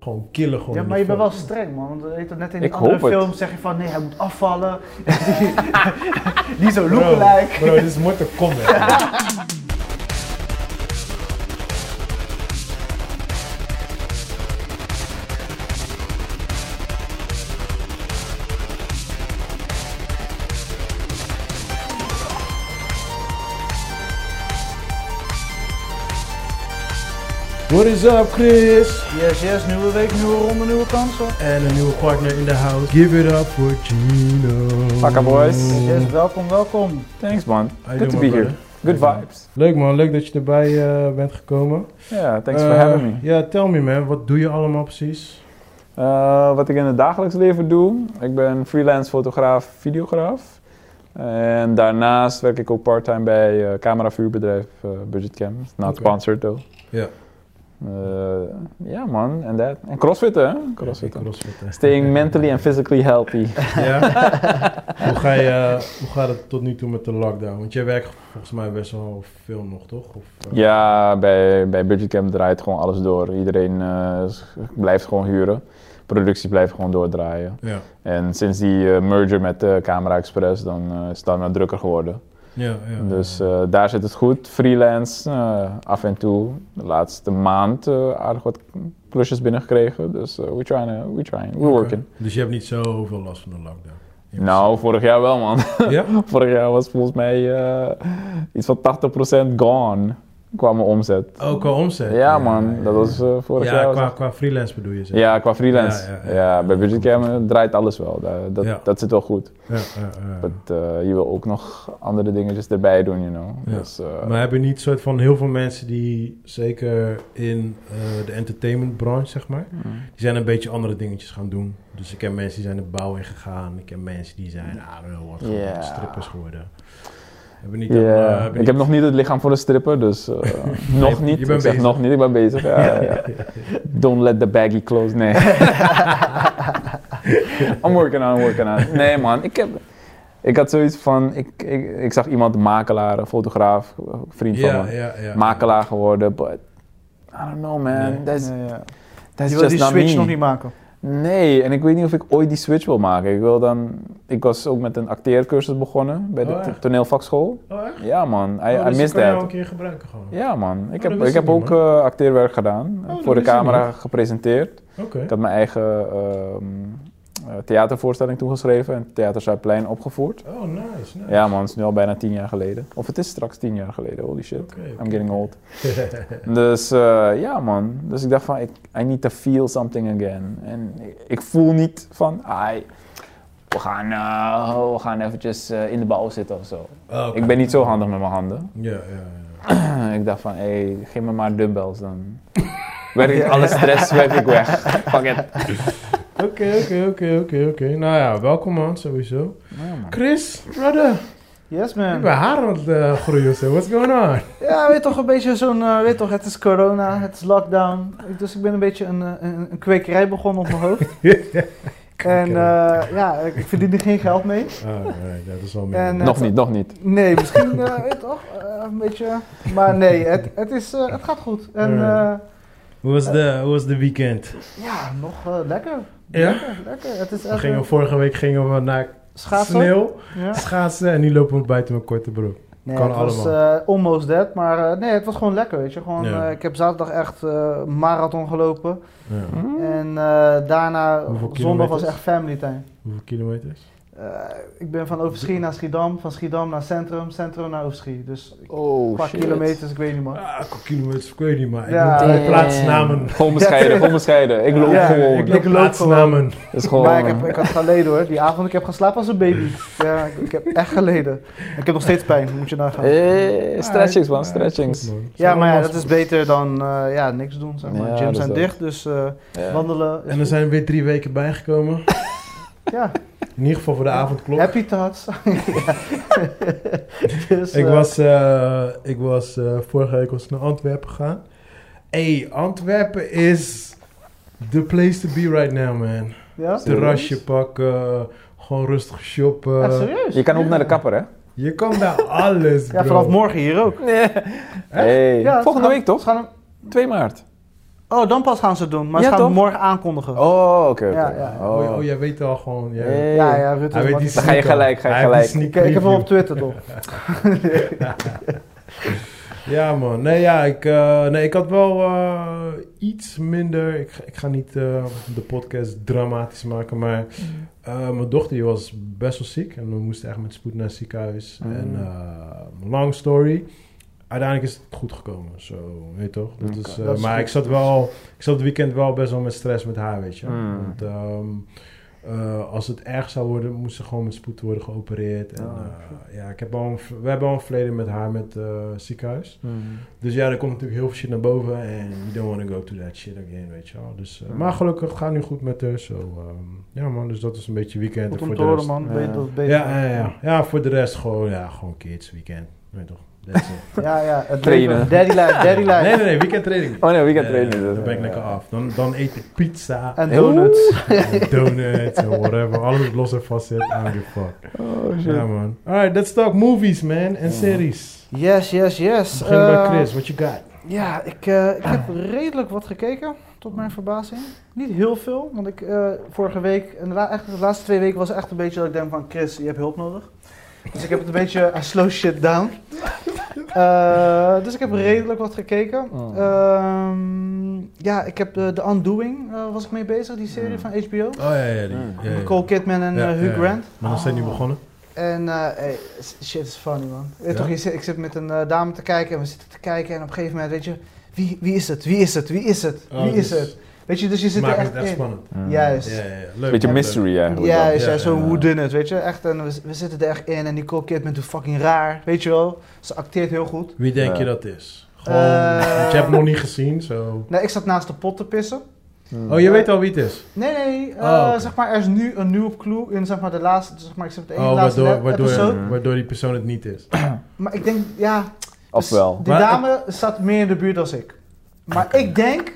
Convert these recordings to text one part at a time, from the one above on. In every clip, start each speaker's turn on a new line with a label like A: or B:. A: Gewoon killen gewoon.
B: Ja,
A: in
B: maar je
A: die
B: bent wel
A: film.
B: streng, man. Want weet je, net in
C: Ik
B: die andere
C: hoop het.
B: films zeg je van nee, hij moet afvallen. die, die zo lookalike.
A: Bro, bro, dit is Mortal Kombat. What is up, Chris?
B: Yes, yes, nieuwe week, nieuwe ronde, nieuwe kansen.
A: En een nieuwe partner in de house. Give it up for Gino.
C: Pakka boys.
B: Yes, yes, welkom, welkom.
C: Thanks man.
A: How you
C: Good to
A: doing,
C: be
A: my
C: here. Good vibes.
A: Leuk man, leuk dat je erbij eh, bent gekomen.
C: Yeah, thanks for
A: Eh,
C: having me.
A: Ja, tell me man, wat doe je allemaal precies?
C: Eh, wat ik in het dagelijks leven doe, ik ben freelance fotograaf, videograaf. En daarnaast werk ik ook part-time bij eh cameravuurbedrijf eh, Budget Cam. Not
A: Oké.
C: sponsored though.
A: Ja.
C: Eh, Ja man, en dat. En crossfitten hè? Crossfitten.
A: Crossfitten.
C: Staying mentally and physically healthy.
A: Ja? hoe, ga je, eh, hoe gaat het tot nu toe met de lockdown? Want jij werkt volgens mij best wel veel nog, toch? Of, eh,
C: Ja, bij, bij Budgetcamp draait gewoon alles door. Iedereen eh, s- blijft gewoon huren. Producties blijven gewoon doordraaien.
A: Ja.
C: En sinds die eh, merger met eh, Camera Express, dan eh, is het dan wat drukker geworden.
A: Ja, ja.
C: Dus eh, daar zit het goed. Freelance, eh, af en toe. De laatste maand eh, aardig wat klusjes binnengekregen. Dus eh, we trying, eh, we trying, we
A: Oké.
C: working.
A: Dus je hebt niet zoveel last van de lockdown? In
C: Nou, vorig jaar wel man.
A: principe. Ja?
C: vorig jaar was volgens mij eh, iets van 80% gone qua mijn omzet.
A: Ook qua omzet?
C: Ja, man, dat was eh, vorig jaar.
A: Ja,
C: was
A: qua,
C: het-
A: qua freelance bedoel je? zeg.
C: ja, qua freelance.
A: Ja,
C: Ja,
A: ja, ja.
C: bij Budgetcam eh, draait alles wel. Da- Dat,
A: Ja.
C: dat zit wel goed.
A: Ja, ja, ja.
C: But, eh, je wil ook nog andere dingetjes erbij doen, you know.
A: Ja.
C: Dus, eh,
A: Maar hebben niet soort van heel veel mensen die, zeker in eh, de entertainmentbranche, zeg maar,
C: mm.
A: die zijn een beetje andere dingetjes gaan doen. Dus ik ken mensen die zijn de bouw in gegaan. Ik ken mensen die zijn, ah, wel wat gewoon
C: Ja.
A: strippers geworden. Hebben niet
C: Ja,
A: allemaal- hebben
C: ik
A: niet-
C: heb nog niet het lichaam voor een stripper, dus eh, nog
A: je
C: niet.
A: bent
C: ik zeg
A: bezig.
C: nog niet, ik ben bezig. Ja, ja, ja. Don't let the baggy close, nee. I'm working on, working on. Nee man, ik heb... Ik had zoiets van, ik, ik, ik zag iemand makelaar, een fotograaf, een vriend van
A: ja,
C: me.
A: ja, ja.
C: makelaar geworden, but I don't know man,
A: Nee.
C: that's,
B: Je
C: that's
B: wil
C: just
B: die
C: not
B: switch
C: me.
B: nog niet maken.
C: Nee, en ik weet niet of ik ooit die switch wil maken. Ik wil dan, ik was ook met een acteercursus begonnen bij de
A: Oh, echt?
C: to- toneelvakschool.
A: Oh, echt?
C: Ja man, I,
A: Oh,
C: I
A: dus
C: missed
A: kan je jou
C: that.
A: een keer gebruiken gewoon.
C: Ja man, ik
A: dat
C: heb,
A: wist
C: ik
A: ik
C: heb
A: niet,
C: ook
A: man. Oh,
C: eh, acteerwerk gedaan.
A: dat
C: voor de
A: wist ik
C: camera gepresenteerd.
A: Oké.
C: Ik had mijn eigen ehm, eh, theatervoorstelling toegeschreven en Theater Zuidplein opgevoerd.
A: Oh, nice, nice.
C: Ja man, het is nu al bijna tien jaar geleden. Of het is straks tien jaar geleden, holy shit.
A: Oké, oké.
C: I'm getting old. dus eh, ja man, dus ik dacht van, ik, I need to feel something again. En ik, ik voel niet van, ai, we gaan, eh, we gaan eventjes eh, in de bouw zitten of zo.
A: Oh, oké.
C: Ik ben niet zo handig met mijn handen.
A: Ja, ja, ja.
C: ik dacht van, hé, hey, geef me maar dumbbells dan. Werk ik alle stress, werk ik weg. Fuck it.
A: Oké, oké, oké, oké, oké. Nou ja, welkom man, sowieso.
C: Ja, man.
A: Chris, brother,
B: Yes,
A: ik ben
B: man.
A: haar aan het eh, groeien of zo. What's going on?
B: Ja, weet toch een beetje zo'n, eh, weet toch, het is corona, het is lockdown. Ik- Dus ik ben een beetje een, eh, een, een kwekerij begonnen op mijn hoofd. En eh, ja, ik ik verdien er geen geld mee.
A: Ah, nee, dat is wel
B: En,
A: meer.
C: Nog niet, nog niet.
B: Nee, misschien, eh, weet toch, eh, een beetje. Maar nee, het, het, is, eh, het gaat goed. En eh,
A: Alright. Hoe was de, hoe was de weekend?
B: ja, nog eh, lekker.
A: Ja?
B: Lekker, lekker. Het is
A: We
B: echt
A: gingen,
B: een
A: vorige week gingen we naar
B: schaatsen.
A: sneeuw,
B: Ja.
A: schaatsen en nu lopen we buiten mijn korte broek.
B: Nee,
A: Kan
B: het was eh, almost dead, maar eh, nee, het was gewoon lekker, weet je. Gewoon,
A: Ja.
B: eh, ik heb zaterdag echt eh, marathon gelopen
A: Ja.
B: en eh, daarna,
A: Hoeveel
B: zondag was
A: kilometers?
B: echt family time.
A: Hoeveel kilometers?
B: Eh, ik ben van Overschie naar Schiedam, van Schiedam naar Centrum, Centrum naar Overschie. Dus een
C: Oh,
B: paar kilometers, ik weet niet man.
A: Ah, qua kilometers, ik weet niet, maar ik
B: Ja,
A: noem
B: eh,
A: twee plaatsnamen.
C: Gewoon bescheiden, gewoon bescheiden. Ik loop
B: Ja,
C: gewoon.
A: Ik
B: loop
A: noem
B: gewoon.
A: plaatsnamen.
C: Dat is gewoon... eh,
B: Maar ik, heb, ik had geleden hoor, die avond, ik heb geslapen als een baby. Ja, ik, ik heb echt geleden. Ik heb nog steeds pijn, moet je nagaan.
C: Eh, stretchings man,
A: Ah,
C: stretchings.
A: goed, man.
B: Ja, maar ja,
A: Allemaal
B: dat is beter dan eh, ja, niks doen, zeg maar.
C: Ja,
B: Gyms
C: dus
B: zijn
C: dat.
B: dicht, dus eh,
C: Ja.
B: wandelen is
A: En er zijn weer drie weken bijgekomen.
B: goed. Ja.
A: In ieder geval voor de avondklok.
B: Happy thoughts. Ja. Dus,
A: ik
B: eh,
A: was, eh, ik was eh, vorige week was ik naar Antwerpen gegaan. hey, Antwerpen is the place to be right now, man.
B: Ja?
A: Terrasje pakken, gewoon rustig shoppen.
B: Ah, serieus?
C: Eh, Je kan ook naar de kapper, hè?
A: Je kan daar alles, bro.
B: Ja, vanaf morgen hier ook.
C: Hey.
B: Ja,
C: Volgende
B: ze gaan-
C: week toch?
B: ze gaan-
C: 2 maart.
B: Oh, dan pas gaan ze het doen. Maar
C: Ja,
B: ze gaan
C: toch?
B: het morgen aankondigen.
C: Oh, oké, oké.
B: Ja, ja.
A: Oh,
C: Oh.
A: ja, oh, jij weet al gewoon. Ja.
C: Hey.
B: Ja, ja, Rutte.
A: Hij
B: is
A: weet die
B: makkelijk.
C: Dan ga je
A: sneaker.
C: gelijk, ga je
A: Hij heeft die
C: gelijk.
A: sneaker
B: ik, ik heb
A: preview.
B: hem op Twitter toch.
A: Ja, man. Nee, ja, ik, eh, nee, ik had wel eh, iets minder. Ik, ga- ik ga niet eh, de podcast dramatisch maken, maar
B: Mhm.
A: eh, mijn dochter die was best wel ziek. En we moesten echt met spoed naar het ziekenhuis.
B: Mhm.
C: Mm.
A: En eh, long story. Uiteindelijk is het goed gekomen. Zo, weet je toch? Dat
C: Oké.
A: is, eh,
B: Dat is
A: maar
B: goed.
A: ik zat wel, ik zat het weekend wel best wel met stress met haar, weet je.
B: Mhm.
C: Mm.
A: Want, ehm, eh, als het erg zou worden, moest ze gewoon met spoed worden geopereerd. En,
C: Oh,
A: eh, ja, ik heb al een, we hebben al een verleden met haar met eh, ziekenhuis.
C: Hmm.
A: Dus ja, er komt natuurlijk heel veel shit naar boven. En you don't want to go to that shit again, weet je wel. Dus, eh,
C: Mm.
A: Maar gelukkig, het gaat nu goed met haar. Zo, ehm, ja man, dus dat is een beetje weekend.
B: Goed
A: En
B: om
A: voor
B: te
A: de
B: horen,
A: rest,
B: man.
C: Ja.
B: Weet dat het beter
A: ja, ja, ja, ja, voor de rest gewoon, ja, gewoon kids, weekend. Weet je toch, that's it.
B: wordt. ja, ja. Het
C: Trainen.
B: leven. Daddy life, daddy life.
A: nee, nee, nee, weekend training.
C: Oh nee, weekend
A: Eh,
C: training.
B: dus.
A: Dan ben ik lekker af. Dan, dan eet ik pizza.
B: En
C: Heel-
B: donuts.
A: en donuts en whatever. Alles wat los en vast zit. I don't give a fuck.
C: Oh shit.
A: Ja, man. Alright, let's talk movies, man. En series.
B: Yes, yes, yes.
A: Begin bij
B: Eh,
A: Chris. What you got?
B: Ja, ik, eh, ik heb redelijk wat gekeken, tot mijn verbazing. Niet heel veel, want ik eh, vorige week, en de, la- echt, de laatste twee weken was echt een beetje dat ik denk van Chris, je hebt hulp nodig. Dus ik heb het een beetje, I slow shit down. Eh, dus ik heb redelijk wat gekeken.
C: Oh.
B: Ehm, ja, ik heb de The Undoing, eh, was ik mee bezig, die serie
C: Mm.
B: van HBO.
A: Oh ja, ja, die.
C: Mm.
A: ja, Ah. ja.
B: hmm. Nicole Kidman en
A: Ja,
B: eh, Hugh
A: ja, ja.
B: Grant.
A: Maar dan zijn die
C: Oh.
A: begonnen.
B: En eh, hey, s- shit is funny man. Weet
A: Ja?
B: toch, je zit- ik zit met een eh, dame te kijken en we zitten te kijken en op een gegeven moment weet je, wie, wie is het? Wie is het? Wie is het? Wie is het? Weet je, dus je
A: Ze
B: zit er
A: maken
B: echt
A: Oh, het echt
B: in.
A: spannend.
B: Juist.
A: Ja, ja, ja. Leuk.
C: Mm. Beetje
A: Leuk.
C: mystery eigenlijk.
B: Ja,
C: dan.
B: is ja,
A: Ja,
B: zo
A: ja.
B: hoe dun het, weet je. Echt, en we, we zitten er echt in en Nicole Kidman doet fucking raar, weet je wel. Ze acteert heel goed.
A: Wie denk
C: Ja.
A: je dat is? Gewoon,
B: Eh.
A: want je hebt hem nog niet gezien, zo.
B: Nee, ik zat naast de pot te pissen. Eh,
C: Hmm.
A: Oh, je weet al wie het is?
B: Nee, nee, eh,
A: Oh, oké.
B: zeg maar, er is nu een nieuwe clue in zeg maar de laatste, zeg maar, ik zit op de ene
A: Oh,
B: laatste
A: waardoor,
B: le- episode.
A: waardoor, waardoor die persoon het niet is.
B: Maar ik denk, ja,
C: Ofwel.
B: Dus Die
A: Maar-
B: dame staat meer in de buurt dan ik. Maar ik denk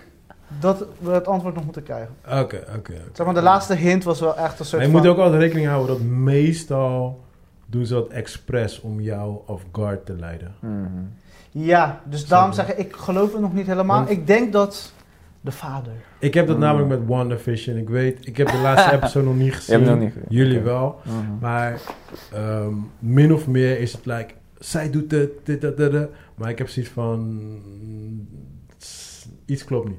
B: dat we het antwoord nog moeten krijgen.
A: Oké, oké. oké.
B: Zeg maar, de laatste hint was wel echt een soort
A: Maar je
B: van...
A: moet ook altijd rekening houden dat meestal doen ze dat expres om jou off guard te leiden.
C: Mhm.
A: Mm-hmm.
B: Ja, dus daarom zeg ik, ik geloof het nog niet helemaal.
A: Want-
B: Ik denk dat de vader...
A: Ik heb dat
B: Hmm.
C: Mm.
A: namelijk met WandaVision. Ik weet, ik heb de laatste episode nog niet
C: Je
A: gezien.
C: hebt het nog niet gezien.
A: Jullie
C: Oké.
A: wel.
C: Mhm.
A: Maar ehm, min of meer is het like, zij doet dit, dit, dat, dat, dat. Maar ik heb zoiets van, mm, s- iets klopt niet.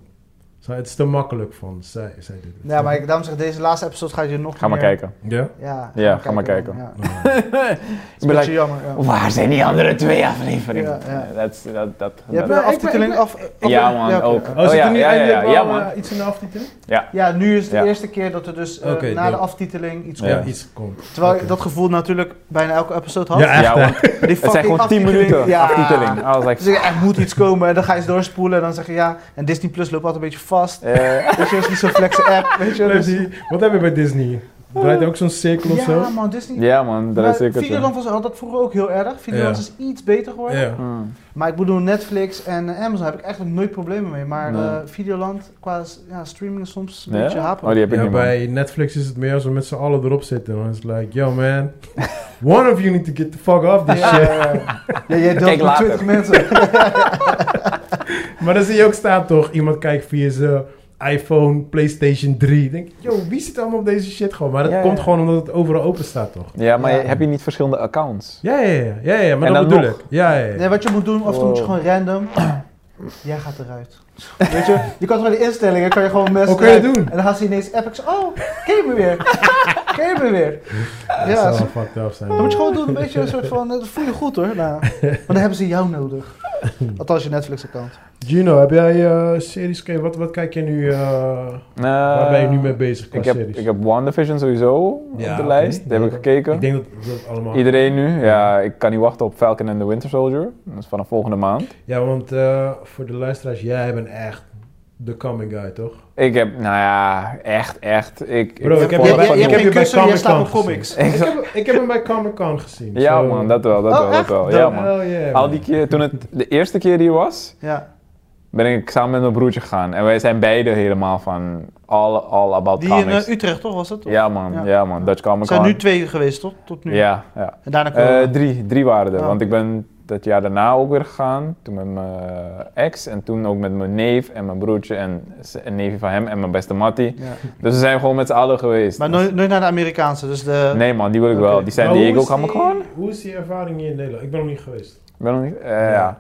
A: Zo, Het is te makkelijk van, zij, zij doet het.
B: Ja, maar ik, daarom zeg ik, deze laatste episode ga je nog
C: Ga maar
B: meer-
C: kijken.
A: Ja?
B: Ja,
C: Ja, ga maar kijken.
B: Ja.
C: Ik
B: Is een
C: ben
B: beetje
C: like,
B: jammer, ja.
C: waar zijn die andere twee afleveringen?
B: Ja, ja.
C: Dat is- dat- dat-
B: Je hebt
C: dat-
B: wel
A: ik ben-
B: aftiteling
A: ik ben-
B: af...
C: Ja, man,
B: oké.
C: ook.
A: Oh,
C: Oh,
A: zit
C: ja,
A: er nu
C: ja, ja,
A: eindelijk
C: ja,
A: wel
C: man.
A: eh, iets in de aftiteling?
B: Ja, nu is het de
C: Ja.
B: eerste keer dat er dus eh,
A: Oké,
B: na de
A: dope.
B: aftiteling iets
A: Ja,
C: Ja.
B: komt.
A: iets komt.
B: Terwijl
A: Oké.
B: ik dat gevoel natuurlijk bijna elke episode had.
A: Ja, echt,
C: Ja,
A: hè?
C: want
B: Die
C: het zijn gewoon 10 minuten aftiteling. Ah, I was like,
B: Dus er moet iets komen en dan ga je eens doorspoelen en dan zeg je ja. En Disney Plus loopt altijd een beetje vast.
C: eh,
B: Weet je, is niet zo'n flexe app. Weet je,
A: Leuk,
B: dus...
A: die- Wat hebben we bij Disney? Draait ook zo'n cirkel of zo?
B: Ja man, Disney.
C: Ja man, dat
B: Maar
C: is zeker
B: Videoland
C: zo.
B: was, had dat vroeger ook heel erg. Videoland
A: Ja.
B: is iets beter geworden.
A: Ja.
C: Hmm.
B: Maar ik bedoel, Netflix en eh, Amazon heb ik eigenlijk nooit problemen mee. Maar
C: Nee.
B: eh, Videoland qua s- ja, streaming is soms een
C: Ja?
B: beetje
C: Oh,
B: hapen.
C: die heb ik
A: Ja,
C: niet man.
A: bij Netflix is het meer als we met z'n allen erop zitten. Dan is het like, yo man, one of you need to get the fuck off this
B: Ja,
A: shit.
B: ja, ja. Ja, jij deelt
C: Kijk
B: met
C: later.
B: 20 mensen.
A: Maar dan zie je ook staan toch, iemand kijkt via zijn iPhone, PlayStation 3. Ik Denk, yo, wie zit allemaal op deze shit gewoon? Maar dat
C: Ja, ja,
A: komt
C: ja.
A: gewoon omdat het overal open staat toch?
C: Ja, maar
B: Ja.
C: je- heb je niet verschillende accounts?
A: Ja, ja, ja, ja, ja maar
C: En
A: dat
C: dan
A: bedoel
C: nog.
A: ik. Ja, ja, ja.
B: Nee, wat je moet doen, of dan moet je
C: Wow.
B: gewoon random. Jij gaat eruit. Weet je, je kan toch bij de instellingen, kan je gewoon mensen.
A: Hoe kun je
B: eruit.
A: dat doen?
B: En dan gaan ze ineens app. Ik zeg, oh, ken je me weer? Ken je me weer?
A: dat
B: Ja,
A: zou
B: zo-
A: wel fucked up zijn.
B: dat moet je gewoon doen, een beetje een soort van, eh, dat voel je goed hoor. Nou, maar dan hebben ze jou nodig. Althans, je Netflix-account.
A: Gino, heb jij eh, series gekeken? Wat, wat kijk je nu, eh,
C: Eh,
A: waar ben je nu mee bezig qua
C: Ik heb,
A: series?
C: ik heb WandaVision sowieso
A: Ja,
C: op de lijst.
A: oké.
C: Die heb ik gekeken.
A: Ik denk dat dat allemaal...
C: Iedereen nu. Ja, ik kan niet wachten op Falcon and the Winter Soldier. Dat is vanaf volgende maand.
A: Ja, want eh, voor de luisteraars, jij bent echt de coming guy, toch?
C: Ik heb, nou ja, echt, echt. Ik,
A: Bro, ik heb
C: volg
A: je bij-
C: van
A: ik
C: die-
A: heb je bij
B: kussen, jij slaapt op
A: Comic-Con
B: comics.
A: Ik heb, ik heb hem bij Comic Con gezien.
C: Ja
A: zo.
C: man, dat wel, dat
B: Oh,
C: wel, dat
B: echt?
C: wel.
A: Dan-
C: Ja man.
A: hell yeah,
C: Al
A: man.
C: die keer, toen het de eerste keer die was,
B: Ja.
C: ben ik samen met mijn broertje gegaan. En wij zijn beide helemaal van all, all about
B: Die in
C: comics.
B: eh, Utrecht, toch? Was dat? toch?
C: ja man,
B: Ja.
C: ja, man, Dutch Comic
B: Er
C: Con.
B: zijn nu twee geweest, toch? Tot nu.
C: Ja, ja.
B: En daarna
C: Eh,
B: corona.
C: drie, drie waren er.
B: Ah.
C: Want ik ben dat jaar daarna ook weer gegaan. Toen met mijn eh, ex en toen ook met mijn neef en mijn broertje en z- een neefje van hem en mijn beste Mattie.
B: Ja.
C: Dus we zijn gewoon met z'n allen geweest.
B: Maar nooit, nooit naar de Amerikaanse, dus de...
C: Nee man, die wil ik
B: Oké.
C: wel. Die zijn
A: Maar
C: die
A: hoe
C: Diego
A: is
C: Comic
A: die-
C: Con.
A: Hoe is die ervaring hier in Nederland? Ik ben nog niet geweest.
C: Ben nog niet? eh, ja.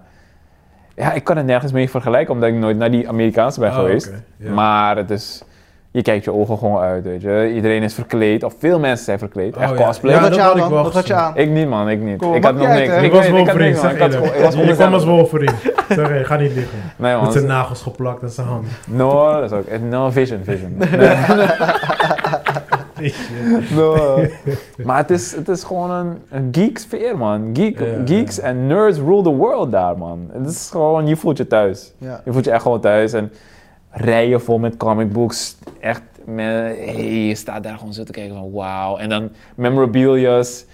C: ja, ik kan het nergens mee vergelijken omdat ik nooit naar die Amerikaanse ben
A: Ah,
C: geweest.
A: oké, ja.
C: Maar het is... Je kijkt je ogen gewoon uit, weet je. Iedereen is verkleed, of veel mensen zijn verkleed.
A: Oh,
C: echt
A: ja.
C: cosplay.
B: Wat
A: Ja,
B: had
A: dat
B: je
A: had
B: aan
A: ik
B: dan?
A: wel
B: Wat had je
A: gezien.
B: aan?
C: Ik niet, man, ik niet.
B: Kom,
C: ik
B: maakt
C: had
B: niet
C: nog
B: uit,
C: niks.
B: hè?
A: Ik
C: Ik
A: was
C: weet- ik had
A: Wolverine,
C: niks, man.
A: zeg
C: Ik had
A: eerlijk.
C: gewoon- ik was
A: Je
C: gewoon
A: kwam
C: mezelf.
A: als Wolverine. Sorry, ik ga niet liggen.
C: Nee
A: Met
C: man, dat
A: zijn
C: is-
A: nagels geplakt en zijn handen.
C: No, dat is ook. eh, No vision, vision. No. Maar het is, het is gewoon een, een geeksfeer, man. Geek,
A: Ja.
C: Geeks en nerds rule the world daar, man. Het is gewoon, je voelt je thuis.
B: Ja.
C: Je voelt je echt gewoon thuis. En rijen vol met comic books. Echt, me- hey, je staat daar gewoon zo te kijken van wauw. En dan memorabilia's.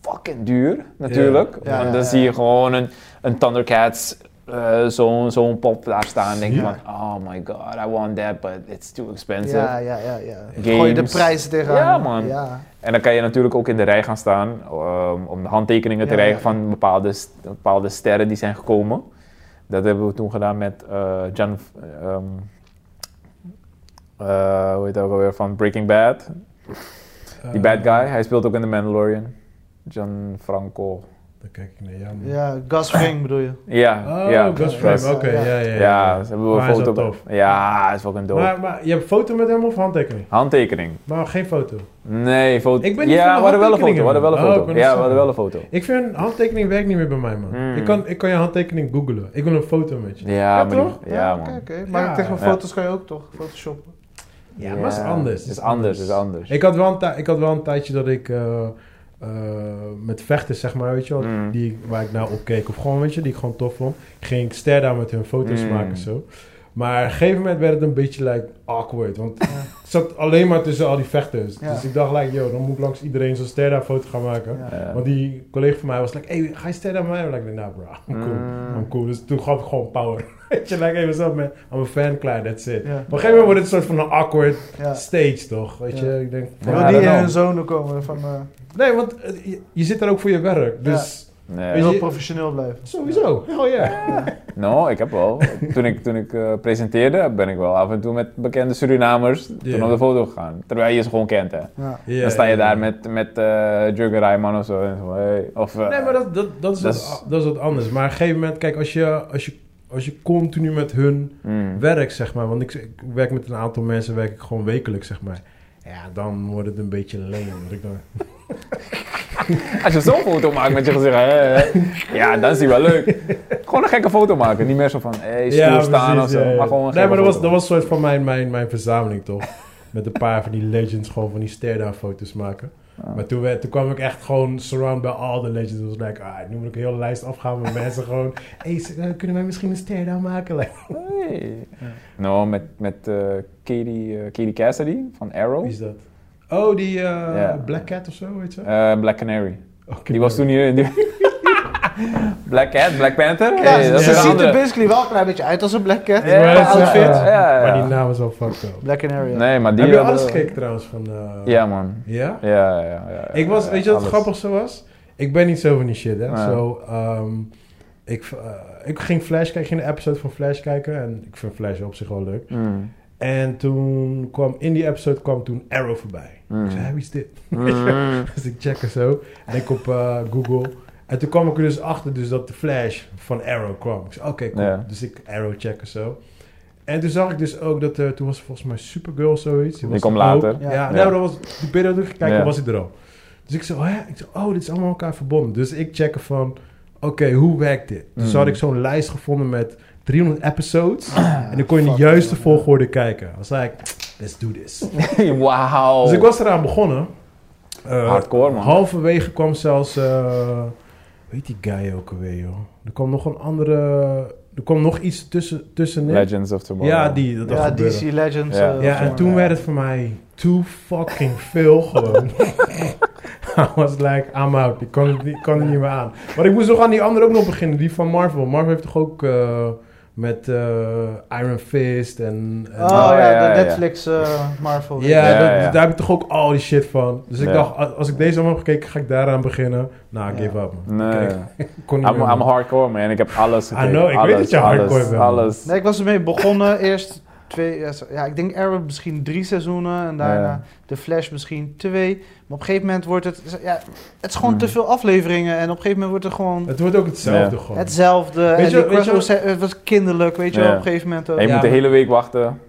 C: Fucking duur, natuurlijk.
B: Ja, ja,
C: Want dan
B: ja.
C: zie je gewoon een, een Thundercats, eh, zo'n zo'n pop daar staan. En denk je
A: Ja.
C: van, oh my god, I want that, but it's too expensive.
B: Ja, ja, ja, ja. Gooi je de
C: Games.
B: prijzen tegenaan.
C: Ja, man.
B: Ja.
C: En dan kan je natuurlijk ook in de rij gaan staan ehm, om de handtekeningen te
B: Ja,
C: krijgen
B: ja.
C: van bepaalde, st- bepaalde sterren die zijn gekomen. Dat hebben we toen gedaan met eh John. ehm, eh, hoe heet hij ook alweer? Van Breaking Bad. Die bad
A: Eh,
C: guy. Hij speelt ook in The Mandalorian. John Franco.
A: Dan kijk ik naar jou. man.
B: Ja, Gus Fring bedoel je.
C: Ja,
A: Oh,
C: ja.
A: Gus
C: dat
A: Fring,
C: is-
A: Oké,
B: Ja.
A: ja, ja.
C: Ja, ze hebben we
A: Maar
C: een
A: hij is wel
C: foto.
A: tof.
C: Ja, hij is fucking dope.
A: Maar, maar je hebt een foto met hem of handtekening?
C: Handtekening.
A: Maar geen foto.
C: Nee, foto.
A: Ik ben niet van
C: ja,
A: de
C: we hadden wel een foto.
A: handtekeningen,
C: We hadden wel een
A: man. Oh, ik
C: foto.
A: wou net
C: ja, we hadden wel een
A: zeggen.
C: foto.
A: Ik vind handtekening werkt niet meer bij mij, man.
C: Hmm.
A: Ik, kan, ik kan je handtekening googlen. Ik wil een foto met je.
C: Ja, maar die-
A: toch?
C: ja,
B: Oké,
C: man.
B: oké. Maar
A: Ja.
B: tegen
C: Ja.
B: foto's kan je ook toch photoshoppen.
A: Ja, maar het is anders.
C: Het is anders, het is anders.
A: Ik had wel een, tij- ik had wel een tijdje dat ik eh, eh, met vechten, zeg maar, weet je wel,
C: Mm.
A: die, waar ik naar opkeek. Of gewoon, weet je, die ik gewoon tof vond. Ging ik ster daar met hun foto's
C: Mm.
A: maken zo. Maar op een gegeven moment werd het een beetje like, awkward. Want ik zat alleen maar tussen al die vechters.
B: Ja.
A: Dus ik dacht, like, yo, dan moet ik langs iedereen zo'n ster daar foto gaan maken.
B: Ja.
C: Ja.
A: Want die collega van mij was like, hey, ga je ster daar met mij? En ik dacht, nah bro, I'm cool.
C: Mm.
A: I'm cool. Dus toen gaf ik gewoon power. Weet je, like, hey, what's up man? I'm a fan, klaar, that's it.
B: Ja.
A: Op een gegeven moment wordt het een soort van een awkward
B: Ja.
A: stage, toch? Weet je,
B: Ja.
A: ik denk...
C: Ja, eh,
B: Wil
A: van-
B: die
C: dat
B: in
C: wel.
B: hun zone komen van eh,
A: Nee, want eh, je, je zit daar ook voor je werk. Dus
C: Nee.
A: Weet
B: heel
A: je-
B: professioneel blijven.
A: sowieso. Hell yeah.
C: Nou, ik heb wel. Toen ik, toen ik eh, presenteerde, ben ik wel af en toe met bekende Surinamers toen
A: Ja.
C: op de foto gegaan. Terwijl je ze gewoon kent, hè.
B: Ja.
A: Ja,
C: dan sta je
A: ja,
C: daar
A: ja.
C: met, met eh Jurgen Rijman of zo. En zo hey. of, eh,
A: Nee, maar dat, dat, dat, is
C: Dat
A: wat-
C: is-
A: dat is wat anders. Maar op een gegeven moment, kijk, als je, als je, als je continu met hun
C: mm.
A: werkt, zeg maar... Want ik, ik werk met een aantal mensen, werk ik gewoon wekelijks, zeg maar. Ja, dan wordt het een beetje lame. want ik dan-
C: Als je zo'n foto maakt met je gezicht, hè, hè, ja, dan is die wel leuk. Gewoon een gekke foto maken. Niet meer zo van, hey, stoer staan
A: precies,
C: of zo.
A: ja, ja.
C: Maar gewoon een
A: Nee, maar
C: gekke
A: dat was,
C: foto.
A: dat was een soort van mijn, mijn, mijn verzameling, toch? Met een paar van die legends, gewoon van die sterda-foto's maken.
C: Ah.
A: Maar toen, werd, toen kwam ik echt gewoon surround bij al de legends. Het was like, ah, nu moet ik een hele lijst afgaan met mensen gewoon... Hey, s- eh, kunnen wij misschien een sterda maken? Like,
C: Hey. Nou, met, met eh, Katie, eh, Katie Cassidy van Arrow.
A: wie is dat? Oh, die eh,
C: Ja.
A: Black Cat of zo, weet je? Oh,
C: Eh, Black Canary.
A: Oké,
C: Die was toen hier. Die... Black Cat, Black Panther?
B: Ja,
C: Hey, dat is
B: ze
C: weer een
B: ziet er
C: andere.
B: basically wel een klein beetje uit als een Black Cat.
C: Ja,
B: Qua
A: ja,
B: outfit.
A: ja.
C: ja, ja.
A: Maar die naam is al fucked up.
B: Black Canary.
C: Nee, maar die
A: Heb je
C: hadden-
A: alles gekeken trouwens van... eh,
C: Ja, man.
A: Ja?
C: Ja, ja, ja. ja,
A: Ik was,
C: ja,
A: weet je wat het
C: Eh, alles.
A: grappigste was? Ik ben niet zo van die shit, hè.
C: Ja.
A: Zo, ehm, ik, eh, ik ging Flash kijken, ik ging een episode van Flash kijken. En ik vind Flash op zich wel leuk.
C: Mm,
A: En toen kwam, in die episode kwam toen Arrow voorbij.
C: mm,
A: Ik zei, "Hé, wie is dit?
C: mm.
A: Dus ik check er zo. En ik op eh, Google. En toen kwam ik er dus achter dus dat de Flash van Arrow kwam. Ik zei, oké, cool.
C: Ja.
A: Dus ik Arrow check en zo. En toen zag ik dus ook dat, eh, toen was er volgens mij Supergirl of zoiets.
C: Die
A: was
C: kwam
A: er
C: later.
A: ook. Ja,
B: Ja.
A: nou, dat was, die periode toen ik gekeken,
C: Ja.
A: was hij er al. Dus ik zei, oh, ja. ik zei, oh, dit is allemaal elkaar verbonden. Dus ik checken van, oké, hoe werkt dit? Dus
C: Mm.
A: had ik zo'n lijst gevonden met 300 episodes.
B: Ah,
A: en dan kon je in de
B: fuck,
A: juiste
B: man.
A: volgorde kijken. I was like, let's do this.
C: Wauw.
A: Dus ik was eraan begonnen. Eh,
C: Oh. Hardcore, man.
A: Halverwege kwam zelfs, eh, weet die guy ook alweer, joh. Er kwam nog een andere, er kwam nog iets tussen, tussenin.
C: Legends of Tomorrow.
A: Ja, die, dat
B: Ja,
A: dat gebeurde.
B: DC Legends.
C: Ja.
B: eh,
A: Ja,
B: of
A: en
B: zo.
A: toen werd het voor mij too fucking veel gewoon. I was like, I'm out. Ik kan het niet, kan het niet meer aan. Maar ik moest nog aan die andere ook nog beginnen, die van Marvel. Marvel heeft toch ook eh, Met eh, Iron Fist en... en-
B: Oh,
C: Oh,
B: ja,
C: ja,
B: de
C: ja.
B: Netflix eh, Marvel.
A: Ja,
C: Ja,
A: dat-
C: ja.
A: daar heb ik toch ook al die shit van. Dus ik
C: Ja.
A: dacht, als als ik deze allemaal heb gekeken, ga ik daaraan beginnen. Nou,
B: Ja.
A: give up, man.
C: Nee.
A: Kijk, Kon niet
C: I'm,
A: meer,
C: I'm
A: man.
C: hardcore, man. Ik heb alles
A: I
C: gekeken.
A: know, ik weet
C: alles,
A: dat je
C: alles,
A: hardcore bent.
C: Alles.
B: Nee, ik was ermee begonnen. Eerst twee, ja, zo- ja, ik denk Arrow misschien drie seizoenen en daarna
C: Ja.
B: The Flash misschien twee. Maar op een gegeven moment wordt het, ja, het is gewoon
C: Mhm.
B: te veel afleveringen en op een gegeven moment wordt het gewoon
A: Het wordt ook hetzelfde
C: Ja.
A: gewoon.
B: hetzelfde.
A: Weet
B: en
A: je-
B: die
A: weet je-
B: crossovers zijn- het was kinderlijk, weet je wel,
C: Ja.
B: op een gegeven moment ook.
C: En je
A: Ja,
C: moet de
A: maar-
C: hele week wachten.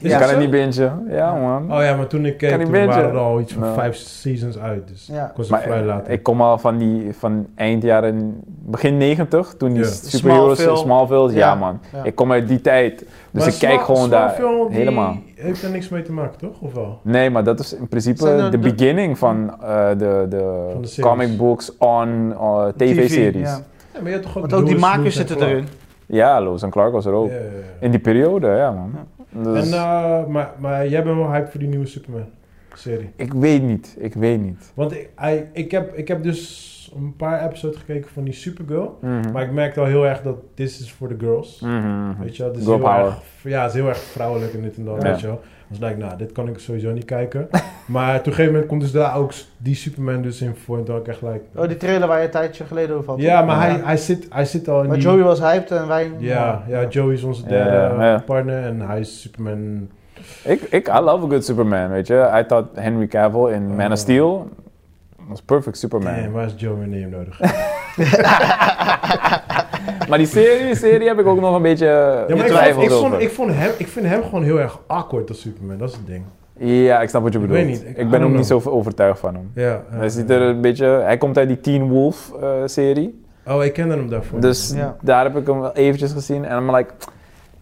A: Is
C: Je
B: Ja.
C: kan
A: zo?
C: het niet bingen. Ja, man.
A: Oh ja, maar toen ik keek,
C: Kan niet
A: toen
C: bingen.
A: waren er al iets van
C: Nou.
A: vijf seasons uit. Dus
B: Ja.
A: ik was het
C: Maar
A: vrij
C: eh,
A: laat.
C: ik kom al van, die, van eind jaren, begin 90, toen die
A: Ja.
C: superheroes,
B: Smallville.
C: Smallville, ja,
B: Ja.
C: man.
B: Ja.
C: Ik kom uit die tijd. Dus
A: Maar
C: ik kijk
A: Sma-
C: gewoon daar
A: Smallville, die
C: helemaal.
A: heeft daar niks mee te maken, toch? Of wel?
C: Nee, maar dat is in
B: Zijn
C: principe
B: er
C: de
B: de-
C: beginning van eh, de, de,
A: Van de series.
C: comic books on eh, tv-series.
B: ja.
C: Ja.
A: Ja, maar je hebt toch ook
B: Want ook die
A: Doris,
B: makers
A: Lewis en
B: zitten
A: Clark.
B: erin.
C: Lois en Clark was er ook.
A: Ja, ja, ja.
C: In die periode, ja, man. Dus-
A: En, eh, maar, maar jij bent wel hype voor die nieuwe Superman-serie.
C: ik weet niet, ik weet niet.
A: Want ik, hij- ik, heb, ik heb dus een paar episodes gekeken van die Supergirl.
C: Mhm.
A: Maar ik merkte al heel erg dat this is for the girls.
C: Mhm.
A: Weet je wel, het is
C: Girl
A: heel
C: power.
A: erg, ja, het is heel erg vrouwelijk en dit en dat,
C: Ja.
A: weet je wel. Dus dacht ik, nou, dit kan ik sowieso niet kijken. maar op een gegeven moment komt dus daar ook die Superman dus in voor en toen had ik echt gelijk...
B: Oh, die trailer waar je een tijdje geleden over had.
A: ja, maar Hij, hij, zit, hij zit al in
B: Maar
A: die...
B: Joey was hyped en wij...
A: Ja, ja, Joey is onze derde
C: Ja, ja.
A: partner en hij is Superman.
C: Ik, ik, I love a good Superman, weet je. I thought Henry Cavill in Man
A: Oh.
C: of Steel was perfect Superman.
A: Nee, waar is Joey neem nodig?
C: Maar die serie, serie heb ik ook nog een beetje
A: Ja, maar ik,
C: twijfels
A: vond, ik, vond,
C: over.
A: ik, vond hem, ik vind hem gewoon heel erg awkward als Superman, dat is het ding.
C: ja, ik snap wat je
A: Ik
C: bedoelt.
A: weet niet, ik-
C: Ik,
A: I
C: ben
A: don't
C: ook niet zo overtuigd van hem.
A: Ja, eh,
C: Hij, ziet er een beetje, hij komt uit die Teen Wolf eh, serie.
A: Oh, ik kende hem daarvoor.
C: Dus
B: Ja.
C: daar heb ik hem wel eventjes gezien. En I'm like,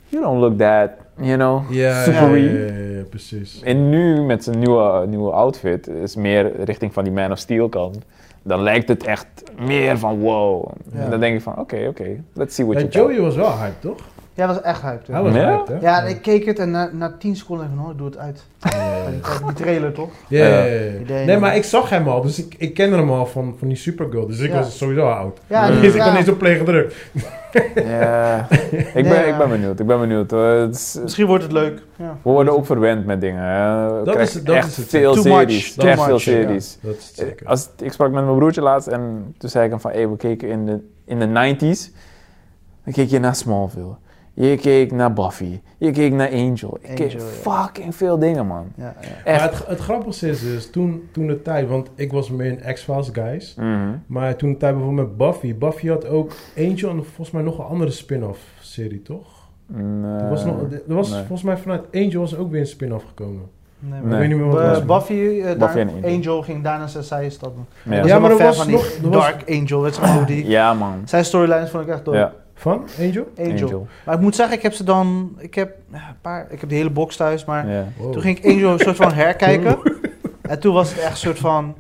C: you don't look that, you know,
A: ja,
C: supery.
A: ja, ja, ja, ja, precies.
C: En nu met zijn nieuwe, nieuwe outfit is meer richting van die Man of Steel kant. Dan lijkt het echt meer van wow.
B: Ja.
C: En dan denk ik van oké, oké, let's see what
A: Ja,
C: you got.
A: Joey was wel hype, toch?
B: Jij was echt hyped.
A: Hij
B: Ja,
A: was
C: Ja?
A: hype, hè?
B: ja en ik keek het en na, na 10 seconden dacht ik van, oh, ik doe het uit.
A: Ja, ja,
B: Die trailer toch?
A: Ja, ja, ja.
B: Idee,
A: Nee,
B: ja.
A: maar ik zag hem al, dus ik, ik kende hem al van, van die Supergirl, dus ik
B: Ja.
A: was sowieso oud.
B: Ja,
C: Ja.
A: Dan
B: die-
A: is ik
B: ja.
A: dan eens op play gedrukt.
C: Ja. ik, ben,
B: Nee,
C: ik ben benieuwd, ik ben benieuwd. hoor. Het is-
B: Misschien wordt het leuk. Ja.
C: we worden ook verwend met dingen. hè. We
A: Dat
C: krijgen
A: is- dat
C: echt
A: is het.
C: veel
B: Too much,
C: series.
B: too
C: echt
B: much,
C: veel
B: ja.
C: series.
A: Dat is het zeker.
C: Eh, Als, ik sprak met mijn broertje laatst en toen zei ik hem van hey, we keken in de, in de 90s. Dan keek je naar Smallville. Je keek naar Buffy. Je keek naar Angel. Ik keek
B: Angel, ja.
C: fucking veel dingen, man.
B: Ja, ja.
C: Echt.
A: Maar het, het grappigste is dus, toen, toen de tijd, want ik was meer een X-Files guys,
C: Mhm.
A: maar toen de tijd bijvoorbeeld met Buffy. Buffy had ook Angel en volgens mij nog een andere spin-off serie, toch? Er
C: eh,
A: was, nog, er was
C: nee.
A: volgens mij vanuit Angel was er ook weer een spin-off gekomen.
B: Nee,
A: Ik
C: Nee.
A: weet niet meer wat het
B: Eh,
A: was.
B: Buffy, eh, daar-
C: Buffy en
B: Angel.
C: Angel.
B: ging daarna zijn zijstap. doen.
C: Ja.
B: Ik
A: Ja, maar
B: helemaal
A: er
B: fan
A: was
B: van
A: nog- er
B: die
A: was-
B: Dark Angel, weet je wel, hoe die...
C: Ja, man.
B: Zijn storylines vond ik echt dope.
C: Ja,
A: Van Angel?
B: Angel. Maar ik moet zeggen, ik heb ze dan... Ik heb ja, een paar... Ik heb de hele box thuis, maar...
C: Ja.
A: Wow.
B: Toen ging ik Angel een soort van herkijken. en toen was het echt een soort van...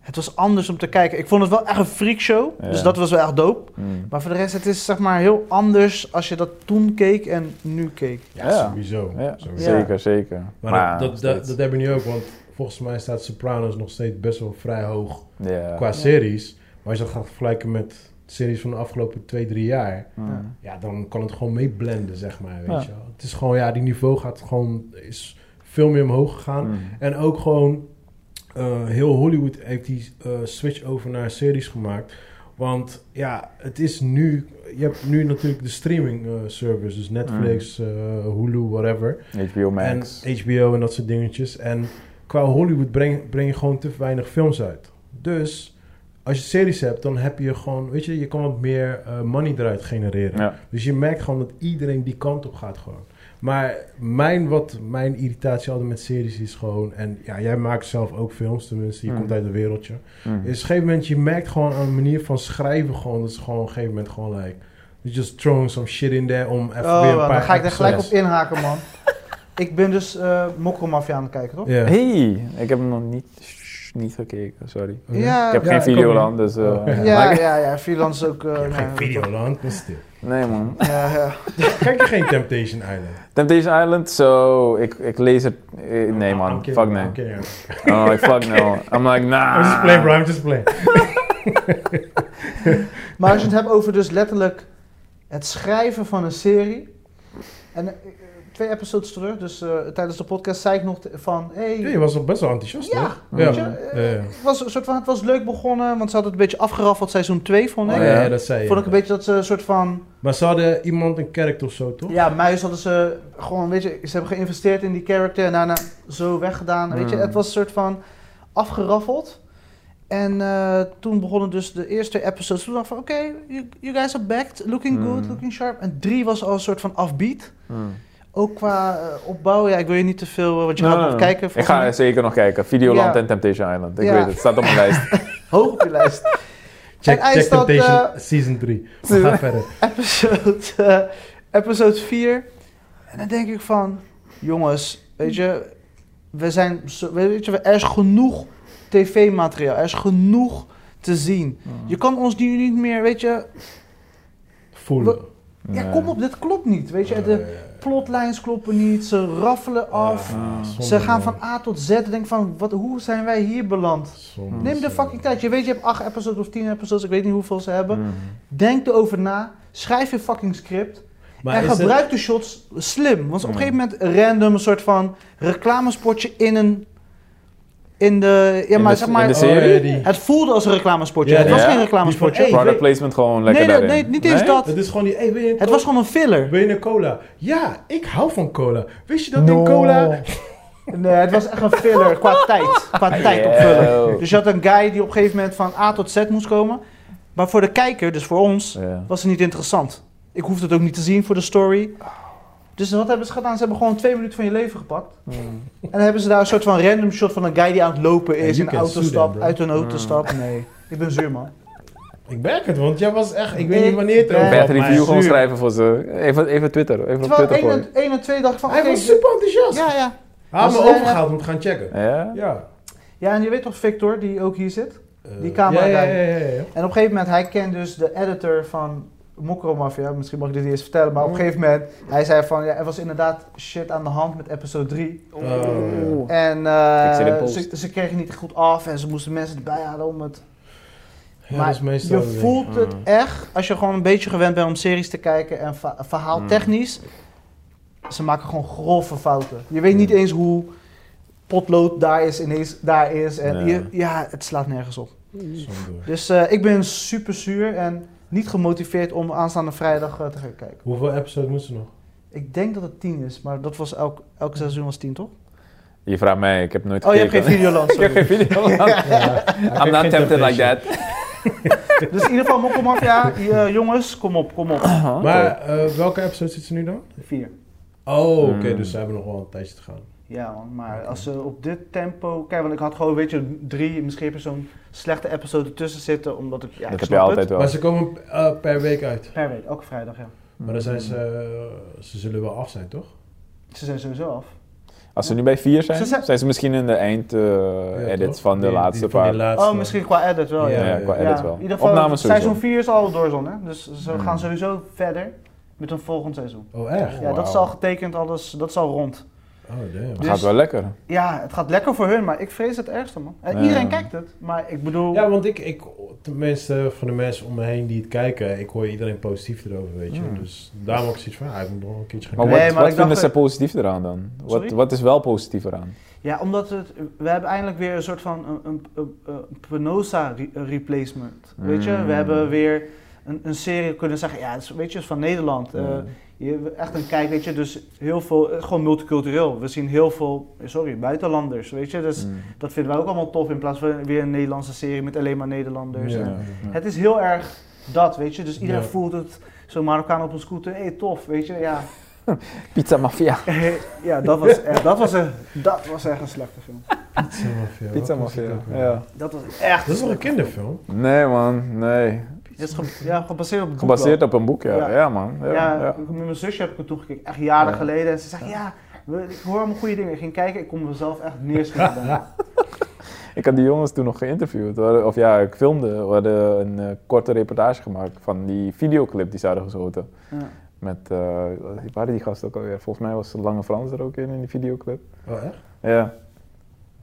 B: Het was anders om te kijken. Ik vond het wel echt een freakshow.
C: Ja.
B: Dus dat was wel echt dope.
C: Mm.
B: Maar voor de rest, het is zeg maar heel anders als je dat toen keek en nu keek.
A: Ja,
C: Ja.
A: sowieso.
C: Ja,
A: sowieso.
C: Zeker, zeker.
A: Maar dat, dat, dat, dat hebben we nu ook, want volgens mij staat Sopranos nog steeds best wel vrij hoog
C: ja.
A: qua series. Maar als je dat gaat vergelijken met series van de afgelopen 2, 3 jaar,
C: Mm.
A: ja, dan kan het gewoon meeblenden, zeg maar. Weet
C: Ja.
A: je wel. Het is gewoon, ja, die niveau gaat gewoon, is veel meer omhoog gegaan.
C: Mm.
A: En ook gewoon, eh, heel Hollywood heeft die eh, switch over naar series gemaakt. Want ja, het is nu, je hebt nu natuurlijk de streaming eh, service, dus Netflix,
C: Mm.
A: eh, Hulu, whatever.
C: HBO Max.
A: En HBO en dat soort dingetjes. En qua Hollywood breng, breng je gewoon te weinig films uit. Dus als je series hebt, dan heb je gewoon, weet je, je kan wat meer eh, money eruit genereren.
C: Ja.
A: Dus je merkt gewoon dat iedereen die kant op gaat gewoon. Maar mijn, wat mijn irritatie altijd met series is gewoon... en ja, jij maakt zelf ook films, tenminste, je
C: Mm.
A: komt uit een wereldje.
C: Mm.
A: Is op een gegeven moment, je merkt gewoon aan de manier van schrijven gewoon... dat is gewoon op een gegeven moment gewoon like... you're just throwing some shit in there om even
B: Oh,
A: weer een
B: man,
A: paar...
B: dan ga ik er gelijk op
A: episodes-
B: inhaken, man. ik ben dus eh Mokkelmafia aan het kijken, toch?
A: Ja.
C: Hey, ik heb hem nog niet, shh, niet gekeken, sorry.
A: Oké.
B: Ja,
C: Ik heb
A: Ja,
C: geen
A: ik ook
C: videoland,
A: niet.
C: dus... eh,
A: Oh.
B: Ja,
A: Ja.
B: ja,
C: maar-
B: ja, Freelance is ook... eh,
A: Ik heb
B: nee,
A: geen Videoland, dat is dit.
C: Nee, man.
B: Ja, ja.
A: Kijk je geen Temptation Island?
C: Temptation Island, zo, ik, ik lees het... eh, Nee, man. Ah.
A: Oké,
C: Fuck nee.
A: oké, ja.
C: I'm like, fuck no. I'm like, nah.
A: I'm just playing bro, I'm just playing.
B: Maar als je het hebt over dus letterlijk het schrijven van een serie. En eh, twee episodes terug, dus eh, tijdens de podcast zei ik nog te- van... Hey,
A: Ja, je was al best wel enthousiast,
B: Ja,
A: toch?
C: weet
B: je,
A: ja.
B: eh, het, was een soort van, het was leuk begonnen, want ze hadden het een beetje afgeraffeld seizoen 2, vond ik.
A: Oh, ja, dat zei je.
B: Vond ik een beetje dat ze een soort van...
A: Maar ze hadden iemand een character of zo, toch?
B: Ja, muis hadden ze gewoon, weet je, ze hebben geïnvesteerd in die character en daarna zo weggedaan. Weet je,
A: Hmm.
C: Mm.
B: het was een soort van afgeraffeld. En eh, toen begonnen dus de eerste episodes. Toen dacht ik van, oké, you, you guys are back, looking good,
A: Hmm.
C: Mm.
B: looking sharp. En drie was al een soort van afbeat. Ook qua eh, opbouw, ja, ik wil je niet te veel, eh, want je gaat nog kijken.
C: Ik ga
B: volgens
C: zeker nog kijken. Videoland
B: Ja.
C: en Temptation Island. Ik
B: Ja.
C: weet het, het staat op mijn lijst.
B: mij. Hoog op je lijst.
A: Check,
B: En hij
A: check
B: staat,
A: Temptation
B: eh,
A: Season 3. We gaan verder.
B: episode, eh, episode 4. En dan denk ik van, jongens, weet je, we zijn, zo- weet je, er is genoeg tv-materiaal, er is genoeg te zien. Je kan ons nu niet meer, weet je,
A: Voelen. Ah,
B: ja,
C: Nee.
B: kom op, dit klopt niet, weet je, de plotlines kloppen niet, ze raffelen af,
A: Ah,
B: ze gaan van A tot Z, denk ik van, wat, hoe zijn wij hier beland? Neem de fucking tijd. Je weet, je hebt acht episodes of tien episodes, ik weet niet hoeveel ze hebben.
C: Mm.
B: Denk erover na. Schrijf je fucking script.
A: Maar
B: en
A: is het-
B: gebruik de shots slim. Want op een
C: Ja.
B: gegeven moment een random een soort van reclamespotje in een. In de. Ja,
C: In
B: maar
C: de-
B: zeg
C: in
B: maar. eh,
C: de
A: Oh,
C: serie?
A: ja, die-
B: Het voelde als een reclamespotje.
A: Ja,
B: het was
C: ja.
B: geen reclamespotje.
A: Die van,
C: Product
A: weet-
C: placement gewoon lekker
B: nee,
C: daarin.
B: nee, niet eens
C: Nee?
B: dat.
A: Het is gewoon die... Hey, wil je een
B: Het
A: cola?
B: was gewoon een filler.
A: Wil je een cola? Ja, ik hou van cola. Wist je dat
C: No.
A: in cola...
B: Nee, het was echt een filler qua tijd. Qua tijd opvullen. Dus je had een guy die op een gegeven moment van A tot Z moest komen. Maar voor de kijker, dus voor ons,
C: Ja.
B: was het niet interessant. Ik hoefde het ook niet te zien voor de story. Dus wat hebben ze gedaan? Ze hebben gewoon twee minuten van je leven gepakt. En dan hebben ze daar een soort van random shot van een guy die aan het lopen
A: Hey,
B: is,
A: you
B: in
A: can
B: een auto
A: sue them,
B: stapt,
A: bro.
B: uit een auto stapt. Nee, ik ben zuur man.
A: Ik merk het, want jij was echt... Ik weet
B: Ik
A: niet wanneer het
B: ben-
A: over
C: Bad
A: had, maar-
C: review gewoon
B: zuur.
C: schrijven voor ze. Even, even Twitter. Even op
B: Terwijl
C: Twitter
B: 1
C: gooien.
B: en, 1 en 2 dacht ik van, oké,
A: Hij was super enthousiast.
B: ja, ja.
A: Hij had me
B: Was hij-
A: overgehaald om te gaan checken.
C: Ja?
A: Ja.
B: Ja, en je weet toch Victor, die ook hier zit?
A: Eh,
B: Die camera
A: ja,
B: guy.
A: ja, ja, ja, ja.
B: En op een gegeven moment, hij kent dus de editor van Mokro Mafia. Misschien mag ik dit niet eens vertellen, maar op een gegeven moment, hij zei van, ja, er was inderdaad shit aan de hand met episode 3.
A: Oh,
B: En
C: Ik zit in
B: eh,
C: post.
B: ze, ze kregen niet goed af en ze moesten mensen erbij halen om het.
A: Ja,
B: maar
A: dat is meestal...
B: je
A: zo.
B: voelt het
C: Mm.
B: echt als je gewoon een beetje gewend bent om series te kijken en va-
C: Mm.
B: verhaaltechnisch. Ze maken gewoon grove fouten. Je weet
C: Mm.
B: niet eens hoe potlood daar is, ineens daar is. En
C: Nee.
B: je- ja, het slaat nergens op.
A: Zonde.
B: Dus eh, ik ben super zuur en niet gemotiveerd om aanstaande vrijdag eh, te gaan kijken.
A: Hoeveel episodes moeten ze nog?
B: Ik denk dat het tien is, maar dat was elk, elk seizoen was tien, toch?
C: Je vraagt mij, ik heb nooit
B: Oh, je hebt
C: gekeken.
B: geen Videoland,
C: ik heb
B: sorry.
C: geen video. I'm not tempted like that.
B: Dus in ieder geval, Mokko Mafia, eh, jongens, kom op, kom op.
C: Oh.
A: Maar eh, welke episode zit ze nu dan?
B: Vier.
A: Oh, oké,
C: Hmm.
A: dus ze hebben nog wel een tijdje te gaan.
B: Ja, man, maar als ze op dit tempo. Kijk, want ik had gewoon, weet je, drie, misschien heb je zo'n slechte episode tussen zitten, omdat ik. Ja, ik
C: dat heb
B: snap
C: je altijd
B: het.
A: Maar
C: wel.
A: ze komen eh, per week uit.
B: Per week, elke vrijdag, ja.
A: Maar dan
B: Hmm.
A: zijn ze... eh, ze zullen wel af zijn, toch?
B: Ze zijn sowieso af.
C: Als ze nu bij vier zijn,
B: Ze zijn-
C: zijn ze misschien in de
A: Ja,
C: eind-edits
A: toch?
C: Eh, van de
A: Die- die-
C: laatste
A: van die
C: paar.
A: laatste.
B: Oh, misschien qua edit wel, ja.
C: eh, ja,
A: Ja,
C: qua
A: ja.
C: edit
B: Ja,
C: wel.
B: In ieder geval,
C: Opnames sowieso.
B: seizoen 4 is al doorzon, hè? Dus ze
C: Hmm.
B: gaan sowieso verder met een volgend seizoen.
A: Oh, echt?
B: Ja,
C: Wauw.
B: dat is al getekend, alles, dat is al rond.
A: Oh, damn.
B: dus-
C: Gaat wel lekker.
B: Ja, het gaat lekker voor hun, maar ik vrees het ergste, man. En
C: Ja.
B: Iedereen kijkt het, maar ik bedoel...
A: Ja, want ik, ik, tenminste van de mensen om me heen die het kijken, ik hoor iedereen positief erover, weet je.
C: Hmm.
A: Dus daarom ook zoiets van, ja, ik moet nog een keertje gaan
C: Maar
B: Nee,
A: kijken.
B: maar
C: wat, wat
B: ik
C: vinden
B: dacht-
C: ze positief eraan dan? Wat,
B: Sorry?
C: wat is wel positief eraan?
B: Ja, omdat het, we hebben eindelijk weer een soort van een, een, een, een Penosa re- replacement. Weet je,
A: Hmm.
C: Mm.
B: we hebben weer een, een serie kunnen zeggen, ja, het is, weet je, het is van Nederland. Eh,
A: Hmm.
C: Mm.
B: je hebt echt een kijk, weet je, dus heel veel, eh, gewoon multicultureel. We zien heel veel, eh, sorry, buitenlanders, weet je.
A: Hmm.
B: Dus
C: Mm.
B: dat vinden wij ook allemaal tof in plaats van weer een Nederlandse serie met alleen maar Nederlanders.
A: Ja.
B: En
C: Ja.
B: Het is heel erg dat, weet je. Dus iedereen
A: Ja.
B: voelt het, zo'n Marokkaan op een scooter, hé, hey, tof, weet je, ja.
C: Pizza Mafia.
B: ja, dat was, echt, dat, was een, dat was echt een slechte film.
A: Pizza Mafia.
C: Pizza
A: wat was het
C: Mafia.
A: ook weer?
C: Ja.
B: Dat was echt.
A: Dat is toch een kinderfilm?
C: Nee man, nee.
B: Het is ge- ja, gebaseerd op. het boek
C: Gebaseerd
B: wel.
C: op een boek, ja.
B: Ja.
C: Ja, man. Ja,
B: Ja,
C: ja.
B: met mijn zusje heb ik het toegekeken, echt jaren
C: Ja.
B: geleden. En ze zegt: Ja, we- ik hoor allemaal goede dingen. Ik ging kijken, ik kon mezelf echt neerschieten. daarna.
C: Ik had die jongens toen nog geïnterviewd. We hadden- Of ja, ik filmde. We hadden een eh, korte reportage gemaakt van die videoclip die ze hadden geschoten.
B: ja.
C: Met, eh waar waren die gasten ook alweer? Volgens mij was Lange Frans er ook in, in die videoclip.
A: Oh, echt? eh,
C: Ja.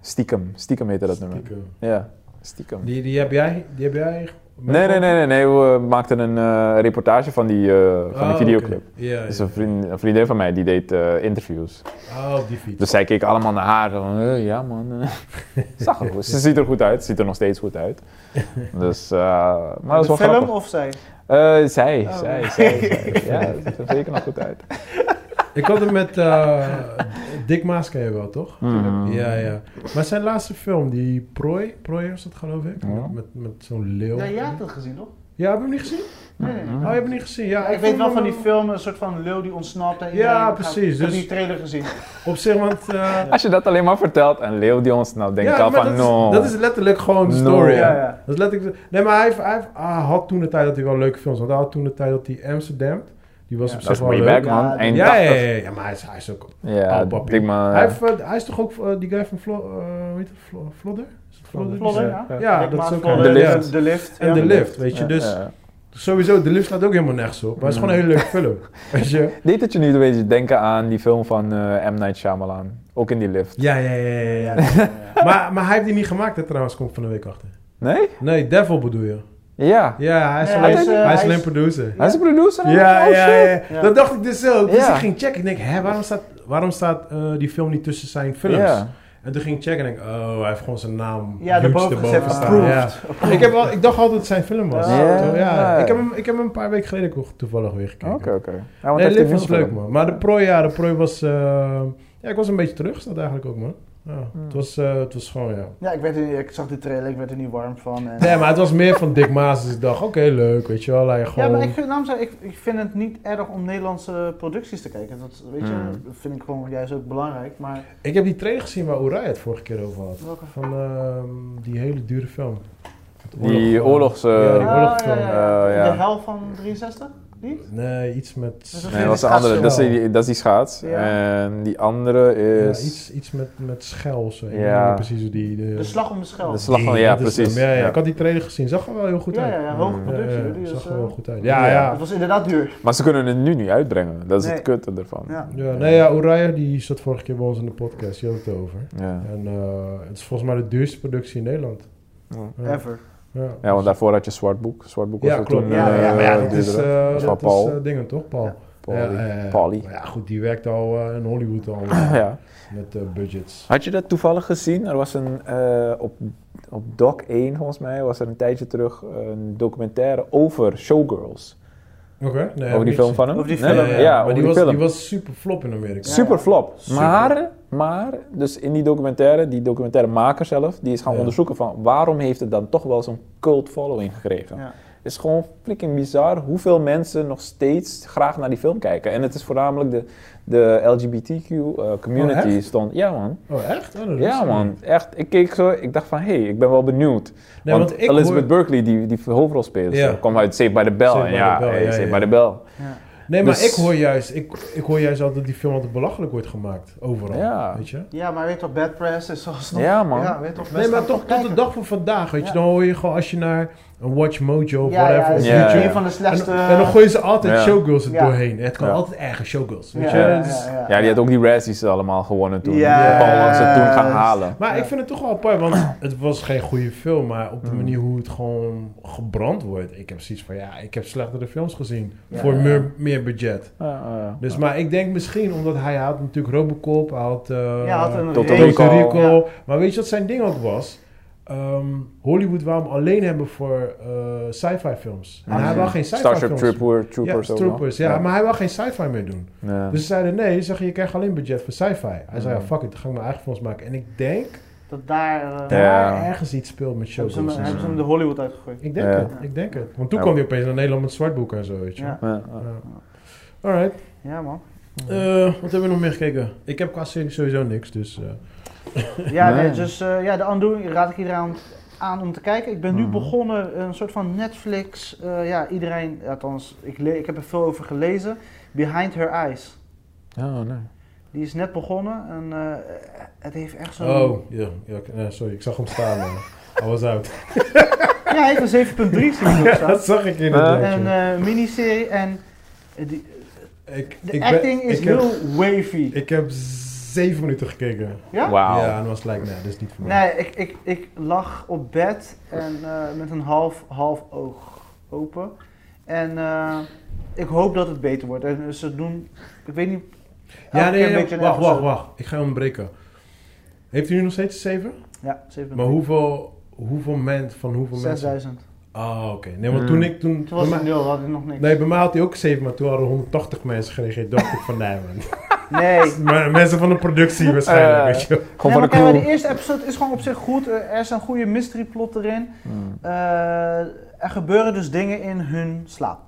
C: Stiekem. Stiekem heette dat nummer.
A: Stiekem.
C: Ja, stiekem.
A: Die, die, heb jij, die heb jij
C: Nee, nee, nee, nee, nee. We maakten een eh, reportage van die, eh, van die
A: Ah,
C: videoclip.
A: oké. Ja, ja,
C: Dus een, vriend, een vriendin van mij die deed eh, interviews.
A: Ah, op die fiets.
C: Dus zij keek allemaal naar haar. Van, eh, ja, man. Zag er goed. Ze ziet er goed uit. Ziet er nog steeds goed uit. Dus, eh, maar dat is wel
B: de film
C: grappig.
B: of zij?
C: Eh, zij,
B: Oh.
C: zij, zij, zij. Ja, het ziet er zeker nog goed uit.
A: Ik had hem met eh Dick Maas ken je wel, toch?
C: Mhm.
A: Ja, ja. Maar zijn laatste film, die Prooi, Prooi was dat geloof ik?
C: Ja.
A: Met, met zo'n leeuw.
B: Ja, jij hebt dat gezien toch?
A: Ja, heb je hem niet gezien?
B: Nee, nee.
A: Oh, je hebt hem niet gezien? Ja,
B: Ja, ik weet
A: vond
B: wel van
A: hem-
B: die film, een soort van leeuw die ontsnapt. En
A: Ja,
B: iedereen-
A: precies,
B: Ik heb
A: dus-
B: die trailer gezien.
A: Op zich, want... eh,
C: Als je dat alleen maar vertelt en Leo die ons nou denk ik
A: ja,
C: al
A: maar
C: van
A: dat, is-
C: no.
A: dat is letterlijk gewoon de
C: No.
A: story. hè?
B: Ja, ja.
A: Dat is letterlijk... Nee, maar hij, heeft- hij heeft- ah, had toen de tijd dat hij wel leuke films had. Hij had toen de tijd dat hij Amsterdam... Die was
B: Ja.
A: op
C: Dat
A: zich
C: is
A: wel
C: way
A: leuk.
C: back
B: Ja,
C: man.
B: dat-
C: Eind
A: Ja, ja,
C: 80.
A: ja, ja, maar hij is, hij is ook...
C: Ja,
A: Oud papi.
C: dik man.
A: Hij, heeft, eh, hij is toch ook eh, die guy van Vlo, eh, hoe heet het? Vlo- Vlodder? Is het Vlodder?
B: Vlodder,
A: Die-
B: ja.
A: Ja,
B: Rick
A: dat is
B: Maas,
A: ook...
B: Vlodder,
C: De
A: ja.
C: Lift.
B: De lift.
A: En
B: ja.
A: de lift, weet je. Dus
C: Ja.
A: sowieso, de lift staat ook helemaal nergens op. Maar het is gewoon een hele leuke film. Weet je?
C: Deed het je nu een beetje denken aan die film van eh, M. Night Shyamalan? Ook in die lift.
A: Ja, ja, ja, ja. ja. maar, maar hij heeft die niet gemaakt, hè, trouwens, kom ik van de week achter.
C: Nee?
A: Nee, Devil bedoel je.
C: Ja.
A: Ja, hij is
B: Nee,
A: alleen,
B: hij is, eh,
A: hij is
B: hij
A: alleen
B: is-
A: producer.
C: Hij is een producer?
A: Ja,
C: Oh,
A: ja,
C: shit.
A: ja, ja. Dat dacht ik dus ook. Dus
C: Ja.
A: ik ging checken. Ik denk, hè, waarom staat, waarom staat eh, die film niet tussen zijn films?
C: Ja.
A: En toen ging ik checken en ik, oh, hij heeft gewoon zijn naam
B: Ja,
A: huge
B: daarboven
A: erboven
B: gezet,
A: staan.
B: approved.
A: Ja. Ik, heb al, ik dacht altijd dat het zijn film was.
B: Ja.
A: Toch?
C: Ja.
A: ja. Ik, heb hem, ik heb hem een paar weken geleden ook toevallig weer gekeken.
C: Oké, oké. Ja, want hij
A: Nee,
C: heeft die
A: Liv was
C: nieuwe
A: leuk,
C: film.
A: man. Maar de prooi, ja, de prooi was... eh, ja, ik was een beetje teruggesteld eigenlijk ook, man. Ja,
C: Hmm.
A: het, was, eh, het was gewoon, ja...
B: Ja, ik, werd er, ik zag die trailer, ik werd er niet warm van. En...
A: Nee, maar het was meer van Dick Maas. Dus ik dacht, oké, leuk, weet je wel. Hij
B: Ja,
A: gewoon...
B: maar ik, vind- laat me zeggen, ik, ik vind het niet erg om Nederlandse producties te kijken. Dat, weet je,
A: Hmm.
C: Mm.
B: dat vind ik gewoon juist ook belangrijk. Maar
A: Ik heb die trailer gezien waar Oerij het vorige keer over had.
B: welke
A: Van ehm, die hele dure film. Het
C: Die oorlogs... eh,
A: Ja, die
B: Ah,
A: oorlogsfilm.
C: Eh, ja.
B: De hel van 63? Die?
A: Nee, iets met...
B: Dat is
C: Nee, dat was de
B: Schaatsen
C: andere. Dat is
A: wel.
C: die, dat is die schaats.
B: Ja.
C: En die andere
A: Ja,
C: is...
A: iets, iets met, met schel. Zo. Ik
C: Ja.
A: weet niet precies hoe die... De,
B: De slag om de schel.
C: De slag van...
A: die-
C: Ja,
A: dat is
C: precies.
A: hem. Ja, ja,
C: Ja.
A: Ik had die trailer gezien. Zag er wel heel goed
B: ja,
A: uit.
B: ja, ja, hoge
C: Mm.
B: productie.
A: Ja, ja,
B: die is,
A: zag er
B: eh,
A: wel goed uit.
C: Ja.
A: Ja, ja.
B: Het was inderdaad duur.
C: Maar ze kunnen het nu niet uitbrengen. Dat is
B: Nee.
C: het kutte ervan.
B: Ja.
A: Ja, nee, ja, Uraya die zat vorige keer bij ons in de podcast, die had het over.
C: Ja.
A: En eh, het is volgens mij de duurste productie in Nederland.
C: Ja.
A: Ja,
B: Ever.
A: ja.
C: Ja, want daarvoor had je Zwart Boek. Zwart Boek was
A: Ja,
C: er
A: klopt.
C: toen...
A: ja,
C: eh,
A: ja, maar ja, dat is,
C: duurder.
A: eh
C: Dat
A: dat
C: is van
A: is
C: Paul.
A: eh, dingen toch, Paul?
B: Ja.
C: Paul,
A: Ja,
C: die-
A: eh,
C: Paulie.
A: maar Ja, goed, die werkt al eh, in Hollywood al
C: Ja.
A: met eh, budgets.
C: Had je dat toevallig gezien? Er was een, eh, op, op Doc 1 volgens mij, was er een tijdje terug een documentaire over Showgirls.
A: Oké, nee,
C: over die film van hem?
B: Over die
C: Nee,
B: film,
C: ja,
B: ja.
A: maar
C: over
A: die,
C: die,
A: was,
C: film.
A: die was super flop in Amerika.
B: Ja.
C: Super flop.
A: Super.
C: Maar, maar, dus in die documentaire, die documentairemaker zelf, die is gaan
A: Ja.
C: onderzoeken van waarom heeft het dan toch wel zo'n cult following gekregen.
B: Ja.
C: Het is gewoon freaking bizar hoeveel mensen nog steeds graag naar die film kijken. En het is voornamelijk de, de LGBTQ eh, community
A: Oh, echt?
C: stond. Ja man,
A: Oh, echt? Oh, dat wist
C: ja
A: ik
C: man,
A: niet.
C: echt. Ik keek zo, ik dacht van, hé, hey, ik ben wel benieuwd.
A: Nee,
C: want
A: want, ik
C: Elizabeth
A: hoor-
C: Berkley, die, die hoofdrolspeler,
A: Ja.
C: ze kwam uit Saved by the Bell.
A: Saved by the
C: ja,
A: Bell,
C: hey,
A: ja,
C: Saved
A: ja.
C: by the Bell.
B: Ja.
A: Nee, maar
C: dus-
A: ik hoor juist, ik, ik hoor juist altijd dat die film altijd belachelijk wordt gemaakt. Overal,
C: Ja.
A: weet je?
B: ja, maar weet toch, Bad Press is zoals nog...
C: Ja, man.
B: Ja, weet toch,
A: Nee,
B: mensen
A: maar
B: gaan
A: toch tot de
B: kijken.
A: dag van vandaag, weet je.
B: Ja.
A: Dan hoor je gewoon als je naar een Watch Mojo of
B: Ja, ja,
A: whatever
B: dat
A: of
B: is
C: Ja,
A: YouTube...
B: een van de slechtste...
A: En, en dan gooien ze altijd
C: Ja.
A: showgirls er
B: Ja.
A: doorheen. Het kan
C: Ja.
A: altijd eigen showgirls, weet
B: Ja,
A: je. Dus
B: ja, ja,
A: Dat is-
B: ja.
C: Dus Ja, die had ook die Razzies allemaal gewonnen toen.
B: Yes.
C: Paul had ze toen gaan halen.
A: Maar
B: Ja. Mm.
A: ik vind het toch wel apart, want het was geen goede film, maar op de manier hoe het gewoon gebrand wordt. Ik heb zoiets van, ja, ik heb slechtere films gezien
B: Ja.
A: voor meer, meer budget.
C: Ja, ja.
A: Dus, maar ik denk misschien, omdat hij had natuurlijk Robocop, hij had... eh,
B: Ja, had een
C: Tot de
B: race.
A: Puerto
C: Rico.
A: Rico. Maar weet je wat zijn ding ook was? Ehm, Hollywood wou hem alleen hebben voor eh, sci-fi films. En
B: Ah,
A: hij
B: ja.
A: wou geen sci-fi
C: Starship
A: films.
C: Trooper,
A: ja,
C: Troopers ook nog.
A: troopers, ja, maar hij wou geen sci-fi meer doen.
C: Ja.
A: Dus ze zeiden nee, ze zeggen je krijgt alleen budget voor sci-fi. Hij zei ja,
C: Mm.
A: fuck it, dan ga ik mijn eigen films maken. En ik denk
B: Dat daar... eh,
A: daar
C: Ah, Ja.
A: ergens iets speelt met
B: Hebben ze hem-
A: showgirls. en
B: hebben ze
A: zo.
B: hem de Hollywood uitgegooid.
A: Ik denk
C: Ja. Nou.
A: het, ik denk het. Want toen
C: Ja.
A: kwam hij opeens naar Nederland met zwartboeken en zo, weet je.
B: Ja,
C: Ja, ja.
A: Ja. Alright,
B: ja man.
A: Eh, wat hebben we nog meer gekeken? Ik heb qua serie sowieso niks, dus... eh,
B: Ja,
C: Nee.
B: nee, dus eh, ja, de Undoing raad ik iedereen aan- aan om te kijken. Ik ben nu
C: Mhm.
B: begonnen, een soort van Netflix. eh, ja, iedereen, althans, ik, le- ik heb er veel over gelezen. Behind Her Eyes.
C: Ja, nee.
B: Die is net begonnen en eh, het heeft echt zo'n...
A: Oh, ja, ja, ik- eh, sorry, ik zag hem staan. man. Hij was uit.
B: Ja, hij heeft een 7.3 zie ik erop staan.
A: dat zag ik
B: Een
A: inderdaad.
B: eh, miniserie en eh, die-
A: ik,
B: de
A: ik ben-
B: acting is
A: ik heb-
B: heel wavy.
A: Ik heb z- zeven minuten gekeken.
B: Ja?
C: Wauw.
A: Ja, en dan was het like, nee, dit is niet voor mij.
B: Nee, ik, ik, ik lag op bed en eh, met een half, half oog open. En eh, ik hoop dat het beter wordt. En eh, ze doen, ik weet niet.
A: ja,
B: elke keer
A: nee,
B: een
A: nee,
B: beetje een
A: wacht, wacht,
B: episode.
A: wacht. Ik ga hem breken. Heeft u nu nog steeds zeven?
B: Ja, 7
A: Maar hoeveel, hoeveel mensen, van hoeveel mensen?
B: 6000.
A: Ah, oké. Nee, want
C: Hmm.
A: toen ik, toen...
B: Toen was
A: bij
B: het
A: mij,
B: nul, had ik nog niks.
A: nee, bij mij had hij ook zeven, maar toen hadden 180 mensen gereageerd. dacht ik van, nee man.
B: Nee.
A: Maar mensen van de productie waarschijnlijk,
C: Eh.
A: weet je wel.
C: Gewoon
B: Nee,
C: voor de
B: maar kijk,
C: crew.
B: de eerste episode is gewoon op zich goed. Eh, Er is een goede mystery plot erin.
C: Mm.
B: Eh, er gebeuren dus dingen in hun slaap,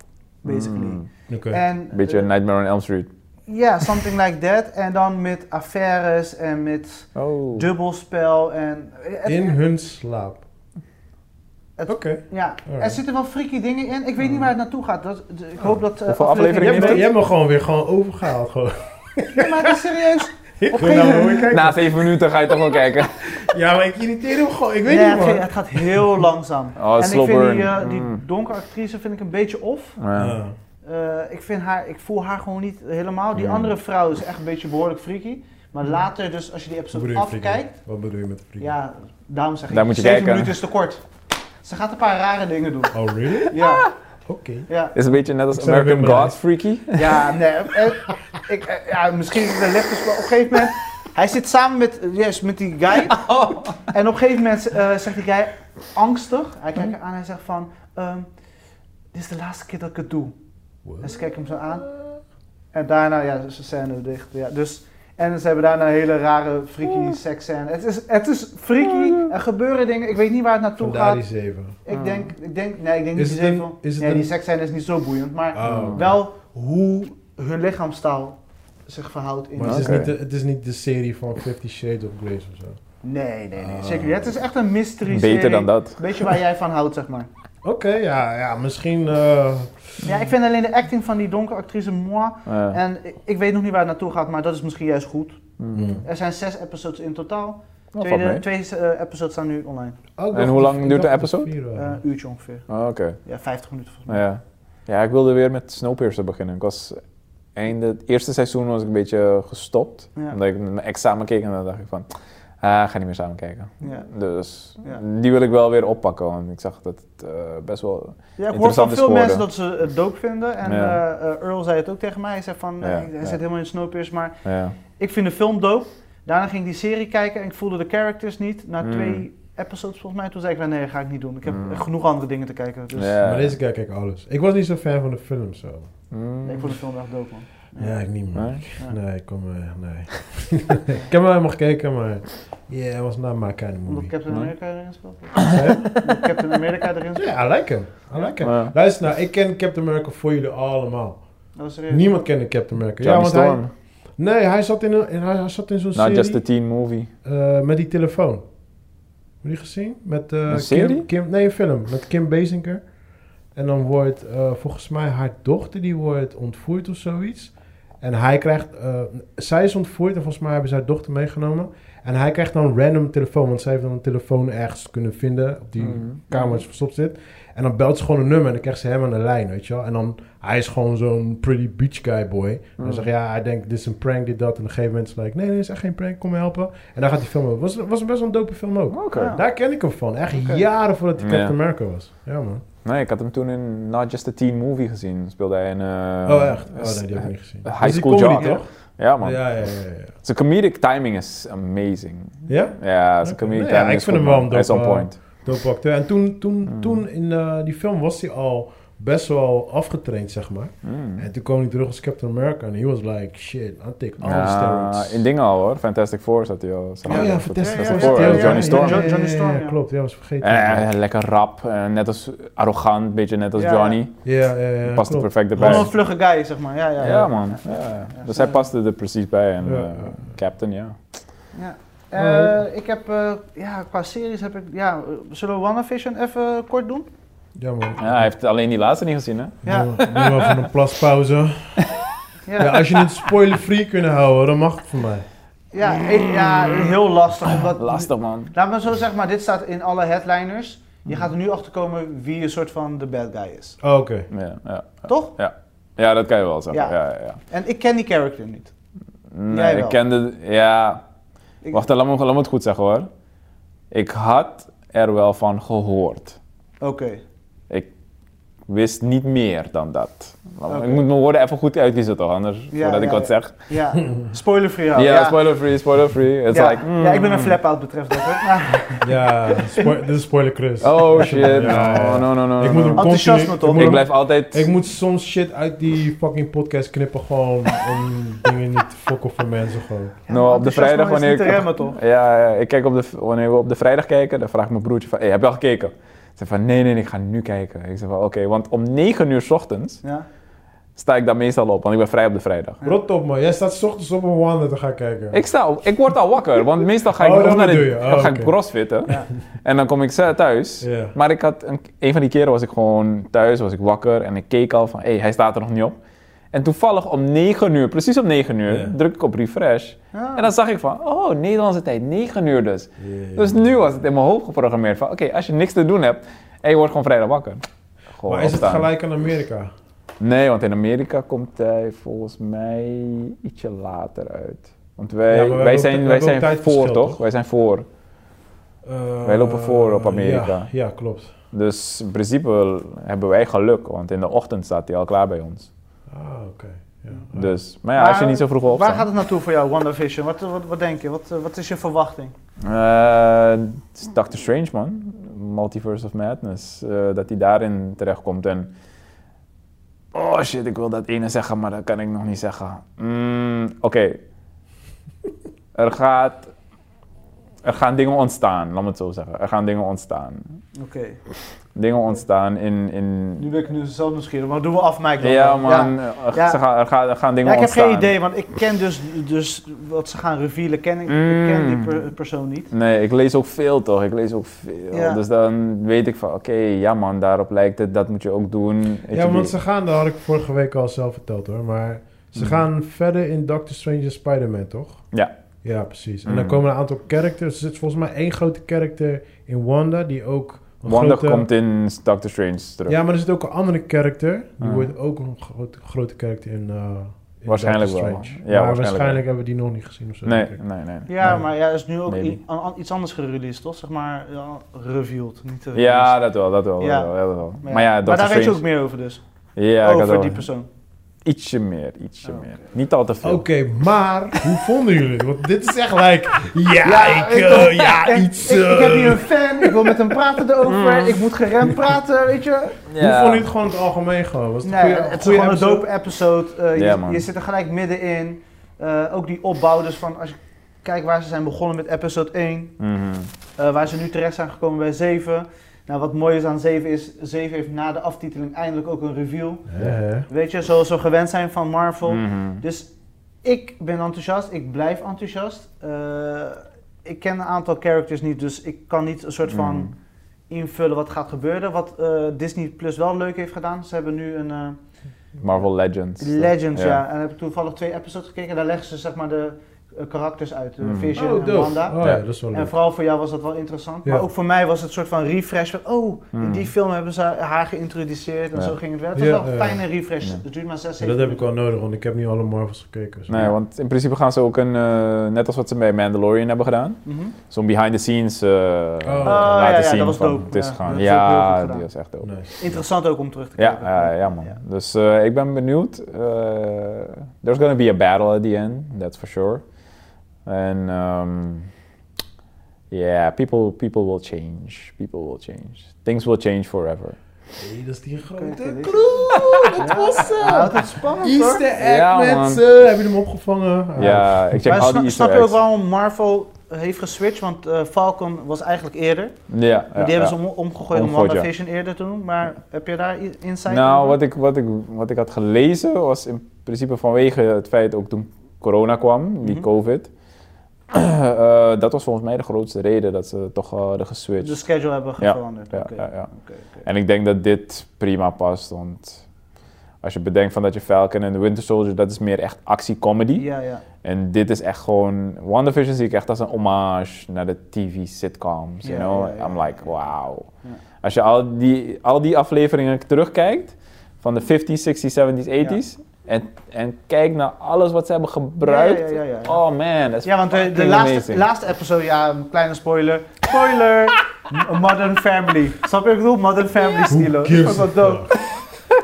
B: basically.
C: Mm.
A: Oké.
B: En,
C: Beetje
B: eh,
C: Nightmare on Elm Street.
B: Ja, something like that. En dan met affaires en met
C: Oh.
B: dubbelspel. En, eh, het-
A: In hun slaap.
B: Het-
A: Oké.
B: Ja, er
A: Alright. Oh.
B: zitten wel freaky dingen in. Ik weet niet waar het naartoe gaat. Dat, d- ik hoop dat... eh,
C: Hoeveel
A: Jij
C: afleveringen
A: hebt
C: heeft
A: me-
C: het?
A: jij hebt me gewoon weer gewoon overgehaald. Gewoon.
B: Nee, maar het is serieus.
A: Ik wil
B: gegeven
A: nou gewoon kijken.
C: Na zeven minuten ga je toch wel kijken.
A: Ja, maar ik irriteer hem gewoon. Ik weet
B: Nee,
A: niet,
B: het,
A: man.
B: ge- het gaat heel langzaam.
C: Oh,
B: en ik
C: slow
B: vind
C: burn.
B: die, eh, die
C: Mm.
B: donkere actrice vind ik een beetje off.
C: Ja.
A: Ah.
B: Eh, ik, vind haar, ik voel haar gewoon niet helemaal. Die
C: Mm.
B: andere vrouw is echt een beetje behoorlijk freaky. Maar later dus, als je die
A: Wat
B: episode
A: Mm. bedoel je, freaky?
B: afkijkt...
A: Wat bedoel je met freaky?
B: Ja, daarom zeg ik,
C: Daar moet je
B: zeven
C: kijken.
B: minuten is te kort. Ze gaat een paar rare dingen doen.
A: Oh, really?
B: Ja,
A: Oké.
B: ja.
C: Is een beetje net als
A: Ik zou
C: American
A: Wim Braille.
C: Gods freaky.
B: Ja, nee. eh, ik, eh, ja, misschien is het een lichters, maar op een gegeven moment. Hij zit samen met, yes, met die guy.
A: Oh.
B: En op een gegeven moment eh, zegt die guy angstig. Hij
A: Mhm.
B: kijkt haar aan en hij zegt van. ehm, dit is de laatste keer dat ik het doe. En
A: What?
B: ze kijkt hem zo aan. En daarna, ja, ze scène dicht. Ja. Dus, en ze hebben daarna een hele rare freaky seksscène. Het is, het is freaky. Er gebeuren dingen. Ik weet niet waar het naartoe
A: Vandaar die
B: gaat.
A: zeven.
B: Ik denk, ik denk, nee, ik denk
A: Is
B: niet
A: het een-
B: zoveel.
A: is het
B: Nee, die
A: een-
B: seksscène is niet zo boeiend. Maar
A: Oh.
B: wel hoe hun lichaamstaal zich verhoudt in.
A: Maar het, is
C: Oké.
A: niet de, het is niet de serie van Fifty Shades of Grey's of zo.
B: Nee, nee, nee,
A: Ah.
B: zeker niet. Het is echt een mystery
C: Beter dan dat.
B: Beetje waar jij van houdt, zeg maar.
A: Oké, ja, ja, misschien... eh,
B: Ja, ik vind alleen de acting van die donkere actrice moi.
C: Ja.
B: En ik- ik weet nog niet waar het naartoe gaat, maar dat is misschien juist goed.
C: Mm.
B: Er zijn zes episodes in totaal.
C: Nou, valt
B: Tweede,
C: mee.
B: twee eh, episodes staan nu online.
A: oh, ik dacht
C: En hoe
A: dat-
C: lang
A: ik
C: duurt de
A: dacht dat
C: episode?
A: vier
B: Eh,
A: waren.
B: Een uurtje ongeveer.
C: Oh, Oké.
B: Ja, 50 minuten volgens mij.
C: Ja. Ja, ik wilde weer met Snowpiercer beginnen. Ik was einde het eerste seizoen was ik een beetje gestopt.
B: Ja.
C: Omdat ik met mijn examen keek en dan dacht ik van, ah, ga niet meer samen kijken.
B: Ja.
C: Dus
B: Ja.
C: die wil ik wel weer oppakken, want ik zag dat het eh, best wel...
B: Ja, ik hoor van
C: Interessante
B: veel mensen
C: scoren.
B: dat ze het dope vinden. En
C: Ja.
B: eh, eh, Earl zei het ook tegen mij. Hij zei van, eh,
C: Ja,
B: hij
C: ja.
B: zit helemaal in Snowpiercer, maar
C: Ja.
B: Ik vind de film dope. Daarna ging ik die serie kijken en ik voelde de characters niet. Na
C: Mm.
B: twee episodes volgens mij, toen zei ik van nee, dat ga ik niet doen. Ik heb
C: Mm.
B: genoeg andere dingen te kijken. Dus
C: Ja.
A: Maar deze keer kijk ik alles. Ik was niet zo fan van de film zo.
C: Mm.
B: nee, ik vond de film echt dope man.
A: Ja, ik niet meer.
C: Nee?
A: Nee, ik kom eh, nee. ik heb hem helemaal gekeken, maar... Ja, yeah, was not my kind of
B: Omdat
A: movie.
B: Captain
C: Nee.
B: America erin speelt.
A: Zeg?
B: Omdat Captain America erin speelt.
A: Ja, I like him. I like him.
C: Ja.
A: Luister nou, ik ken Captain America voor jullie allemaal.
B: Dat is serieus.
A: Niemand kende Captain America.
C: Johnny
A: hij,
C: Storm,
A: nee, hij zat in, een, in- hij, hij zat in zo'n
C: not just
A: serie
C: a teen movie.
A: eh, met die telefoon. Heb je die gezien? Met, eh,
C: Een
A: Kim,
C: serie?
A: Kim, nee, een film. Met Kim Basinger. En dan wordt eh, volgens mij haar dochter die wordt ontvoerd of zoiets. En hij krijgt... eh, zij is ontvoerd en volgens mij hebben ze haar dochter meegenomen. En hij krijgt dan random telefoon. Want zij heeft dan een telefoon ergens kunnen vinden. Op die
C: Mm.
A: kamer verstopt zit. En dan belt ze gewoon een nummer en dan krijgt ze hem aan de lijn, weet je wel. En dan, hij is gewoon zo'n pretty beach guy boy. En dan
C: Mm.
A: zegt hij, ja, hij denkt, dit is een prank, dit, dat. En op een gegeven moment is hij like, nee, nee, is echt geen prank, kom me helpen. En dan gaat die film over. Was, was best wel een dope film ook.
C: Oké.
B: Ja.
A: Daar ken ik hem van. Echt
B: Oké.
A: jaren voordat hij
C: Ja.
A: Captain America was. Ja, man.
C: Nee, ik had hem toen in Not Just a Teen Movie gezien. Speelde hij in... eh,
A: oh, echt? Oh, nee, die heb ik niet gezien.
C: High
A: Dat is die
C: School
A: comedy,
C: Jock.
A: toch?
C: Ja,
A: Ja,
C: man.
A: ja, ja. ja, ja.
C: Zijn comedic timing is amazing.
A: Ja?
C: Ja, zijn
A: Oké.
C: comedic
A: Nee, ja,
C: timing
A: ik
C: is
A: vind hem
C: goed,
A: wel
C: man.
A: een
C: Hij is on
A: dope, eh,
C: point.
A: Dope acteur. En toen, toen,
C: Mm.
A: toen in eh, die film was hij al best wel afgetraind, zeg maar.
C: Mm.
A: En toen kwam hij terug als Captain America en he was like, shit, I take all the
C: Ja,
A: steroids.
C: in dingen al hoor. Fantastic Four zat hij al.
A: Oh ja, Fantastic
B: Ja, ja,
A: Four.
B: ja, ja, ja,
C: Johnny
B: ja,
C: Storm.
B: ja, ja. Johnny
A: Johnny
B: Storm,
A: Storm,
B: ja.
A: klopt. Ja, was vergeten.
C: Eh, lekker rap, eh, net als arrogant, beetje net als
B: Ja,
C: Johnny.
A: Ja, ja, ja.
C: Past er
A: klopt.
C: perfect
B: Gewoon een
C: erbij.
B: vlugge guy, zeg maar. Ja, ja,
C: Ja,
B: ja.
C: man. Ja.
B: Ja,
C: Dus
B: ja.
C: hij paste er precies bij. En
A: Ja.
C: eh, Captain, ja.
B: Ja. Eh, ik heb, eh, ja, qua series heb ik, ja, eh, zullen we WandaVision even kort doen?
A: Ja, man.
C: ja. Hij heeft alleen die laatste niet gezien, hè?
B: Ja.
A: Nu wel- Nu wel van een plaspauze.
B: Ja,
A: Ja,
B: ja.
A: als je het spoiler-free kunnen houden, dan mag het voor mij.
B: ik- ja heel lastig. Omdat,
C: Lastig, man.
B: Laat me zo zeggen, maar dit staat in alle headliners. Je gaat er nu achter komen wie een soort van de bad guy is.
A: Oh, oké.
C: Ja, ja.
B: Toch?
C: ja, dat kan je wel zeggen.
B: Ja.
C: Ja, ja, ja.
B: En ik ken die character niet.
C: Nee,
B: Jij wel.
C: ik kende... Ja.
B: Ik-
C: Wacht, laat me, laat me het goed zeggen hoor. Ik had er wel van gehoord.
B: Oké.
C: Ik wist niet meer dan dat. Laat me-
B: Oké.
C: Ik moet mijn woorden even goed uitkiezen toch, anders
B: Ja,
C: voordat ik
B: ja,
C: wat
B: ja.
C: zeg.
B: Ja, spoilervrij.
C: Ja, spoiler free, spoiler free. It's
B: ja.
C: like... mm.
B: ja, ik ben een flap-out betreft dat. hoor. Maar
A: Ja, spo- dit is spoiler Chris.
C: Oh shit,
A: Ja, ja.
C: no, no, no, no.
A: Ik moet hem
C: no.
B: Enthousiasme
A: continu-
B: toch?
A: Ik,
C: Ik
A: moet
C: blijf altijd...
A: hem- ik moet soms shit uit die fucking podcast knippen gewoon om dingen niet te fokken voor mensen gewoon.
C: Nou, op de
B: enthousiasme
C: vrijdag
B: is
C: wanneer
B: niet
C: ik...
B: te remmen, toch?
C: Ja, ja, ik kijk op de, wanneer we op de vrijdag kijken, dan vraagt mijn broertje van, hey, heb je al gekeken? Ik zeg van, nee, nee, nee, ik ga nu kijken. Ik zeg van, oké, want om 9 uur 's ochtends
B: ja.
C: sta ik daar meestal op, want ik ben vrij op de vrijdag.
A: Rot op man, jij staat 's ochtends op een wandelen te gaan kijken.
C: Ik, sta, op- ik word al wakker, want meestal ga ik,
A: Oh,
C: of
A: dat
C: naar
A: bedoel
C: de-
A: je. Oh,
C: dan ga ik
A: oké.
C: crossfitten
B: Ja.
C: en dan kom ik ze- thuis.
A: Ja.
C: Maar ik had een, een van die keren was ik gewoon thuis, was ik wakker en ik keek al van, hé, hey, hij staat er nog niet op. En toevallig om 9 uur, precies om 9 uur,
A: Ja.
C: druk ik op refresh.
B: Ja.
C: En dan zag ik van, oh, Nederlandse tijd, 9 uur dus.
A: Ja.
C: Dus nu was het in mijn hoofd geprogrammeerd van, oké, als je niks te doen hebt en je wordt gewoon vrijdag wakker. Gewoon
A: Maar is het
C: opstaan.
A: gelijk aan Amerika?
C: Nee, want in Amerika komt hij volgens mij ietsje later uit. Want wij,
A: Ja, maar wij hebben
C: wij,
A: ook-
C: zijn,
A: wij
C: wij
A: hebben ook
C: zijn voor,
A: tijdverschil,
C: toch?
A: toch?
C: Wij zijn voor.
A: Eh,
C: Wij lopen voor op Amerika.
A: Ja, ja, klopt.
C: Dus in principe hebben wij geluk, want in de ochtend staat hij al klaar bij ons.
A: Ah, oké. Ja.
C: Dus, maar ja, als je
B: Maar
C: niet zo vroeg
B: Waar gaat
C: opstaat.
B: het naartoe voor jou, WandaVision? Wat, wat, wat denk je? Wat, eh, wat is je verwachting?
C: Eh Doctor Strange, man. Multiverse of Madness. eh, dat hij daarin terechtkomt. En. Oh shit, ik wil dat ene zeggen, maar dat kan ik nog niet zeggen. Mm, Oké. Er gaat. Er gaan dingen ontstaan, laat me het zo zeggen. Er gaan dingen ontstaan.
B: Oké.
C: Dingen ontstaan in. in...
B: Nu ben ik nu zelf nieuwsgierig, maar doen we af, Mike. dan.
C: Ja, man. Er,
B: Ja.
C: ze gaan, er, gaan, er gaan
B: Ja,
C: dingen
B: ik heb
C: ontstaan.
B: geen idee, want ik ken dus, dus wat ze gaan revealen, ken ik, ik ken
C: Mm.
B: die per- persoon niet.
C: Nee, ik lees ook veel toch? Ik lees ook veel.
B: Ja.
C: Dus dan weet ik van, oké, ja man, daarop lijkt het, dat moet je ook doen. Weet
A: Ja,
C: je,
A: want
C: die-
A: ze gaan, dat had ik vorige week al zelf verteld hoor, maar ze
C: Mhm.
A: gaan verder in Doctor Strange en Spider-Man, toch?
C: Ja.
A: Ja, precies. En
C: Mhm.
A: dan komen een aantal characters. Er zit volgens mij één grote character in Wanda, die ook... Een
C: Wanda
A: grote...
C: komt in Doctor Strange terug.
A: Ja, maar er zit ook een andere character. Die
C: Ah.
A: wordt ook een grote, grote character in, eh in
C: Waarschijnlijk
A: Doctor
C: wel.
A: Strange.
C: Ja,
A: maar
C: waarschijnlijk
A: waarschijnlijk,
C: wel.
A: hebben we die nog niet gezien of zo.
C: nee,
A: denk ik.
C: nee, nee.
B: Ja,
A: Nee.
B: maar ja, is nu ook
C: Maybe.
B: i- an- an- iets anders gereleased, toch? Zeg maar, ja, revealed, niet gereleased.
C: Ja, dat wel, dat wel,
B: Ja.
C: dat wel, dat wel. Maar ja, Doctor
B: maar daar weet je
C: Strange...
B: ook meer over dus,
C: Ja, ik had
B: over
C: wel
B: die persoon.
C: ietsje meer, ietsje
B: Oh,
C: meer. Niet al te veel.
A: Oké, maar hoe vonden jullie het? Want dit is echt like, ja, ik,
B: ik-
A: eh, ja,
B: En
A: iets.
B: ik, ik heb hier
A: eh.
B: een fan, ik wil met hem praten erover,
C: Mm.
B: ik moet geremd praten, weet je.
A: Hoe
C: Ja.
A: vonden jullie het gewoon in het algemeen gewoon? Was het
B: Nee,
A: een goeie-
B: het is
A: goeie
B: gewoon een
A: episode?
B: dope episode. Eh,
C: Ja,
B: je,
C: man.
B: je zit er gelijk middenin. Eh, ook die opbouw, dus van als je kijkt waar ze zijn begonnen met episode 1,
C: Mhm.
B: eh, waar ze nu terecht zijn gekomen bij 7. Nou, wat mooi is aan 7 is, 7 heeft na de aftiteling eindelijk ook een review.
A: Hè?
B: Weet je, zoals we gewend zijn van Marvel.
C: Mhm.
B: Dus ik ben enthousiast, ik blijf enthousiast. Eh, ik ken een aantal characters niet, dus ik kan niet een soort van
C: Mhm.
B: invullen wat gaat gebeuren. Wat eh, Disney Plus wel leuk heeft gedaan, ze hebben nu een... eh,
C: Marvel Legends.
B: Legends, ja. En heb ik toevallig twee episodes gekeken. en Daar leggen ze zeg maar de eh, karakters uit. De
C: Mhm.
B: Vision
A: Oh,
B: en
A: dope.
B: Wanda.
A: Oh ja, dat is wel
B: En
A: leuk.
B: vooral voor jou was dat wel interessant.
A: Ja.
B: Maar ook voor mij was het een soort van refresh. Van, oh, in
C: Mhm.
B: die film hebben ze haar geïntroduceerd. En
C: Ja.
B: zo ging het wel. Het was
A: Ja,
B: wel een
A: ja.
B: fijne refresh.
C: Ja.
B: Het duurt maar zes,
A: Ja,
B: zeven
A: dat heb ik
B: minuten.
A: wel nodig, want ik heb niet alle Marvels gekeken. dus-
C: Nee, want in principe gaan ze ook een, eh, net als wat ze bij Mandalorian hebben gedaan,
B: Mhm.
C: zo'n behind the scenes eh,
A: ja,
C: laten
B: Ah, ja, dat
C: zien
B: was
C: van
B: dope.
C: het is
B: Ja,
C: gegaan.
B: dat
C: Ja,
B: is ook heel goed gedaan.
C: die was echt dope.
A: Nice.
B: Interessant ook om terug te
C: Ja, ah,
B: kijken.
C: ja, ja, man.
B: Ja.
C: Dus eh, ik ben benieuwd. Eh, there's gonna be a battle at the end, that's for sure. En ehm yeah, people, people will change. People will change. Things will change forever.
A: Hé, dat is die
B: Kijk,
A: grote
B: dit is-
A: clue! Dat was
B: Ja, houdt
A: ze!
B: het spannend hoor.
A: Easter egg
C: Ja, man.
A: met ze! Heb je hem opgevangen?
C: Ja,
A: Ah,
C: ik check
B: Maar
C: al
B: sna-
C: die
B: snap,
C: easter
B: je ook
C: eggs.
B: waarom Marvel heeft geswitcht? Want eh, Falcon was eigenlijk eerder.
C: Ja, ja,
B: die hebben
C: ja.
B: ze om, omgegooid om
C: Omgegooid, ja.
B: WandaVision eerder te doen. Maar heb je daar i- insight
C: Nou,
B: over?
C: wat ik, wat, ik, wat ik had gelezen was in principe vanwege het feit ook toen corona kwam, die
B: Mhm.
C: COVID. eh, dat was volgens mij de grootste reden dat ze toch eh, hadden geswitcht.
B: de schedule hebben
C: Ja,
B: veranderd.
C: ja,
B: Oké,
C: ja, ja.
B: oké, oké.
C: En ik denk dat dit prima past, want als je bedenkt van dat je Falcon en The Winter Soldier, dat is meer echt actie-comedy.
B: Ja, ja.
C: En dit is echt gewoon, WandaVision zie ik echt als een hommage naar de tv-sitcoms,
B: Ja,
C: you know?
B: ja, ja,
C: I'm
B: ja,
C: like,
B: ja.
C: wow.
B: Ja.
C: Als je al die, al die afleveringen terugkijkt, van de 50s, 60s, 70s, 80s, En, en kijk naar alles wat ze hebben gebruikt.
B: Ja, ja, ja, ja, ja.
C: Oh man, dat is
B: Ja, want eh, de, de
C: fucking
B: laatste,
C: amazing.
B: laatste episode, ja, een kleine spoiler. Spoiler! M- Modern Family. Snap je wat ik bedoel? Modern Family stilo. Dat is ook wel dope.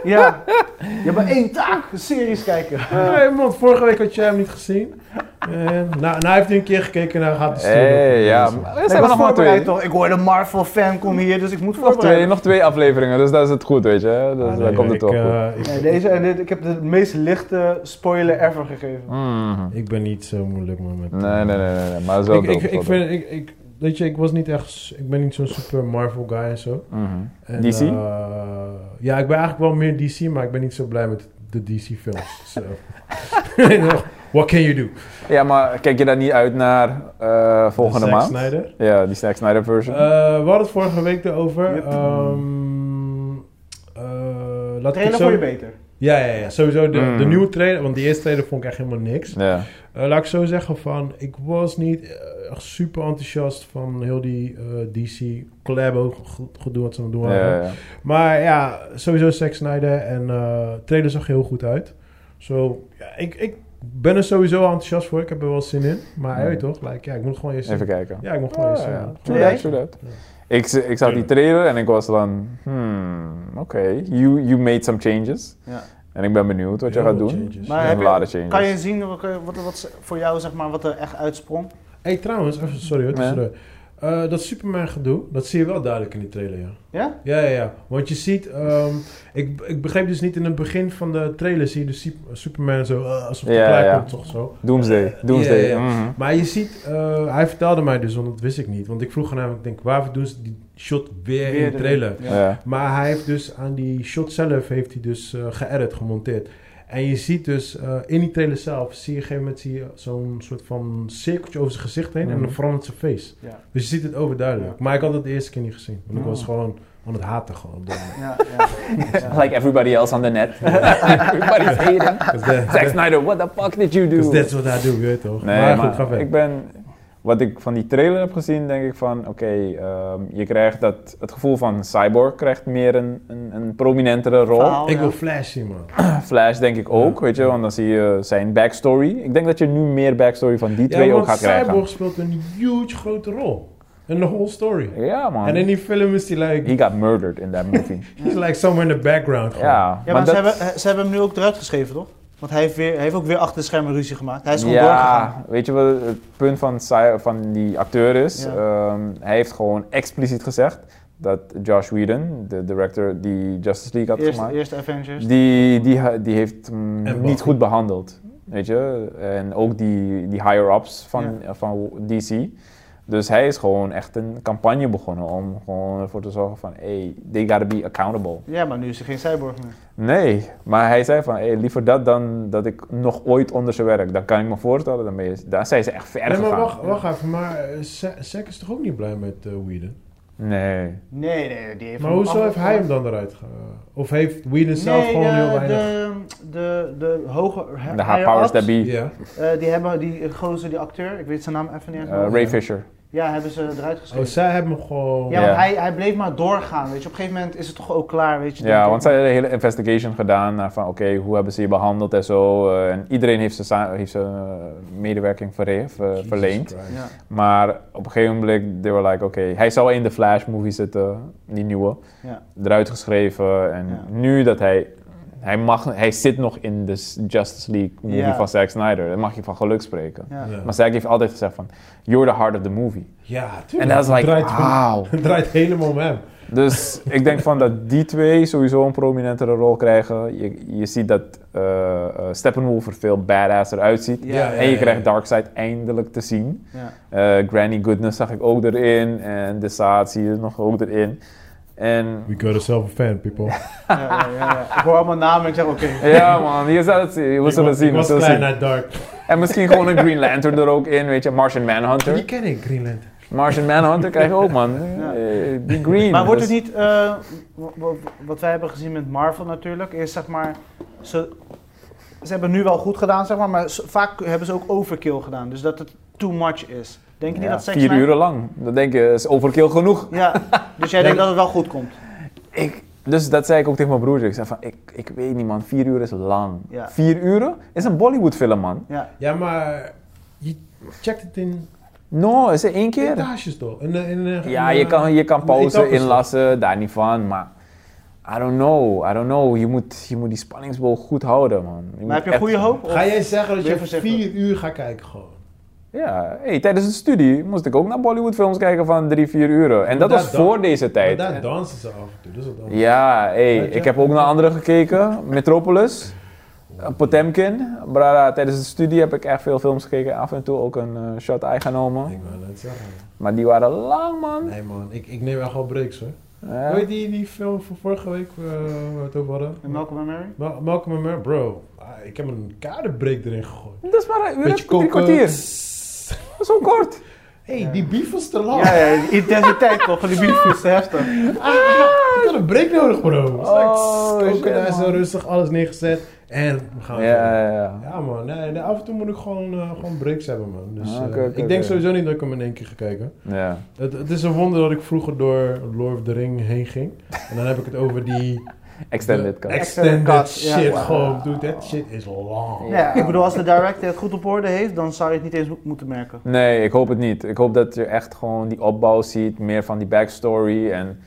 B: Ja. Je hebt maar één taak, series kijken.
A: Nee, man, vorige week had jij hem niet gezien. En, nou, nou, hij heeft nu een keer gekeken en hij gaat de studio.
C: Hey, ja,
A: lezen.
C: maar er
B: Nee,
C: zijn
B: ik was
C: er nog maar
B: voorbereid
C: twee.
B: toch? Ik hoorde Marvel fan kom hier, dus ik moet
C: Nog twee,
B: voorbereiden.
C: nog twee afleveringen, dus dat is het goed, weet je. Dus
A: Ah,
C: daar
A: nee,
C: komt het
A: ik,
C: toch goed.
A: eh, ik,
B: Nee, deze, en dit, ik heb de meest lichte spoiler ever gegeven.
C: Mm.
A: ik ben niet zo moeilijk man, met... eh,
C: Nee, nee, nee, nee, nee, maar zo.
A: ik, ik, ik vind, ik, ik, weet je, ik was niet echt, s- ik ben niet zo'n super Marvel guy en zo.
C: Mhm.
A: En,
C: DC?
A: eh, ja, ik ben eigenlijk wel meer DC, maar ik ben niet zo blij met de DC films. so. What can you do?
C: Ja, maar kijk je daar niet uit naar eh, volgende
A: Zack
C: maand?
A: Snyder.
C: Ja, die Zack Snyder version.
A: Eh, we hadden het vorige week erover.
B: Yep.
A: Ehm, eh, laat ik
B: Trailer
A: het
B: voor je
A: zo...
B: beter.
A: Ja, ja, ja, sowieso de,
C: Mm.
A: de nieuwe trailer. Want die eerste trailer vond ik echt helemaal niks.
C: ja.
A: Eh, laat ik zo zeggen van... Ik was niet eh, echt super enthousiast van heel die eh, DC collab ook goed, doen wat ze aan het doen
C: Ja,
A: waren.
C: ja, ja.
A: Maar ja, sowieso Zack Snyder en eh trailer zag er heel goed uit. Zo, ja, ik, ik ben er sowieso enthousiast voor. Ik heb er wel zin in. Maar
C: Mm.
A: je weet toch, like, ja, ik moet gewoon eerst...
C: Even kijken.
A: Ja, ik moet gewoon eerst...
C: Oh, Ja,
A: eh,
C: ja.
A: gewoon-
C: True that, true that.
A: Ja.
C: Ik, z- ik zag die trailer en ik was van, hmm, oké, you, you made some changes.
B: Ja.
C: En ik ben benieuwd wat je
A: Heel
C: gaat
A: veel
C: doen.
A: changes.
B: Maar
C: Ja,
B: heb je-
C: later changes.
B: kan je zien wat, wat, wat voor jou zeg maar, wat er echt uitsprong?
A: Hey, trouwens, even, sorry hoor,
C: Ja.
A: tussendoor. Eh, dat Superman gedoe, dat zie je wel duidelijk in die trailer, ja.
B: Ja?
A: Ja, ja, ja. Want je ziet, ehm, ik, ik begreep dus niet in het begin van de trailer, zie je dus Sup- Superman zo, eh, alsof hij
C: Ja,
A: klaar
C: ja.
A: komt, toch zo.
C: Doomsday, Doomsday.
A: ja, ja.
C: mhm.
A: Maar je ziet, eh, hij vertelde mij dus, want dat wist ik niet. Want ik vroeg aan hem, ik denk, waarvoor doen ze die shot weer, in de trailer?
B: Ja.
C: Ja.
A: Maar hij heeft dus aan die shot zelf, heeft hij dus eh geëdit, gemonteerd. En je ziet dus eh, in die trailer zelf, zie je op een gegeven moment zie je zo'n soort van cirkeltje over zijn gezicht heen en
C: Mhm.
A: dan verandert zijn face.
B: Ja.
A: Dus je ziet het overduidelijk. Maar ik had het de eerste keer niet gezien. Want ik
C: Oh.
A: was gewoon aan het haten gewoon. op dat moment.
B: Ja, ja.
C: Like everybody else on the net. Everybody's hating.
A: 'Cause that-
C: Zack Snyder, what the fuck did you do?
A: 'cause that's what I do, je weet toch?
C: Nee,
A: maar
C: maar,
A: goed, ga verder.
C: ik ben... Wat ik van die trailer heb gezien, denk ik van... Oké, ehm, je krijgt dat... Het gevoel van Cyborg krijgt meer een, een, een prominentere rol.
B: Verhaal,
A: Ik
B: ja.
A: wil Flash zien, man.
C: Flash denk ik ook, weet je. Want dan zie je zijn backstory. Ik denk dat je nu meer backstory van die twee
A: ja,
C: ook
A: want
C: gaat krijgen.
A: Cyborg speelt een huge grote rol. In the whole story.
C: Ja, man.
A: En in die film is hij like,
C: He got murdered in that movie.
A: he's like somewhere in the background. gewoon.
C: ja,
B: Ja, maar, ze, hebben, ze hebben hem nu ook eruit geschreven, toch? Want hij heeft, weer, hij heeft ook weer achter de schermen ruzie gemaakt. Hij is gewoon doorgegaan.
C: Ja, weet je wat het punt van, Cy- van die acteur is?
B: Ja.
C: Ehm, hij heeft gewoon expliciet gezegd dat Josh Whedon, de director die Justice League had
B: Eerste,
C: gemaakt,
B: eerste Avengers.
C: die, die, ha- die heeft hem
A: En
C: niet
A: wat?
C: goed behandeld. Weet je? En ook die, die higher-ups van, van DC. Dus hij is gewoon echt een campagne begonnen om gewoon ervoor te zorgen van, hey, they gotta be accountable.
B: Ja, maar nu is er geen cyborg meer.
C: Nee, maar hij zei van, hey, liever dat dan dat ik nog ooit onder ze werk. Dan kan ik me voorstellen, dan, ben je, dan zijn ze echt ver
A: Nee, maar
C: gegaan.
A: wacht, wacht even, maar eh, Sa- Zack is toch ook niet blij met eh Whedon?
C: Nee.
B: Nee, nee, die heeft
A: Maar
B: hem
A: hoezo heeft
B: afgevoerd.
A: hij hem dan eruit ge... eh, Of heeft Whedon zelf
B: Nee,
A: gewoon
B: de,
A: heel weinig...
B: De, de, de hoge...
C: De powers that be,
A: Ja.
B: Eh, die hebben die gozer, die acteur, ik weet zijn naam even niet. uit
C: eh,
B: mijn hoofd.
C: Ray Fisher.
B: ja, hebben ze eruit
A: Oh,
B: geschreven.
A: zij hebben hem gewoon...
B: ja,
A: Ja.
C: Ja.
B: want hij, hij bleef maar doorgaan, weet je. Op een gegeven moment is het toch ook klaar, weet je.
C: Ja, want zij hebben een hele investigation gedaan naar van, oké, hoe hebben ze je behandeld en zo. eh, en iedereen heeft zijn, sa- heeft zijn eh, medewerking verre- ver- verleend.
B: Ja.
C: Maar op een gegeven moment, they were like, oké, hij zou in de Flash movie zitten, die nieuwe.
B: Ja.
C: Eruit geschreven en
B: Ja.
C: nu dat hij, hij mag, hij zit nog in de s- Justice League movie
B: Ja.
C: van Zack Snyder. Daar mag je van geluk spreken.
B: Ja.
A: Ja.
C: Maar Zack heeft altijd gezegd van, you're the heart of the movie.
A: Ja,
C: En
A: tuurlijk.
C: dat is
A: Het
C: like, ah.
A: draait,
C: wow.
A: het draait helemaal om hem.
C: Dus ik denk van dat die twee sowieso een prominentere rol krijgen. Je, je ziet dat eh, eh, Steppenwolf er veel badasser uitziet.
B: Ja,
C: En je krijgt Darkseid eindelijk te zien.
B: Ja.
C: Eh, Granny Goodness zag ik ook erin. En de Saad zie je nog ook erin. En
A: We got ourselves a fan, people.
B: Ja, ja, ja, ja. Ik hoor allemaal namen en ik zeg oké.
C: ja man, je zal het zien. Je
A: Ik
C: zal het
A: was-
C: zien.
A: ik
C: je
A: was
C: zal het
A: klein
C: zien.
A: naar dark.
C: En misschien gewoon een Green Lantern er ook in, weet je. Martian
A: Die
C: Manhunter.
A: ken ik, Greenland.
C: Martian Manhunter krijg je ook man.
B: Ja.
C: Eh, Be green.
B: Maar wordt het
C: Dus-
B: niet, eh, wa- wa- wat wij hebben gezien met Marvel natuurlijk, is zeg maar, ze, ze hebben nu wel goed gedaan, zeg maar, maar ze- vaak hebben ze ook overkill gedaan. Dus dat het too much is. Denk je niet
C: Ja,
B: dat Zack
C: Vier
B: Snyder-
C: uren lang. Dan denk je, is overkill genoeg.
B: Ja, dus jij denkt dat het wel goed komt.
C: Ik, Dus dat zei ik ook tegen mijn broertje. Ik zei van, ik, ik weet niet man, vier uur is lang.
B: Ja.
C: Vier uur is een Bollywood film man.
B: Ja.
A: Ja, maar je checkt het in
C: No, is er één keer.
A: etages toch? In, eh, in, eh,
C: Ja,
A: in,
C: je
A: eh,
C: kan, je kan
A: in
C: pauze
B: dus-
A: etappes.
C: inlassen, daar niet van, maar... I don't know, I don't know. Je moet, je moet die spanningsboog goed houden man. moet
B: Maar heb je
C: echt-
B: goede hoop?
A: Ga jij zeggen dat
B: Ben je
A: je
B: voorzichtig?
A: vier uur gaat kijken gewoon?
C: Ja, hey, tijdens de studie moest ik ook naar Bollywoodfilms kijken van drie, vier uur. En dat
A: daar
C: was
A: dan-
C: voor deze
A: Maar
C: tijd.
A: daar dansen ze af en toe, dus dat dan.
C: Ja, hey,
A: Weet je?
C: ik heb ook naar andere gekeken. Metropolis, eh, Potemkin. Brada, tijdens de studie heb ik echt veel films gekeken. Af en toe ook een eh, shot eye genomen.
A: Ik wou net zeggen.
C: Maar die waren lang, man.
A: Nee man, ik, ik neem echt wel breaks hoor.
C: Ja.
A: Weet je die, die film van vorige week eh, waar we het over
B: En
A: hadden?
B: Malcolm en Mary?
A: Ma- Malcolm en Mary, bro. ah, ik heb een kaderbreak erin gegooid.
C: Dat is maar een uur
A: Beetje
C: en drie
A: koken.
C: kwartier. Zo kort.
A: Hé, hey, die beef was te lang.
B: Ja, ja, die intensiteit toch, van die beef is te heftig.
A: Ik had een break nodig, bro.
C: Oh,
A: Oh,
C: shit,
A: Koken en zo
C: man.
A: rustig, alles neergezet. En we gaan
C: Ja,
A: verder.
C: ja, ja.
A: Ja man, nee, nee, af en toe moet ik gewoon, eh, gewoon breaks hebben man. Dus,
C: Ah,
A: eh,
C: oké, oké,
A: ik denk
C: oké.
A: sowieso niet dat ik hem in één keer ga kijken.
C: Ja.
A: Het, het is een wonder dat ik vroeger door Lord of the Ring heen ging. En dan heb ik het over die
C: Extended cut.
A: extended
B: Extended cut, ja.
A: shit.
B: Wow.
A: Gewoon, dude, that shit is long.
C: Ja.
B: Ja, ik bedoel, als de director het goed op orde heeft, dan zou je het niet eens mo- moeten merken.
C: Nee, ik hoop het niet. Ik hoop dat je echt gewoon die opbouw ziet, meer van die backstory en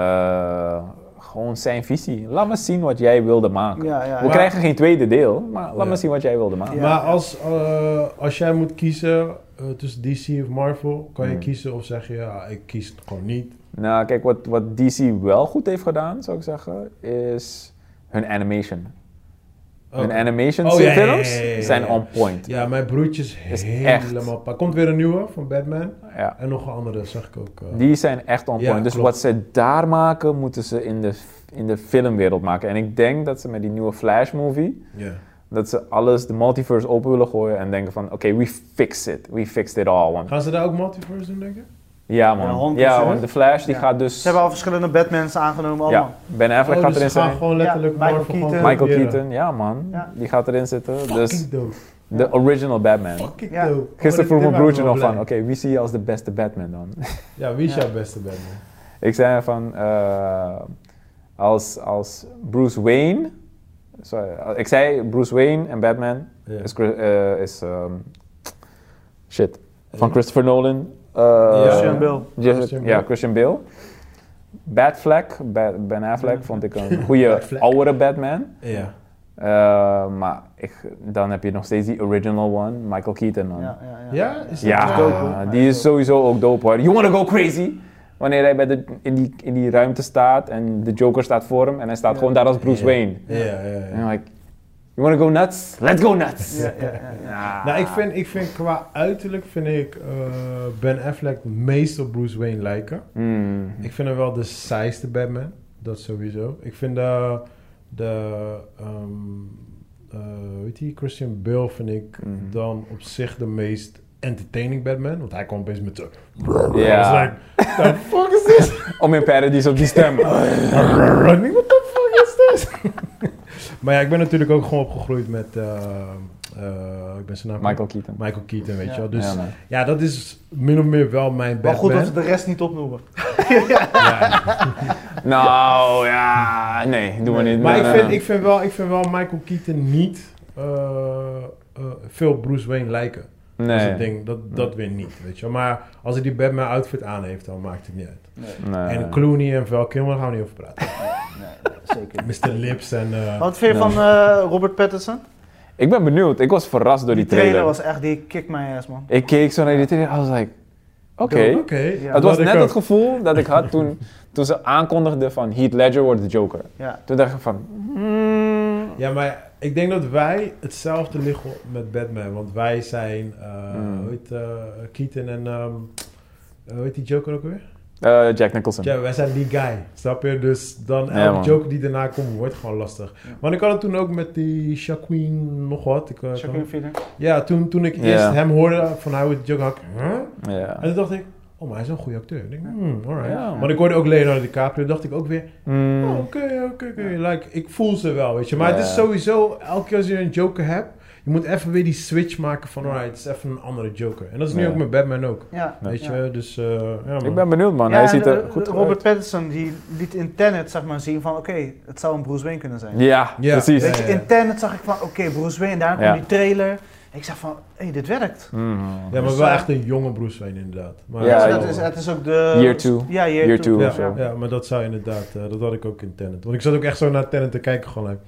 C: eh, gewoon zijn visie. Laat me zien wat jij wilde maken.
B: Ja, ja,
C: We
B: ja.
C: krijgen geen tweede deel, maar laat
A: Ja.
C: me zien wat jij wilde maken.
B: Ja.
A: Maar als, eh, als jij moet kiezen eh, tussen DC of Marvel, kan je
C: Hmm.
A: kiezen of zeg je, ja, ik kies het gewoon niet.
C: Nou, kijk, wat, wat DC wel goed heeft gedaan, zou ik zeggen, is hun animation. Hun
A: Oké.
C: animation
A: Oh, ja, ja, ja, ja,
C: films
A: ja, ja, ja.
C: zijn on point. Ja.
A: Ja, mijn broertje is
C: Is
A: helemaal... pa- Komt weer een nieuwe van Batman.
C: Ja.
A: En nog een andere, zag ik ook. eh.
C: Die zijn echt on
A: Ja,
C: point. dus
A: klopt.
C: wat ze daar maken, moeten ze in de, in de filmwereld maken. En ik denk dat ze met die nieuwe Flash movie,
A: Ja.
C: Dat ze alles, de multiverse open willen gooien en denken van, oké, we fix it. We fixed it all. Want,
A: Gaan ze daar ook multiverse doen, denk je?
C: ja
B: Ja,
C: man.
B: 100%.
C: Ja, want de Flash die
B: Ja.
C: gaat dus...
B: Ze hebben al verschillende Batmans aangenomen
C: ja,
B: allemaal.
C: Ben Affleck
A: Oh,
C: gaat
A: dus ze gaan
C: erin zitten.
A: gewoon letterlijk
B: Ja, Michael
A: Marvel gewoon
B: Keaton.
C: Michael
A: kopiëren.
C: Keaton, ja man.
B: Ja.
C: Die gaat erin zitten. dus
A: Fucking dope.
C: de original Batman.
A: Fucking
B: Ja.
A: dope.
C: Gisteren
A: Oh,
C: vroeg
A: dit-
C: mijn broertje
A: dit maakt
C: nog
A: me
C: van, oké,
A: blij.
C: wie zie je als de beste Batman dan?
A: Ja, wie is
B: Ja.
A: jouw beste Batman?
C: ik zei van, eh, als, als Bruce Wayne... Sorry, ik zei Bruce Wayne en Batman
A: Ja.
C: is... Chris- eh, is ehm, shit. Van Christopher Nolan. eh,
B: Christian Bale.
C: Ja,
A: Christian
C: ja,
A: Bale.
C: Christian Bale. Batfleck, Ba- Ben Affleck, vond ik een goede
A: Batfleck.
C: oudere Batman.
A: Ja.
C: Eh, maar ik, dan heb je nog steeds die original one, Michael Keaton. Man.
B: Ja,
C: Ja,
B: ja, ja.
A: Ja? Is
B: Ja. Dope, hoor.
C: die is sowieso ook dope hoor. You wanna go crazy? Wanneer hij bij de, in, die, in die ruimte staat en de Joker staat voor hem en hij staat
B: Ja.
C: gewoon daar als Bruce
A: Ja.
C: Wayne.
A: Ja, ja, ja.
C: En I'm like, you wanna go nuts? Let's go nuts!
B: Ja, ja, ja, ja.
C: Ah.
A: Nou, ik vind, ik vind qua uiterlijk vind ik eh, Ben Affleck meest op Bruce Wayne lijken.
C: Hmm.
A: Ik vind hem wel de saaiste Batman. Dat sowieso. Ik vind de... de ehm, eh, weet je, Christian Bale vind ik
C: Mhm.
A: dan op zich de meest entertaining Batman. Want hij kwam opeens met zo...
C: Ja.
A: I was like, the fuck is this?
C: Om in Paradise op die stem.
A: Running, what the fuck is this? maar ja, ik ben natuurlijk ook gewoon opgegroeid met... eh, eh, ik ben zijn naam...
C: Michael Keaton.
A: Michael Keaton, weet
B: Ja.
A: je wel. Dus
C: Ja,
A: ja,
C: man.
A: dat is min of meer wel mijn
B: Maar
A: Batman.
B: goed dat ze de rest niet opnoemen.
A: Ja.
C: Nou ja, nee, doen we niet.
A: Maar
C: Nee,
A: ik
C: nee,
A: vind,
C: nee.
A: ik, vind wel, ik vind wel Michael Keaton niet eh, eh, veel Bruce Wayne lijken. Dat is
C: nee.
A: het ding, dat, dat weer niet, weet je wel. Maar als hij die Batman outfit aan heeft, dan maakt het niet uit.
C: Nee.
A: En Clooney en Val Kilmer gaan we niet over praten.
B: Zeker.
A: Mr. Lips en... eh,
B: Wat vind je
C: Ja.
B: van eh, Robert Pattinson?
C: Ik ben benieuwd. Ik was verrast door die, trailer.
B: was echt, die kick my ass man.
C: Ik keek zo naar die trailer. I was like, oké.
A: Oké.
B: Ja.
C: Het
A: Dat
C: was
A: ik
C: net
A: ook.
C: het gevoel dat ik had toen, toen ze aankondigden van Heath Ledger wordt de Joker.
B: Ja.
C: Toen dacht ik van, hmm.
A: Ja, maar ik denk dat wij hetzelfde liggen met Batman. Want wij zijn, eh
C: Mm.
A: hoe heet eh, Keaton en, ehm, eh, hoe heet die Joker ook weer?
C: Eh, Jack Nicholson.
A: Ja, wij zijn die guy, snap je? Dus dan
C: Ja,
A: elke
C: man.
A: Joker die daarna komt, wordt gewoon lastig.
B: Ja.
A: Maar ik had het toen ook met die Shaquin nog wat. Ik, eh,
B: Shaquille Feeder.
A: kan- ja, toen, toen ik
C: Ja.
A: eerst hem hoorde van hij wordt de Joker, had ik, huh?
C: Ja.
A: En toen dacht ik, oh, maar hij is wel een goede acteur. Ik denk, hmm, alright.
C: Ja, man.
A: maar ik hoorde ook Leonardo DiCaprio, dacht ik ook weer,
C: Hmm.
A: Oh, Oké, oké, oké. Like, ik voel ze wel, weet je. Maar het is
C: Ja.
A: sowieso, elke keer als je een joker hebt, Je moet even weer die switch maken van, alright, het is even een andere Joker. En dat is nu
C: Ja.
A: ook met Batman ook.
B: Ja.
A: Weet
B: ja.
A: je, dus eh, ja, man.
C: Ik ben benieuwd, man.
B: Ja,
C: Hij
B: en,
C: ziet er
B: eh,
C: goed
B: Robert
C: uit.
B: Pattinson die liet in Tenet zeg maar, zien van oké, het zou een Bruce Wayne kunnen zijn.
C: Ja,
A: Ja.
C: precies.
B: Weet je,
A: Ja, ja, ja.
B: in Tenet zag ik van oké, Bruce Wayne, daar kwam
C: Ja.
B: die trailer. En ik zag van, hé, dit werkt.
C: Mhm.
A: Ja, maar
B: Dus,
A: wel
B: eh,
A: echt een jonge Bruce Wayne inderdaad. Maar
C: Ja,
B: dus
A: wel-
B: dat is, het is ook de...
C: Year two.
B: Ja, year,
C: Year
B: two.
C: two
A: ja,
C: of zo.
A: ja, maar dat zou inderdaad, eh, dat had ik ook in Tenet. Want ik zat ook echt zo naar Tenet te kijken gewoon. Like,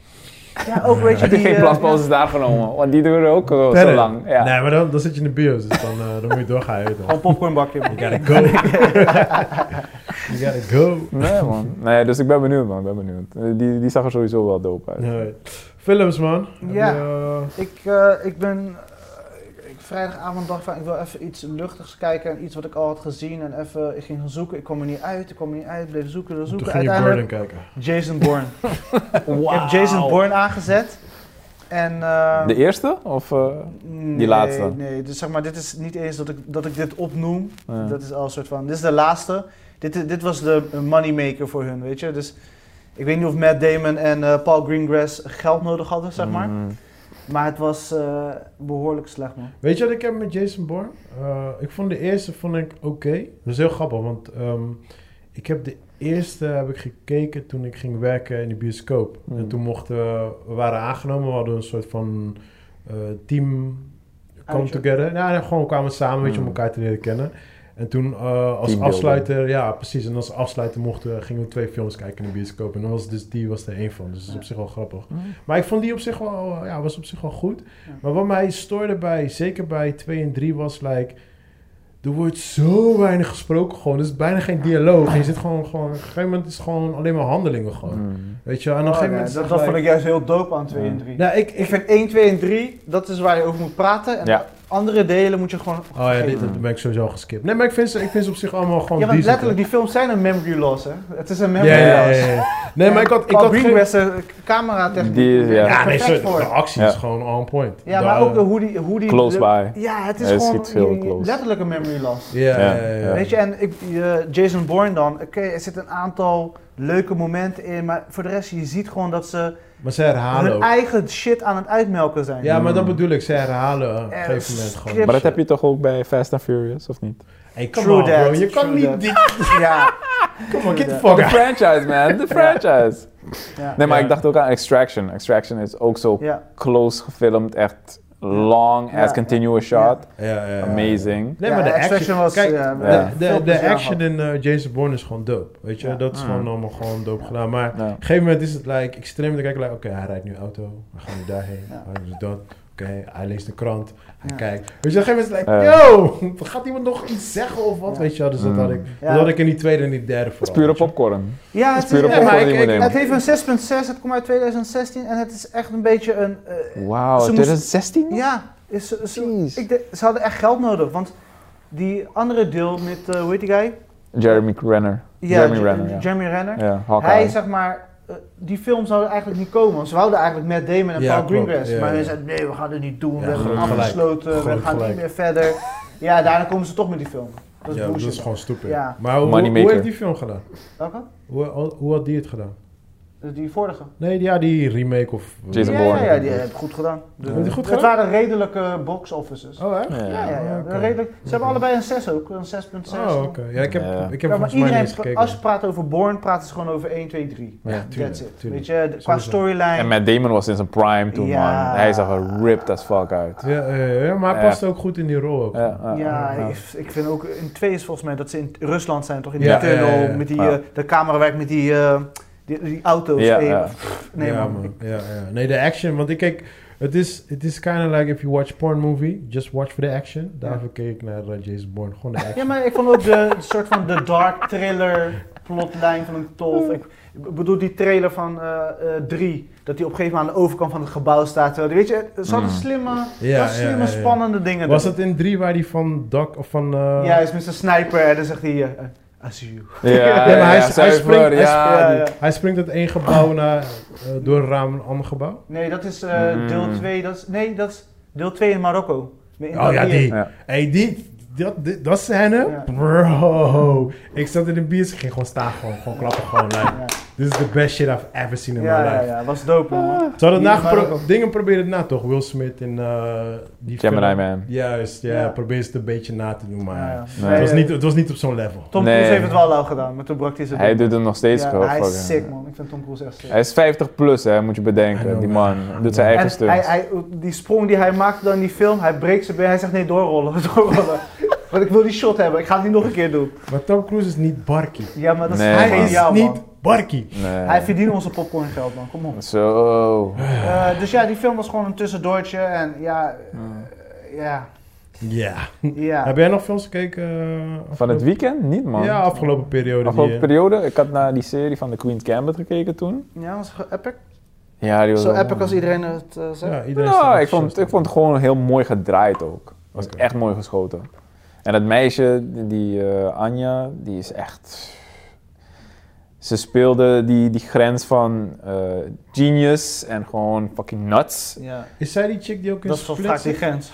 B: Ja, ook weet je
C: Heb je
B: die...
C: geen
B: eh,
C: plasposes daar genomen? Want die duren ook eh, zo
A: Tenet.
C: lang. Ja.
A: Nee, maar dan, dan zit je in de bios, dus dan, eh, dan moet je doorgaan. je weet wel.
B: Gewoon popcornbakje.
A: You gotta go. you gotta go.
C: Nee, man. Nee, dus ik ben benieuwd, man. Ik ben benieuwd. Eh, Die, die zag er sowieso wel dope uit.
A: Alright. Films, man.
B: Ja.
A: Heb je,
B: Ik, eh, ik ben... eh, ik- vrijdagavond dacht van, ik wil even iets luchtigs kijken. En iets wat ik al had gezien. En even, ik ging gaan zoeken. Ik kwam er niet uit. Ik kwam er niet uit. Bleef zoeken,
A: eh, toen
B: zoeken.
A: ging je
B: Uiteindelijk
A: Burden kijken.
B: Jason Bourne. Ik heb Jason Bourne aangezet. En... eh,
C: De eerste? Of, eh,
B: Nee,
C: laatste.
B: Nee, dus zeg maar, dit is niet eens dat ik, dat ik dit opnoem.
C: Ja.
B: Dat is al een soort van, dit is de laatste. Dit, i- dit was de moneymaker voor hun, weet je. Dus ik weet niet of Matt Damon en eh, Paul Greengrass geld nodig hadden, zeg maar.
C: Mm.
B: Maar het was eh, behoorlijk slecht, man.
A: Weet je wat ik heb met Jason Bourne? Eh, ik vond de eerste vond ik oké. Dat is heel grappig, want ehm, ik heb de eerste heb ik gekeken toen ik ging werken in de bioscoop.
C: Mm.
B: Hmm.
A: En toen mochten we, we waren aangenomen, we hadden een soort van eh, team come
B: Uitje. Hmm.
A: together. Nou, en gewoon kwamen we samen, weet je, om
C: Mm.
A: elkaar te leren kennen. En toen eh, als
C: Teambuilding.
A: afsluiter, ja precies, en als afsluiter mochten, we- gingen we twee films kijken in de bioscoop. En dan was dus die was er één van, dus dat is
B: Ja.
A: op zich wel grappig. Maar ik vond die op zich wel, eh, ja, was op zich wel goed.
B: Ja.
A: Maar wat mij stoorde bij, zeker bij 2 en 3, was like, er wordt zo weinig gesproken gewoon. Er is bijna geen dialoog. En je zit gewoon, gewoon, op een gegeven moment is het gewoon alleen maar handelingen gewoon.
C: Mm.
A: Weet je, en op een
B: Oh,
A: gegeven
B: nee,
A: moment...
B: dat dat vond ik juist heel dope aan 2 en 3.
A: Nou, ik...
B: Ik
A: ik
B: vind 1, 2 en 3, dat is waar je over moet praten. En
C: Ja.
B: andere delen moet je gewoon...
A: Oh ja, dit,
C: Mm.
A: dit ben ik sowieso al geskipt. Nee, maar ik vind ze, ik vind ze op zich allemaal gewoon
B: Ja, want
A: decent,
B: letterlijk, die films zijn een memory loss, hè. Het is een
A: hè.
B: memory
A: Ja, ja,
B: loss.
A: ja, ja. Nee, maar ik had... Ik
B: Paul
A: had geen...
B: Greengrass, de camera techniek.
C: Die is- ja.
A: Ja, nee, sorry,
B: perfect
A: de
B: voor.
A: actie
C: Ja.
A: is gewoon on point.
B: Ja,
A: De-
B: maar ook de- hoe die... Hoe die
C: Close
B: de-
C: by.
B: Ja, het is
C: Hij
B: gewoon
C: schiet veel
B: je- je-
C: close.
B: letterlijk een memory loss.
A: Ja, ja, ja, ja.
C: Ja.
B: Weet je, en ik, je- Jason Bourne dan, oké, er zitten een aantal leuke momenten in, maar voor de rest, je ziet gewoon dat ze
A: Maar ze herhalen
B: hun
A: ook.
B: eigen shit aan het uitmelken zijn.
A: Ja, maar dat
C: Mm.
A: bedoel ik. Ze herhalen op een
B: Eh,
A: gegeven moment gewoon.
B: script-
C: Maar dat heb je toch ook bij Fast and Furious, of niet?
A: Hey, come
B: True
A: on, bro.
B: that,
A: Je kan
B: true
A: niet
B: that.
A: dit...
B: ja.
A: Come on, get the
B: that.
A: fuck
C: De
A: out.
C: franchise, man. De franchise.
B: ja.
C: Nee, maar
A: Ja.
C: ik dacht ook aan Extraction. Extraction is ook zo
B: ja.
C: close gefilmd. Echt long
B: Ja.
C: as continuous shot.
A: Ja, ja, ja.
C: Amazing.
A: Nee,
B: Ja,
A: maar de
B: Extraction
A: action...
B: was,
A: kijk,
B: ja,
A: de-
C: ja.
A: de,
B: veel
A: de,
B: plezier
A: action in eh, Jason Bourne is gewoon dope. Weet je,
B: Ja.
A: dat is gewoon
C: Mm.
A: allemaal gewoon dope gedaan. Maar op
C: Ja.
A: een gegeven moment is het like... Ik stream te kijken, like... Oké, hij rijdt nu auto. We gaan nu daarheen.
B: Ja.
A: Hij doet dat. Oké, hij leest de krant. Hij
B: Ja.
A: kijkt. Weet je, op een gegeven moment is het
C: Ja.
A: like... Yo! Gaat iemand nog iets zeggen of wat?
B: Ja.
A: Weet je, wel, dus dat
C: Mm.
A: had ik...
B: Ja.
A: Dat had ik in die tweede en die derde
C: Het is
A: vooral.
C: pure
A: weet je.
C: popcorn.
B: Ja,
C: Het
B: het,
C: is
B: is,
C: pure
A: ja,
B: het,
A: maar
C: popcorn die
A: ik-
C: we nemen.
B: heeft een 6.6, het komt uit 2016 en het is echt een beetje een... eh,
C: Wauw,
B: Ze moest-
C: 2016?
B: ja, is, is-
C: Precies.
B: ik denk- ze hadden echt geld nodig, want die andere deel met, eh hoe heet die guy?
C: Jeremy Renner.
B: Ja,
C: Jeremy
B: J-
C: Renner, ja.
B: Jeremy Renner.
C: Ja, Hawkeye.
B: Hij, zeg maar, eh, die film zou er eigenlijk niet komen. Want ze wilden eigenlijk Matt Damon en
A: Ja,
B: Paul
A: klopt.
B: Greengrass.
A: Ja,
B: maar
A: ja.
B: hij zei, nee, we gaan het niet doen.
A: Ja,
B: we hebben
A: groot gelijk.
B: afgesloten, we
A: Groot
B: gaan
A: gelijk.
B: niet meer verder. Ja, daarna komen ze toch met die film. Dat is
A: Ja, dat
B: bullshit.
A: is gewoon stupid.
B: Ja.
A: Maar hoe, hoe,
C: Moneymaker.
A: heeft die film gedaan?
B: Welke?
A: Hoe, hoe had die het gedaan?
B: Dus Die vorige.
A: Nee, ja, die remake of...
C: Jason
B: ja,
C: Bourne.
B: Ja, ja, die hebben het goed gedaan. Dus
A: Hebben die goed
B: Het
A: gedaan?
B: waren redelijke box offices.
A: Oh, echt?
C: Ja.
B: ja, ja, ja.
A: oké.
B: Redelijk, ze hebben allebei een 6 ook, een 6.6.
A: Oh, oké. Ja, ik heb,
C: Ja.
A: ik heb
B: Ja, maar
A: volgens mij niet
B: iedereen,
A: eens gekeken.
B: als ze praten over Bourne, praten ze gewoon over 1, 2, 3.
A: Ja, tuurlijk,
B: That's it.
A: tuurlijk.
B: Weet je, de- qua
A: Sowieso.
B: storyline.
C: En Matt Damon was in zijn prime toen,
B: Ja.
C: man. Hij zag er ripped as fuck
B: ah.
C: uit.
A: Ja, ja, ja, ja, maar hij
C: Ja.
A: past ook goed in die rol ook.
C: Ja, ja,
B: Ja,
C: ja.
B: Ik, ik vind ook in twee is volgens mij dat ze in Rusland zijn, toch? In die
A: Ja,
B: tunnel,
A: ja, ja, ja.
B: met die,
C: Ja.
B: eh, de camerawerk met die, eh, die, die auto's.
C: Ja,
B: Eh,
C: ja.
B: pff, nee,
A: ja,
B: man. Ik-
A: Ja, ja. Nee, de action. Want ik kijk, het is, het is kind of like if you watch porn movie, just watch for the action. Daarvoor keek ik naar eh, Jason Bourne, gewoon de action.
B: Ja, maar ik vond ook de soort van de dark thriller plotlijn van een tof. Ik ik bedoel die trailer van 3, dat die op een gegeven moment aan de overkant van het gebouw staat. terwijl die- Weet je, ze hadden
C: Mm.
B: slimme,
A: Ja,
B: dat
A: ja,
B: slimme
A: ja, ja.
B: spannende dingen.
A: Was
B: erin.
A: het in 3 waar die van Doc of van. eh,
B: Ja, hij is met zijn sniper en dan zegt hij, eh, eh, I see you.
C: Ja,
A: maar
C: ja,
A: hij-
C: ja,
A: hij
C: sorry
A: springt-
C: voor-
A: hij
C: ja,
B: springt-
C: die-
B: ja, ja.
A: Hij springt uit één gebouw naar, eh, door een raam naar een ander gebouw.
B: Nee, dat is
A: Hmm.
B: eh, deel
C: Mm.
B: 2, dat is, nee, dat is deel 2 in Marokko. In
A: Oh ja,
B: Tahrir.
A: die.
C: Ja.
A: hey, die. dat, dit- dat scène,
B: Ja.
A: bro. Ik zat in de bios, ik ging gewoon staan, gewoon, gewoon klappen, gewoon. Like,
B: Ja.
A: this is the best shit I've ever seen in
B: Ja,
A: my
B: ja,
A: life.
B: ja, was dope, man. hoor.
A: Ze hadden
B: Hier,
A: het
B: maar
A: nagepro- dingen proberen het na, toch? Will Smith in eh die
C: Gemini
A: film.
C: Man.
A: Juist, ja,
B: Ja.
A: probeer ze het een beetje na te doen, maar
B: Ja, ja.
C: Nee.
A: Het, was
B: Nee,
A: niet, het was niet op zo'n level.
B: Tom
C: Nee.
B: Cruise heeft het wel lauw gedaan, maar toen brak hij zijn
C: Hij
B: ding.
C: doet het nog steeds
B: Ja,
C: gewoon.
B: Hij
C: fucking-
B: is sick, man. Ik vind Tom Cruise echt sick.
C: Hij is 50 plus, hè, moet je
A: I know,
C: bedenken. Die man
A: man.
C: doet zijn eigen
B: En hij,
C: stunts.
B: hij, die sprong die hij maakte dan in die film, hij breekt zijn been, hij zegt nee, doorrollen, doorrollen. Want ik wil die shot hebben, ik ga het niet nog een keer doen.
A: Maar Tom Cruise is niet Barkie.
B: Ja, maar dat is
C: Nee,
B: hij
A: Hij
C: man.
A: is
B: geniaal, man.
A: niet Barkie.
C: Nee.
B: Hij verdient onze popcorngeld, man. Kom op.
C: Zo.
B: Eh, dus ja, die film was gewoon een tussendoortje en ja, eh, ja,
A: Ja.
B: ja.
A: Heb jij nog films gekeken? eh,
C: Van het
A: afgelopen-
C: weekend? Niet, man.
A: Ja, afgelopen periode.
C: Afgelopen
A: die, eh,
C: periode, ik had naar die serie van The Queen's Gambit gekeken toen.
B: Ja, was ge- epic.
C: Ja, die was
B: Zo
C: wel
B: epic
C: mooi.
B: als iedereen het eh, zegt.
A: ja, iedereen
C: Nou,
A: staat
C: ik vond, ik vond het gewoon heel mooi gedraaid ook. Het was
A: Oké.
C: echt mooi geschoten. En dat meisje, die eh, Anja, die is echt... Ze speelde die, die grens van eh, genius en gewoon fucking nuts.
B: Ja,
A: Is zij die chick die ook in
B: dat is wel
A: Split
B: vaak die
A: zit?
B: grens.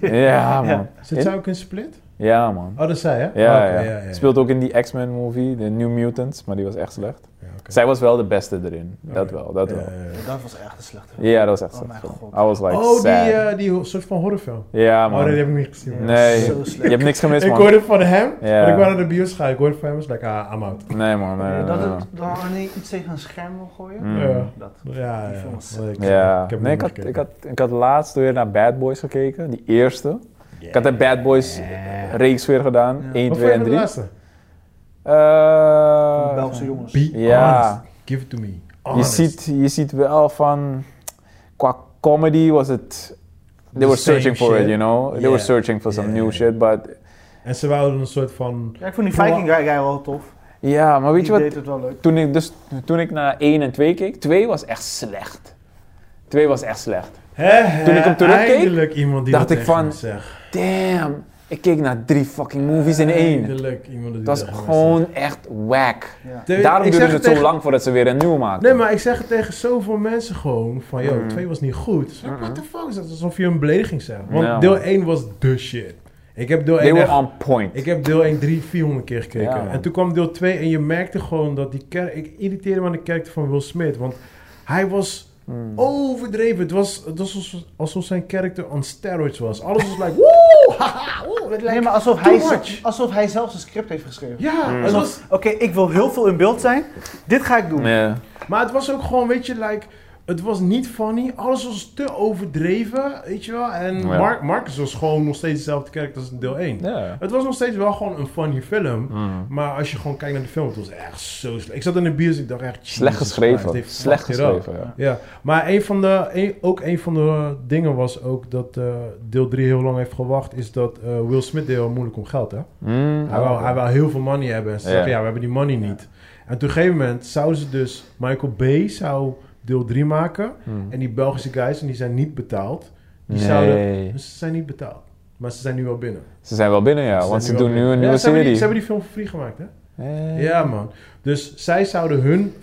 C: Ja, man.
A: Zit zij ook in Split?
C: Ja, man.
A: Oh, dat is zij, hè?
C: Ja,
A: Oh, oké,
C: ja. Speelt ook in die X-Men movie, de New Mutants, maar die was echt slecht.
A: Ja, oké.
C: Zij was wel de beste erin. Dat
A: Oké.
C: wel, dat wel.
A: Ja, ja, ja.
B: Dat was echt een slechte film.
C: Ja, dat was echt
B: Oh mijn
C: slecht.
B: god.
C: I was like
A: Eh, Oh, die,
C: sad.
A: eh, die soort van horrorfilm.
C: Ja,
A: Oh,
C: man.
A: dat heb ik niet gezien. man.
C: Nee,
B: Zo
C: je
B: slecht.
C: hebt niks gemist,
A: Ik
C: man.
A: hoorde van hem,
C: Ja.
A: maar ik wou naar de bios gaan. Ik hoorde van hem, was like, ah, I'm out.
C: Nee, man. nee, nee,
B: dat
C: nee,
B: het dan wanneer je iets tegen een scherm wil gooien.
C: eh, Mm.
A: Ja.
B: Dat.
A: Ja,
B: Die
A: ja.
B: film was sick.
A: Nee,
C: nee. Ja.
A: ik heb
C: nee,
A: hem niet
C: ik, had, ik,
A: gekeken.
C: had, ik had laatst weer naar Bad Boys gekeken, die eerste. Ik had de Bad Boys
A: Yeah.
C: reeks weer gedaan,
B: Ja.
C: 1,
A: Wat vond je
C: 2 en
A: van de
C: 3.
A: laatste?
B: Van de Belgische
C: Eh
B: jongens.
A: Be
C: Ja.
A: honest. Give it to me.
C: je,
A: Honest.
C: ziet, je ziet wel van, qua comedy was het, they
A: The same
C: were searching for it,
A: shit.
C: you know? They
A: Yeah.
C: were searching for some
A: Yeah,
C: new
A: yeah,
C: shit, but
A: En ze wouden een soort van...
B: Ja, ik vond die Viking guy wel tof.
C: ja, maar weet
B: die
C: je wat,
B: deed het wel leuk.
C: toen ik, dus, toen ik naar 1 en 2 keek, 2 was echt slecht. 2 was echt slecht.
A: Hè, hè,
C: Toen ik hem terugkeek,
A: Eindelijk iemand die
C: dacht
A: dat
C: ik
A: tegen
C: van,
A: me zegt.
C: Damn, ik keek naar drie fucking movies in één.
A: Eindelijk iemand die
C: Het was
A: tegen me
C: gewoon echt whack.
B: Ja.
A: zegt.
C: Daarom
A: Ik
C: duurde
A: zeg
C: het zo
A: tegen-
C: lang voordat ze weer een nieuwe maakten.
A: Nee, maar ik zeg het tegen zoveel mensen gewoon van, yo,
C: Mm.
A: 2 was niet goed. Zo,
C: Mm-mm.
A: What the fuck is dat? Alsof je een belediging zegt. Want
C: Ja,
A: deel
C: man.
A: 1 was de shit. Ik heb deel
C: They
A: 1
C: were
A: echt-
C: on point.
A: Ik heb deel 1 3, 400 keer gekeken.
C: Ja, man.
A: en toen kwam deel 2 en je merkte gewoon dat die kerk... Ik irriteerde me aan de kerk van Will Smith. Want hij was
C: Hmm.
A: overdreven. Het was, het was alsof, alsof zijn karakter on steroids was. Alles was like... Woe! Haha! woe, het
B: Nee,
A: lijkt-
B: maar alsof hij,
A: Too much.
B: ze- alsof hij zelf zijn script heeft geschreven.
A: Ja,
C: Mm.
A: het
B: Alsof-
A: was,
B: Oké, ik wil heel veel in beeld zijn. Dit ga ik doen.
C: Ja.
A: maar het was ook gewoon, weet je, like... Het was niet funny. Alles was te overdreven, weet je wel. En
C: Ja.
A: Mark, Marcus was gewoon nog steeds dezelfde karakter als in deel 1.
C: Ja.
A: Het was nog steeds wel gewoon een funny film. Maar als je gewoon kijkt naar de film, het was echt zo slecht. Ik zat in de bios, ik dacht echt... Jesus
C: Slecht
A: Christ,
C: geschreven.
A: dit
C: Slecht
A: fucked it up.
C: geschreven, ja.
A: Ja, maar een van de, een- ook een van de eh, dingen was ook dat eh, deel 3 heel lang heeft gewacht... is dat eh, Will Smith deed heel moeilijk om geld, hè?
C: Hmm.
A: Hij wou, hij wou heel veel money hebben. En ze
C: Ja.
A: zeggen, ja, we hebben die money niet. En op een gegeven moment zouden ze dus... Michael Bay zou deel 3 maken.
C: Hmm.
A: En die Belgische guys, en die zijn niet betaald. Die
C: Nee.
A: zouden... Dus ze zijn niet betaald. Maar ze zijn nu wel binnen.
C: Ze zijn wel binnen, ja,
A: zijn
C: want ze
A: nu
C: doen
A: wel
C: nu
A: binnen.
C: een
A: Ja,
C: nieuwe
A: ze hebben
C: serie.
A: die- Ze hebben die film voor free gemaakt, hè?
C: Eh.
A: Ja, man. Dus zij zouden hun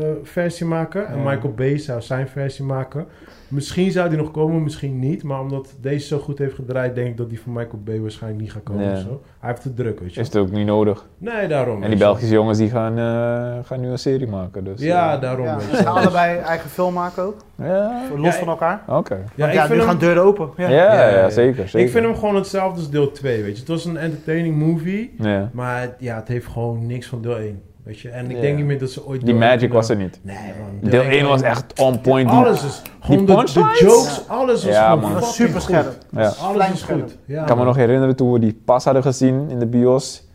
A: eh, versie maken en
C: Ja.
A: Michael Bay zou zijn versie maken. Misschien zou die nog komen, misschien niet. Maar omdat deze zo goed heeft gedraaid, denk ik dat die van Michael Bay waarschijnlijk niet gaat komen.
C: Ja.
A: of zo. Hij heeft te druk, weet je.
C: Is het ook niet nodig.
A: Nee, daarom.
C: En die
A: weet je.
C: Belgische jongens die gaan, eh, gaan nu een serie maken. Dus,
A: Ja,
C: eh,
A: daarom.
B: Ja,
A: weet je.
B: ze gaan allebei eigen film maken ook.
C: ja.
B: Los
A: Ja,
B: van elkaar.
C: Oké.
A: Ja,
B: Ja,
A: ik,
B: nu
A: vind
B: gaan
A: hem,
B: deuren open.
C: Ja,
B: Ja.
A: Ja,
C: ja,
A: ja, ja.
C: zeker, zeker.
A: ik vind hem gewoon hetzelfde als deel 2, weet je. Het was een entertaining movie,
C: Ja.
A: maar het- ja, het heeft gewoon niks van deel 1, weet je. En ik
C: Ja.
A: denk niet meer dat ze ooit...
C: Die
A: deel één
C: magic
A: kunnen-
C: was er niet.
A: Nee, man.
C: Deel 1 was echt on point. Die-
A: Alles is... Gewoon de, de
C: punchlines?
A: jokes, alles was
C: Ja,
A: gewoon
C: man.
B: Dat was
A: fucking
B: super
A: goed.
B: scherp.
C: Ja.
A: Alles is
B: Klein
A: goed. Ja,
C: Ik kan me nog herinneren toen we die pas hadden gezien in de bios.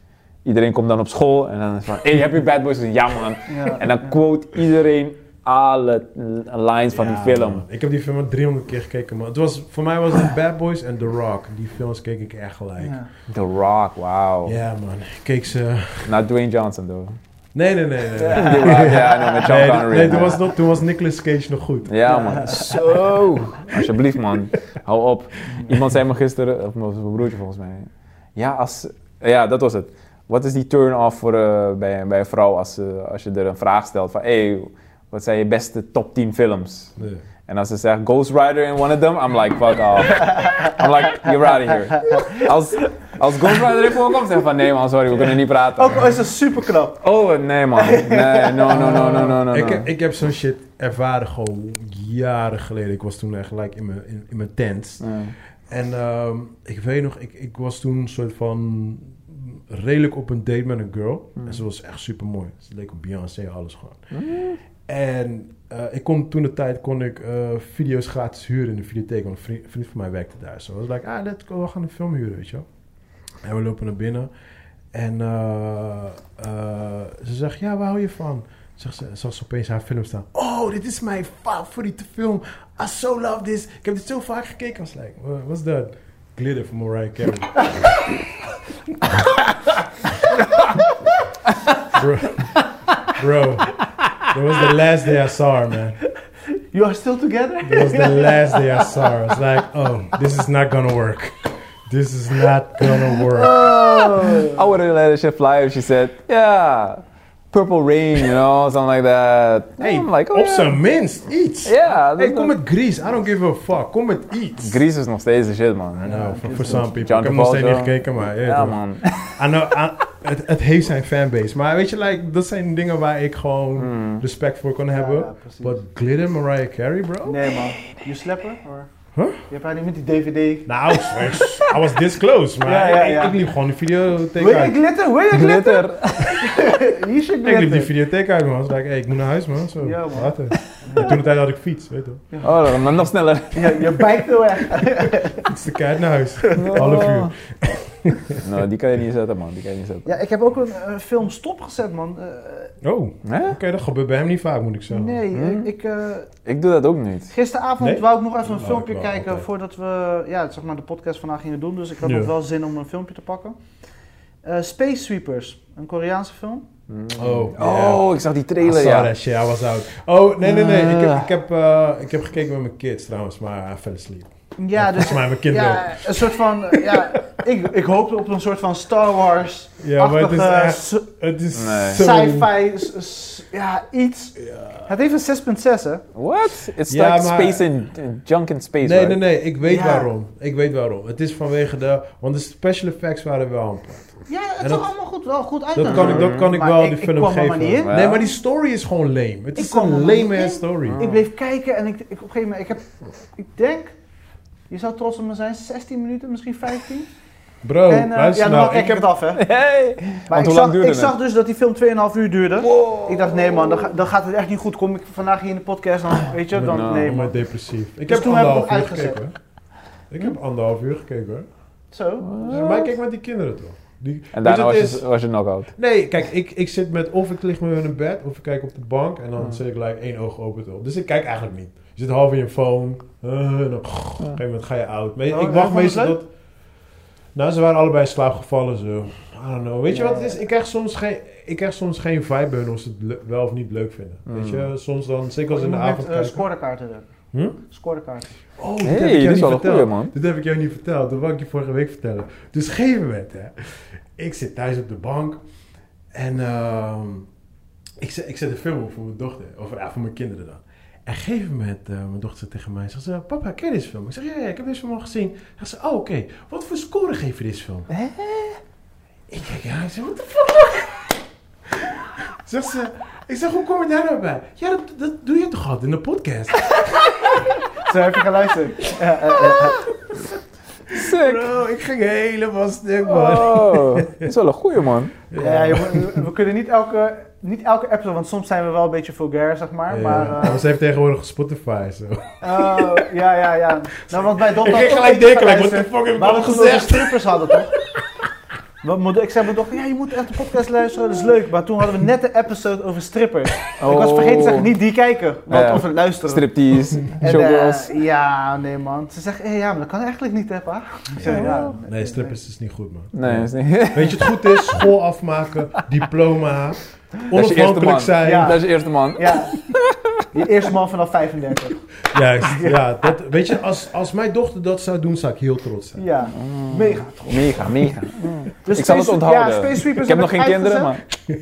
C: Iedereen komt dan op school en dan is van, hey, heb je Bad Boys gezien? Ja man.
B: Ja.
C: En dan quote iedereen alle l- lines van die film.
A: Ik heb die film maar 300 keer gekeken, maar het was, voor mij was het Bad Boys en The Rock. Die films keek ik echt gelijk. Ja,
B: Ja.
C: The Rock, wauw.
A: man. Ik keek ze...
C: Not Dwayne Johnson, though.
A: Nee, nee, nee. nee, nee.
C: The Rock, ja, nou, met Sean
A: Nee,
C: Connery.
A: nee, toen, was nog, toen was Nicolas Cage nog goed.
C: Ja, man. Zo. Alsjeblieft, man. Hou op. Iemand zei me gisteren, of mijn mijn broertje volgens mij. Ja, als, ja dat was het. Wat is die turn-off voor, eh, bij, bij een vrouw als, ze- als je er een vraag stelt van... hey, wat zijn je beste top 10 films?
A: Nee.
C: En als ze zegt Ghost Rider in one of them, I'm like, fuck off. I'm like, you're out of here. Als, Als Ghost Rider in voorkomt, zeg van nee man, sorry, we kunnen niet praten.
B: Ook al is dat super knap.
C: Oh, nee man. Nee, no, Oh, no, no, no, no, no.
A: Ik,
C: no.
A: heb- ik heb zo'n shit ervaren gewoon jaren geleden. Ik was toen echt like, in mijn in, in mijn tent.
C: Ja.
A: En ehm, ik weet nog, ik, ik was toen een soort van redelijk op een date met een girl.
C: Hmm.
A: En ze was echt super mooi. Ze leek op Beyoncé, alles gewoon.
C: Hmm.
A: En eh, ik kon toen de tijd kon ik eh, video's gratis huren in de videotheek. Want een vriend, vriend van mij werkte daar. Zo was ik like, ah, let's go, we gaan een film huren, weet je wel. En we lopen naar binnen. En eh, eh, ze zegt, ja, waar hou je van? Zegt ze, zag ze opeens haar film staan. Oh, dit is mijn favoriete film. I so love this. Ik heb dit zo vaak gekeken. I was like, "Wha- what's that? Glitter van Mariah Carey. bro, bro, that was the last day I saw her, man.
B: You are still together?
A: That was the last day I saw her. I was like, oh, this is not gonna work. This is not gonna work.
C: I would have let her shit fly if she said, yeah, purple rain, you know, something like that.
A: Hey,
C: I'm like, oh,
A: op
C: yeah.
A: zijn minst iets.
C: Yeah,
A: Hey,
C: that's
A: kom
C: not-
A: met Gries. I don't give a fuck. Kom met iets.
C: Grease is nog steeds de shit, man.
A: Nou, voor voor some people.
C: John
A: ik heb nog steeds niet
C: Travolta.
A: gekeken, maar... eh,
C: Ja,
A: toch.
C: man.
A: I know, I- het, het heeft zijn fanbase. Maar weet je, like, dat zijn dingen waar ik gewoon
B: Hmm.
C: Mm.
A: respect voor kan
B: Ja,
A: hebben.
B: ja, precies.
A: But Glitter Mariah Carey, bro?
B: Nee man. You slapper? Or...
A: Huh?
B: Je hebt haar niet met die DVD.
A: Nou, I was this close, maar
B: Ja, ja,
A: ik-
B: ja.
A: Ik, liep gewoon die videotheek
B: Wil je
A: uit.
B: glitter? Wil je glitter?
C: Glitter.
B: You should
A: Ik liep die
B: glitter.
A: videotheek uit, man. Ik like, hey, ik moet naar huis, man. Zo,
B: Ja, man.
A: later. En Toen de tijd had ik fiets, weet je wel.
C: Oh, dan- maar nog sneller.
B: Ja, je bijt heel erg.
A: Fiets de keihard naar huis.
B: Oh.
A: Half uur.
C: Nou, die kan je niet zetten, man. Die kan je niet zetten.
B: Ja, ik heb ook een eh, film stopgezet man. Eh,
A: Oh, oké,
C: Hè?
A: dat gebeurt bij hem niet vaak, moet ik zeggen.
B: nee,
C: Hm?
B: eh, ik... eh,
C: Ik doe dat ook niet.
B: Gisteravond
A: Nee?
B: wou ik nog even een
A: Nou,
B: filmpje
A: ik wel,
B: kijken
A: altijd.
B: voordat we ja, zeg maar de podcast vandaag gingen doen. Dus ik had
A: Ja.
B: nog wel zin om een filmpje te pakken. Eh, Space Sweepers, een Koreaanse film.
C: Mm.
A: Oh, Ah,
C: oh, ik zag die trailer,
A: I saw
C: ja.
A: that shit, I was out. Oh, nee, nee, nee. Ik heb,
C: Ah.
A: ik heb, eh, ik heb gekeken met mijn kids trouwens, maar I fell asleep.
B: Ja, dus
A: Volgens mij mijn kinderen ook.
B: ja, een soort van. Ja, ik, ik hoopte op een soort van Star Wars.
A: Ja, maar het is
B: achtige
A: echt...
B: s-
A: Het is
C: Nee.
A: zo...
B: Sci-fi, s- s- ja, iets. Het heeft een 6,6 hè?
C: What? It's
A: Ja,
C: like
A: maar-
C: space in junk in space,
A: Nee,
C: right?
A: nee, nee. Ik weet
B: Ja.
A: waarom. Ik weet waarom. Het is vanwege de... Want de special effects waren wel... een-
B: Ja,
A: En
B: het
A: dat-
B: zag allemaal goed, wel goed uit.
A: Dat kan ik, dat kan ik
B: Maar
A: wel
B: ik-
A: die
B: ik
A: film
B: kwam er
A: geven.
B: maar niet in.
A: Nee, maar die story is gewoon lame. Het
B: Ik
A: is
B: kwam er
A: een
B: maar niet
A: lame ass
B: in.
A: story.
C: Ja.
B: Ik bleef kijken en ik, ik, op een gegeven moment, ik heb, ik denk, je zou trots op me zijn, 16 minuten, misschien 15.
A: Bro,
B: en, eh,
A: luister
B: ja, dan
A: nou.
B: kijk
A: Ik
B: ik
A: heb...
B: het af, hè. Maar
C: Hey! Want
B: ik,
C: hoe
B: zag,
C: lang duurde
B: ik
C: het?
B: zag dus dat die film 2,5 uur duurde. Ik dacht, nee man, dan, ga- dan gaat het echt niet goed. Kom ik vandaag hier in de podcast, dan weet je, dan
C: Nou,
B: nee
A: Ik ben
B: man.
A: Oh, depressief. Ik
B: Dus
A: heb
B: toen heb ik
A: anderhalf
B: hem
A: uur
B: uitgezet. Hm?
A: gekeken, hoor. Ik heb anderhalf uur gekeken, hoor.
B: Zo.
A: Maar ik keek met die kinderen, toch? Die...
C: En
A: Weet je,
C: daarna was,
A: het
C: je- was je knock-out.
A: Nee, kijk, ik, ik zit met of ik lig me in een bed of ik kijk op de bank en dan
B: Hmm.
A: zit ik like één oog open. toch? Dus ik kijk eigenlijk niet. Je zit half in je phone. eh, en dan, op een gegeven moment ga je oud. Maar
B: Oh,
A: ik
B: ja,
A: wacht
B: vond je
A: meestal
B: het
A: tot. Nou, ze waren allebei in slaap gevallen. Zo. I don't know. Weet je
B: Ja,
A: wat het is? Ik krijg soms geen, ik krijg soms geen vibe bij hun of ze het le- wel of niet leuk vinden. Weet je, soms dan, zeker als
B: Je
A: in de
B: moet Hmm. met
A: avond.
B: eh,
A: kijken.
B: scorecard hebben.
A: Hm?
B: Scorecard.
A: Oh, dit heb
C: Hey,
A: ik jou
C: dit is
A: niet
C: wel een
A: verteld.
C: goeie, man.
A: Dit heb ik jou niet verteld. Dat wou ik je vorige week vertellen. Dus op een gegeven moment, hè. Ik zit thuis op de bank. En ehm, ik, zet, ik zet een film op voor mijn dochter. Of ja, voor mijn kinderen dan. En op een gegeven moment, eh, mijn dochter zegt tegen mij. Zegt ze, papa, ken je deze film? Ik zeg, ja, ja, ik heb deze film al gezien. Zegt ze, oh, oké. Wat voor score geef je deze film? Ik kijk ja, ik zeg, wat de fuck? Zegt ze, ik zeg, hoe kom je daar nou bij? Ja, dat, dat doe je toch altijd in de podcast?
B: Zo heb je geluisterd. Ja, eh, eh,
C: Sick!
A: Bro, ik ging helemaal stuk, man.
C: Oh, dit is wel een goeie, man.
B: ja, ja, je moet- we kunnen niet elke, niet elke episode, want soms zijn we wel een beetje vulgair, zeg maar. Maar
A: Ja,
B: eh,
A: maar ze heeft tegenwoordig Spotify. Zo.
B: Oh, ja, ja, ja. Nou, want wij dochter
A: Ik ging
B: toch
A: gelijk
B: even
A: denken, like,
B: geluisterd.
A: what the fuck heb ik
B: Maar
A: al
B: we toen
A: gezegd?
B: ook strippers hadden, toch? Wat moet- Ik zei mijn dochter, ja, je moet echt de podcast luisteren, dat is leuk. Maar toen hadden we net een episode over strippers. Ik was vergeten te
A: Oh.
B: zeggen, niet die kijken, want
C: Ja.
B: over luisteren.
C: Striptease,
B: En,
C: showgirls.
B: eh, ja, nee man. Ze zegt, eh, ja, maar dat kan eigenlijk niet, hè, pa? Ik zeg, ja,
A: Nee, strippers is niet goed, man.
C: Nee, dat is niet...
A: Weet je, het goed is, school afmaken, diploma,
C: eerste
A: onafhankelijk
C: man.
A: zijn.
B: Ja.
C: Dat is de eerste man.
B: Ja. Die eerste man vanaf 35.
A: Juist, ja. Dat, weet je, als, als mijn dochter dat zou doen, zou ik heel trots zijn.
B: Ja, mega.
C: Mega, mega.
B: Dus
C: Ik zal het
B: Space-
C: onthouden.
B: Ja, Space Sweepers
C: Ik heb nog geen kinderen,
B: maar.
C: maar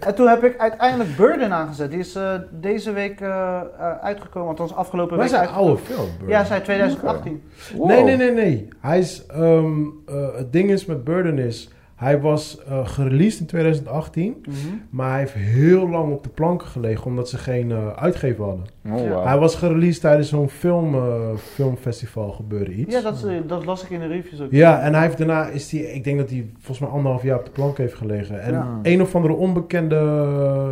B: En toen heb ik uiteindelijk Burden aangezet. Die is eh, deze week eh, eh, uitgekomen, althans afgelopen
A: Wij
B: week.
A: zijn
B: uitgekomen.
A: oude film, bro.
B: Ja, zijn 2018.
C: Wow.
A: Nee, nee, nee, nee. Hij is, ehm, eh, het ding is met Burden is, hij was eh gereleased in 2018,
B: Mhm.
A: maar hij heeft heel lang op de planken gelegen omdat ze geen eh, uitgever hadden.
C: Oh, wow.
A: Hij was gereleased tijdens zo'n film, eh, filmfestival gebeurde iets.
B: Ja, dat, is, eh, dat las ik in de reviews ook.
A: Ja, en hij heeft daarna is hij, ik denk dat hij volgens mij anderhalf jaar op de plank heeft gelegen. En
C: Ja.
A: een of andere onbekende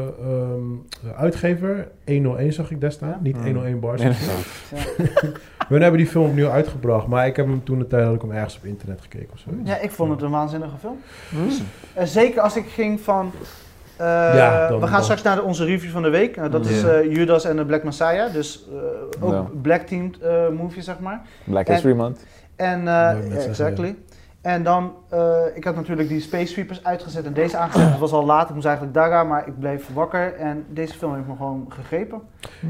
A: ehm, uitgever, 101 zag ik daar staan, niet
C: Ja.
A: 101 bars.
C: Nee,
A: We hebben die film opnieuw uitgebracht, maar ik heb hem toen de tijd had ik hem ergens op internet gekeken of zo.
B: Ja, ik vond het een waanzinnige film.
C: Hmm.
B: En zeker als ik ging van. eh,
A: Ja, dan-
B: we gaan
A: dan-
B: straks naar de- onze review van de week. Nou, dat is
C: Ja.
B: eh, Judas en de Black Messiah. Dus eh, ook
C: Ja.
B: black teamed eh, movie, zeg maar.
C: Black
B: En-
C: History Month.
B: En, eh,
A: Wou ik net
B: ja,
A: zeggen,
B: exactly. En dan, eh, ik had natuurlijk die Space Sweepers uitgezet en deze aangezet. Het was al laat, ik moest eigenlijk daar gaan, maar ik bleef wakker. En deze film heeft me gewoon gegrepen.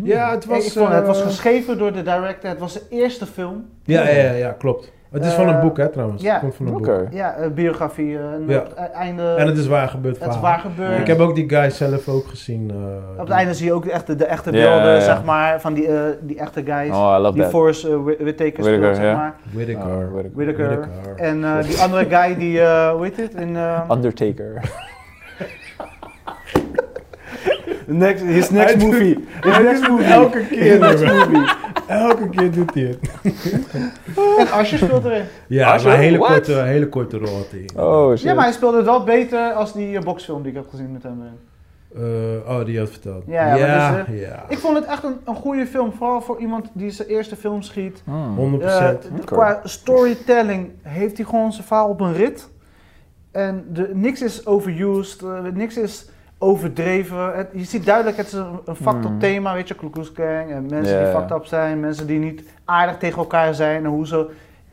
A: Ja, het was,
B: ik vond, het was
A: eh,
B: geschreven door de director, het was de eerste film.
A: ja, ja, ja, ja, klopt. Het is van een
B: Eh,
A: boek, hè, trouwens.
B: ja.
A: Het komt van een
C: Oké.
A: boek.
B: Ja, eh, biografie, eh, en
A: Ja.
B: op het e- einde,
A: En het is waar gebeurd
B: het is
A: verhaal.
B: waar gebeurd.
A: Ik heb ook die guy zelf ook gezien. eh,
B: Op het einde zie je ook de echte, de echte
C: Ja,
B: beelden,
C: ja, ja.
B: zeg maar, van die, eh, die echte guys.
C: Oh, I love
B: die
C: that.
B: Forrest eh, Whit- Whitaker speelt,
C: Whitaker,
B: zeg
C: ja.
B: maar.
A: Whittaker.
C: Oh, Whittaker.
B: Whitaker.
A: Whittaker.
B: En eh, die andere guy die, eh, hoe heet het? In, eh,
C: Undertaker.
B: next, his next
A: Hij doet-
B: movie. His next movie.
A: Elke keer, bro. Elke keer doet hij het.
B: En Asje speelt erin.
A: Ja,
C: Asher?
A: maar een hele
C: What?
A: korte, een hele korte rol had hij.
C: Oh, shit.
B: Ja, maar hij speelde het wel beter als die eh, boxfilm die ik heb gezien met hem erin.
A: Eh, oh, die had verteld.
B: Ja, ja,
A: ja.
B: maar
A: ja.
B: Ik vond het echt een, een goede film, vooral voor iemand die zijn eerste film schiet.
C: Hmm.
A: 100%.
B: Eh,
C: Oké.
B: Qua storytelling heeft hij gewoon zijn verhaal op een rit. En de, niks is overused, eh, niks is overdreven. Het- je ziet duidelijk, het is een, een fucked up
A: Hmm.
C: Mm.
B: thema, weet je, Ku Klux Klan en mensen
C: Ja,
B: die
C: ja.
B: fucked up zijn, mensen die niet aardig tegen elkaar zijn en hoe ze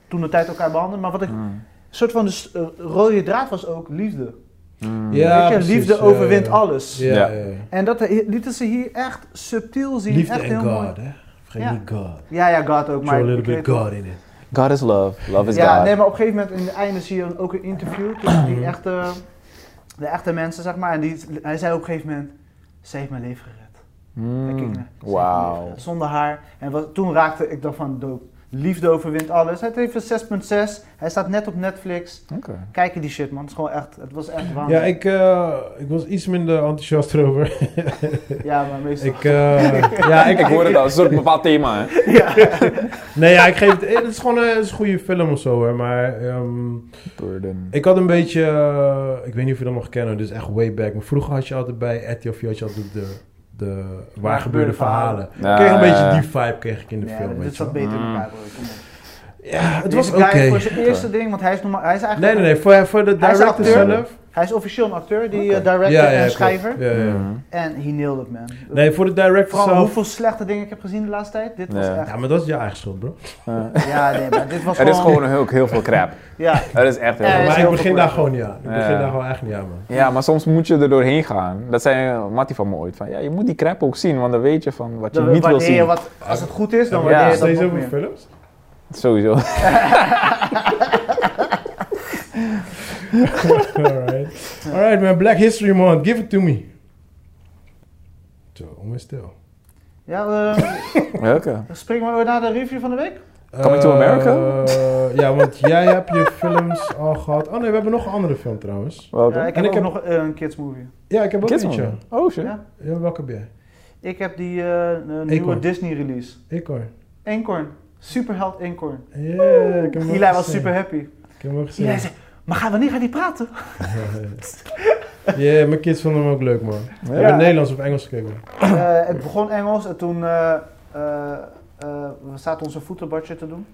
B: toen de tijd elkaar behandelen. Maar wat ik, een
C: Hmm.
B: soort van de s- eh, rode draad was ook liefde.
C: Hmm.
A: Ja,
B: weet je,
A: precies,
B: liefde
A: ja,
B: overwint
A: ja.
B: alles.
A: Ja,
C: Ja.
A: ja, ja.
B: En dat eh, lieten ze hier echt subtiel zien.
A: Liefde
B: echt
A: en God,
B: mooi.
A: hè? Vergeet
B: Ja.
A: niet God.
B: Ja, ja, God
A: Show
B: ook. Maar
A: a little
B: ik
A: bit
B: weet
A: God in it.
C: God is love. Love is
B: Ja,
C: God.
B: nee, maar op een gegeven moment in het einde zie je dan ook een interview tussen die echte, de echte mensen, zeg maar. En die, hij zei op een gegeven moment, ze heeft mijn leven gered. Daar keek ik
C: Hmm.
B: naar. Ze heeft mijn leven
C: Wauw.
B: gered. Zonder haar. En wat, toen raakte ik dan van doop. Liefde overwint alles. Het heeft een 6.6. Hij staat net op Netflix.
C: Oké.
B: Kijk je die shit, man. Het, is gewoon echt, het was echt warm.
A: Ja, ik, eh, ik was iets minder enthousiast erover.
B: ja maar meestal.
A: ik, eh, ja, ik,
C: Ik hoor het al, het is een bepaald thema. Hè?
B: ja.
A: Nee, ja, ik geef het. Het is gewoon eh, het is een goede film of zo hoor. Maar ehm,
C: Burden.
A: ik had een beetje. eh, ik weet niet of je dat nog kennen, dus echt way back. Maar vroeger had je altijd bij RTL had je altijd de. de waar gebeurde verhalen.
C: Ja,
A: kreeg een
C: ja, ja.
A: beetje die vibe kreeg ik in de
B: Ja,
A: film.
B: dit
A: Weet je
B: zat
A: wel.
B: beter in
C: Mm.
B: elkaar. bro. Kom op.
A: Ja, het
B: Deze
A: was oké.
B: guy Voor zijn eerste ding, want hij is, normaal, hij is
A: Nee,
B: eigenlijk...
A: nee, nee. Voor, voor de
B: Hij is
A: director
B: acteur.
A: zelf.
B: Hij is officieel een acteur, die eh,
A: Ja,
B: director
A: ja,
B: en
A: klopt.
B: schrijver.
A: Ja, ja.
C: Hmm.
B: En he nailed it, man.
A: Nee, voor de director
B: Vooral
A: zelf.
B: hoeveel slechte dingen ik heb gezien de laatste tijd. Dit was
C: Ja.
A: Ja,
B: echt...
A: maar dat is je eigen schuld, bro.
C: Ja.
B: Ja, nee, maar dit was
C: Er
B: gewoon...
C: is gewoon heel, heel veel crap.
B: Ja,
C: Er is echt heel
B: Ja,
C: veel
B: is
A: maar ik
B: heel
C: crap.
A: begin
B: populair.
A: daar gewoon niet aan. Ik begin
C: Ja.
A: daar gewoon echt niet aan, man.
C: Ja, maar soms moet je er doorheen gaan. Dat zei Mattie van me ooit. Van, ja, je moet die crap ook zien, want dan weet je van wat je
B: dan
C: niet wil
B: waardeer je
C: zien.
B: wat... Als het goed is, dan
A: Ja,
B: waardeer
A: maar
B: je dat
A: steeds
B: nog
A: over
B: meer.
A: films?
C: Sowieso.
A: Alright. Alright, man. Black History Month. Give it to me. Zo, om en stil.
B: Ja, eh,
C: Welke?
B: spring maar weer naar de review van de week.
A: Coming
C: to America?
A: Eh, ja, want jij hebt je films al gehad. Oh nee, we hebben nog een andere film trouwens.
C: Welke?
B: Ja, ik
A: En
B: heb
A: ik
B: ook
A: heb-
B: nog eh, een kids movie.
A: Ja, ik heb ook
C: Kidsman.
A: eentje.
C: Oh shit.
B: Ja.
A: Ja, welke heb jij?
B: Ik heb die eh, eh, nieuwe
A: Acorn.
B: Disney release.
A: Ik hoor.
B: Eenkorn. Superheld Eenkorn.
A: Yeah, ik heb hem ook
B: Eli was
A: gezien.
B: super happy.
A: Ik heb hem ook gezien.
B: Eli zei, maar gaan we niet gaan die praten?
A: Ja, mijn kids vonden hem ook leuk, man. We hebben Nederlands of Engels gekeken.
B: Eh, het begon Engels en toen eh, eh, eh, we zaten onze voetenbadje te doen.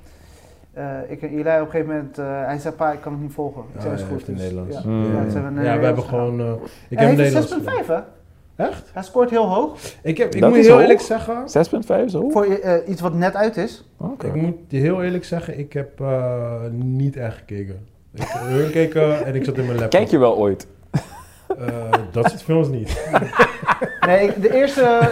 B: Eh, ik en Eli op een gegeven moment, eh, hij zei pa, ik kan het niet volgen. Ik
A: Ah,
B: zei, is
A: hij
B: goed.
A: heeft in
B: dus-
A: Nederlands.
B: Ja,
C: Mm.
B: ja,
A: Ja,
B: dus
A: ja.
B: hebben we
A: Ja, we hebben
B: Nederlands
A: gewoon... eh, ik
B: gedaan.
A: heb
B: Hij
A: Nederlands.
B: heeft een 6.5 hè?
A: Echt?
B: Hij scoort heel hoog.
A: Ik, heb, ik
C: Dat
A: moet
C: is
A: heel
C: hoog.
A: eerlijk zeggen...
C: 6.5 zo?
B: Voor eh, iets wat net uit is.
C: Oké.
A: Ik moet je heel eerlijk zeggen, ik heb eh, niet echt gekeken. Ik heb gekeken en ik zat in mijn laptop.
C: Kijk je wel ooit?
A: Eh, dat soort films niet.
B: Nee, ik- de eerste,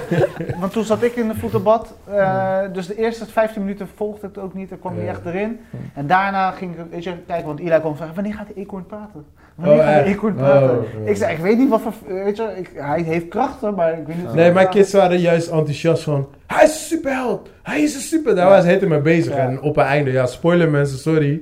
B: want toen zat ik in de voetenbad, eh, dus de eerste 15 minuten volgde ik het ook niet, ik kwam niet echt erin. En daarna ging ik weet je, kijken, want Ila kwam vragen, wanneer gaat de eekhoorn praten? Wanneer
A: Oh,
B: gaat de
A: echt?
B: eekhoorn praten?
A: Oh, oh.
B: Ik zei, ik weet niet wat voor, weet je, ik, hij heeft krachten, maar ik weet niet. of
A: Nee,
B: hij
A: mijn
B: praat.
A: kids waren juist enthousiast van... Hij is een superheld! Hij is een super... Daar was hij helemaal mee bezig.
B: Ja.
A: En op het einde... Ja, spoiler mensen, sorry.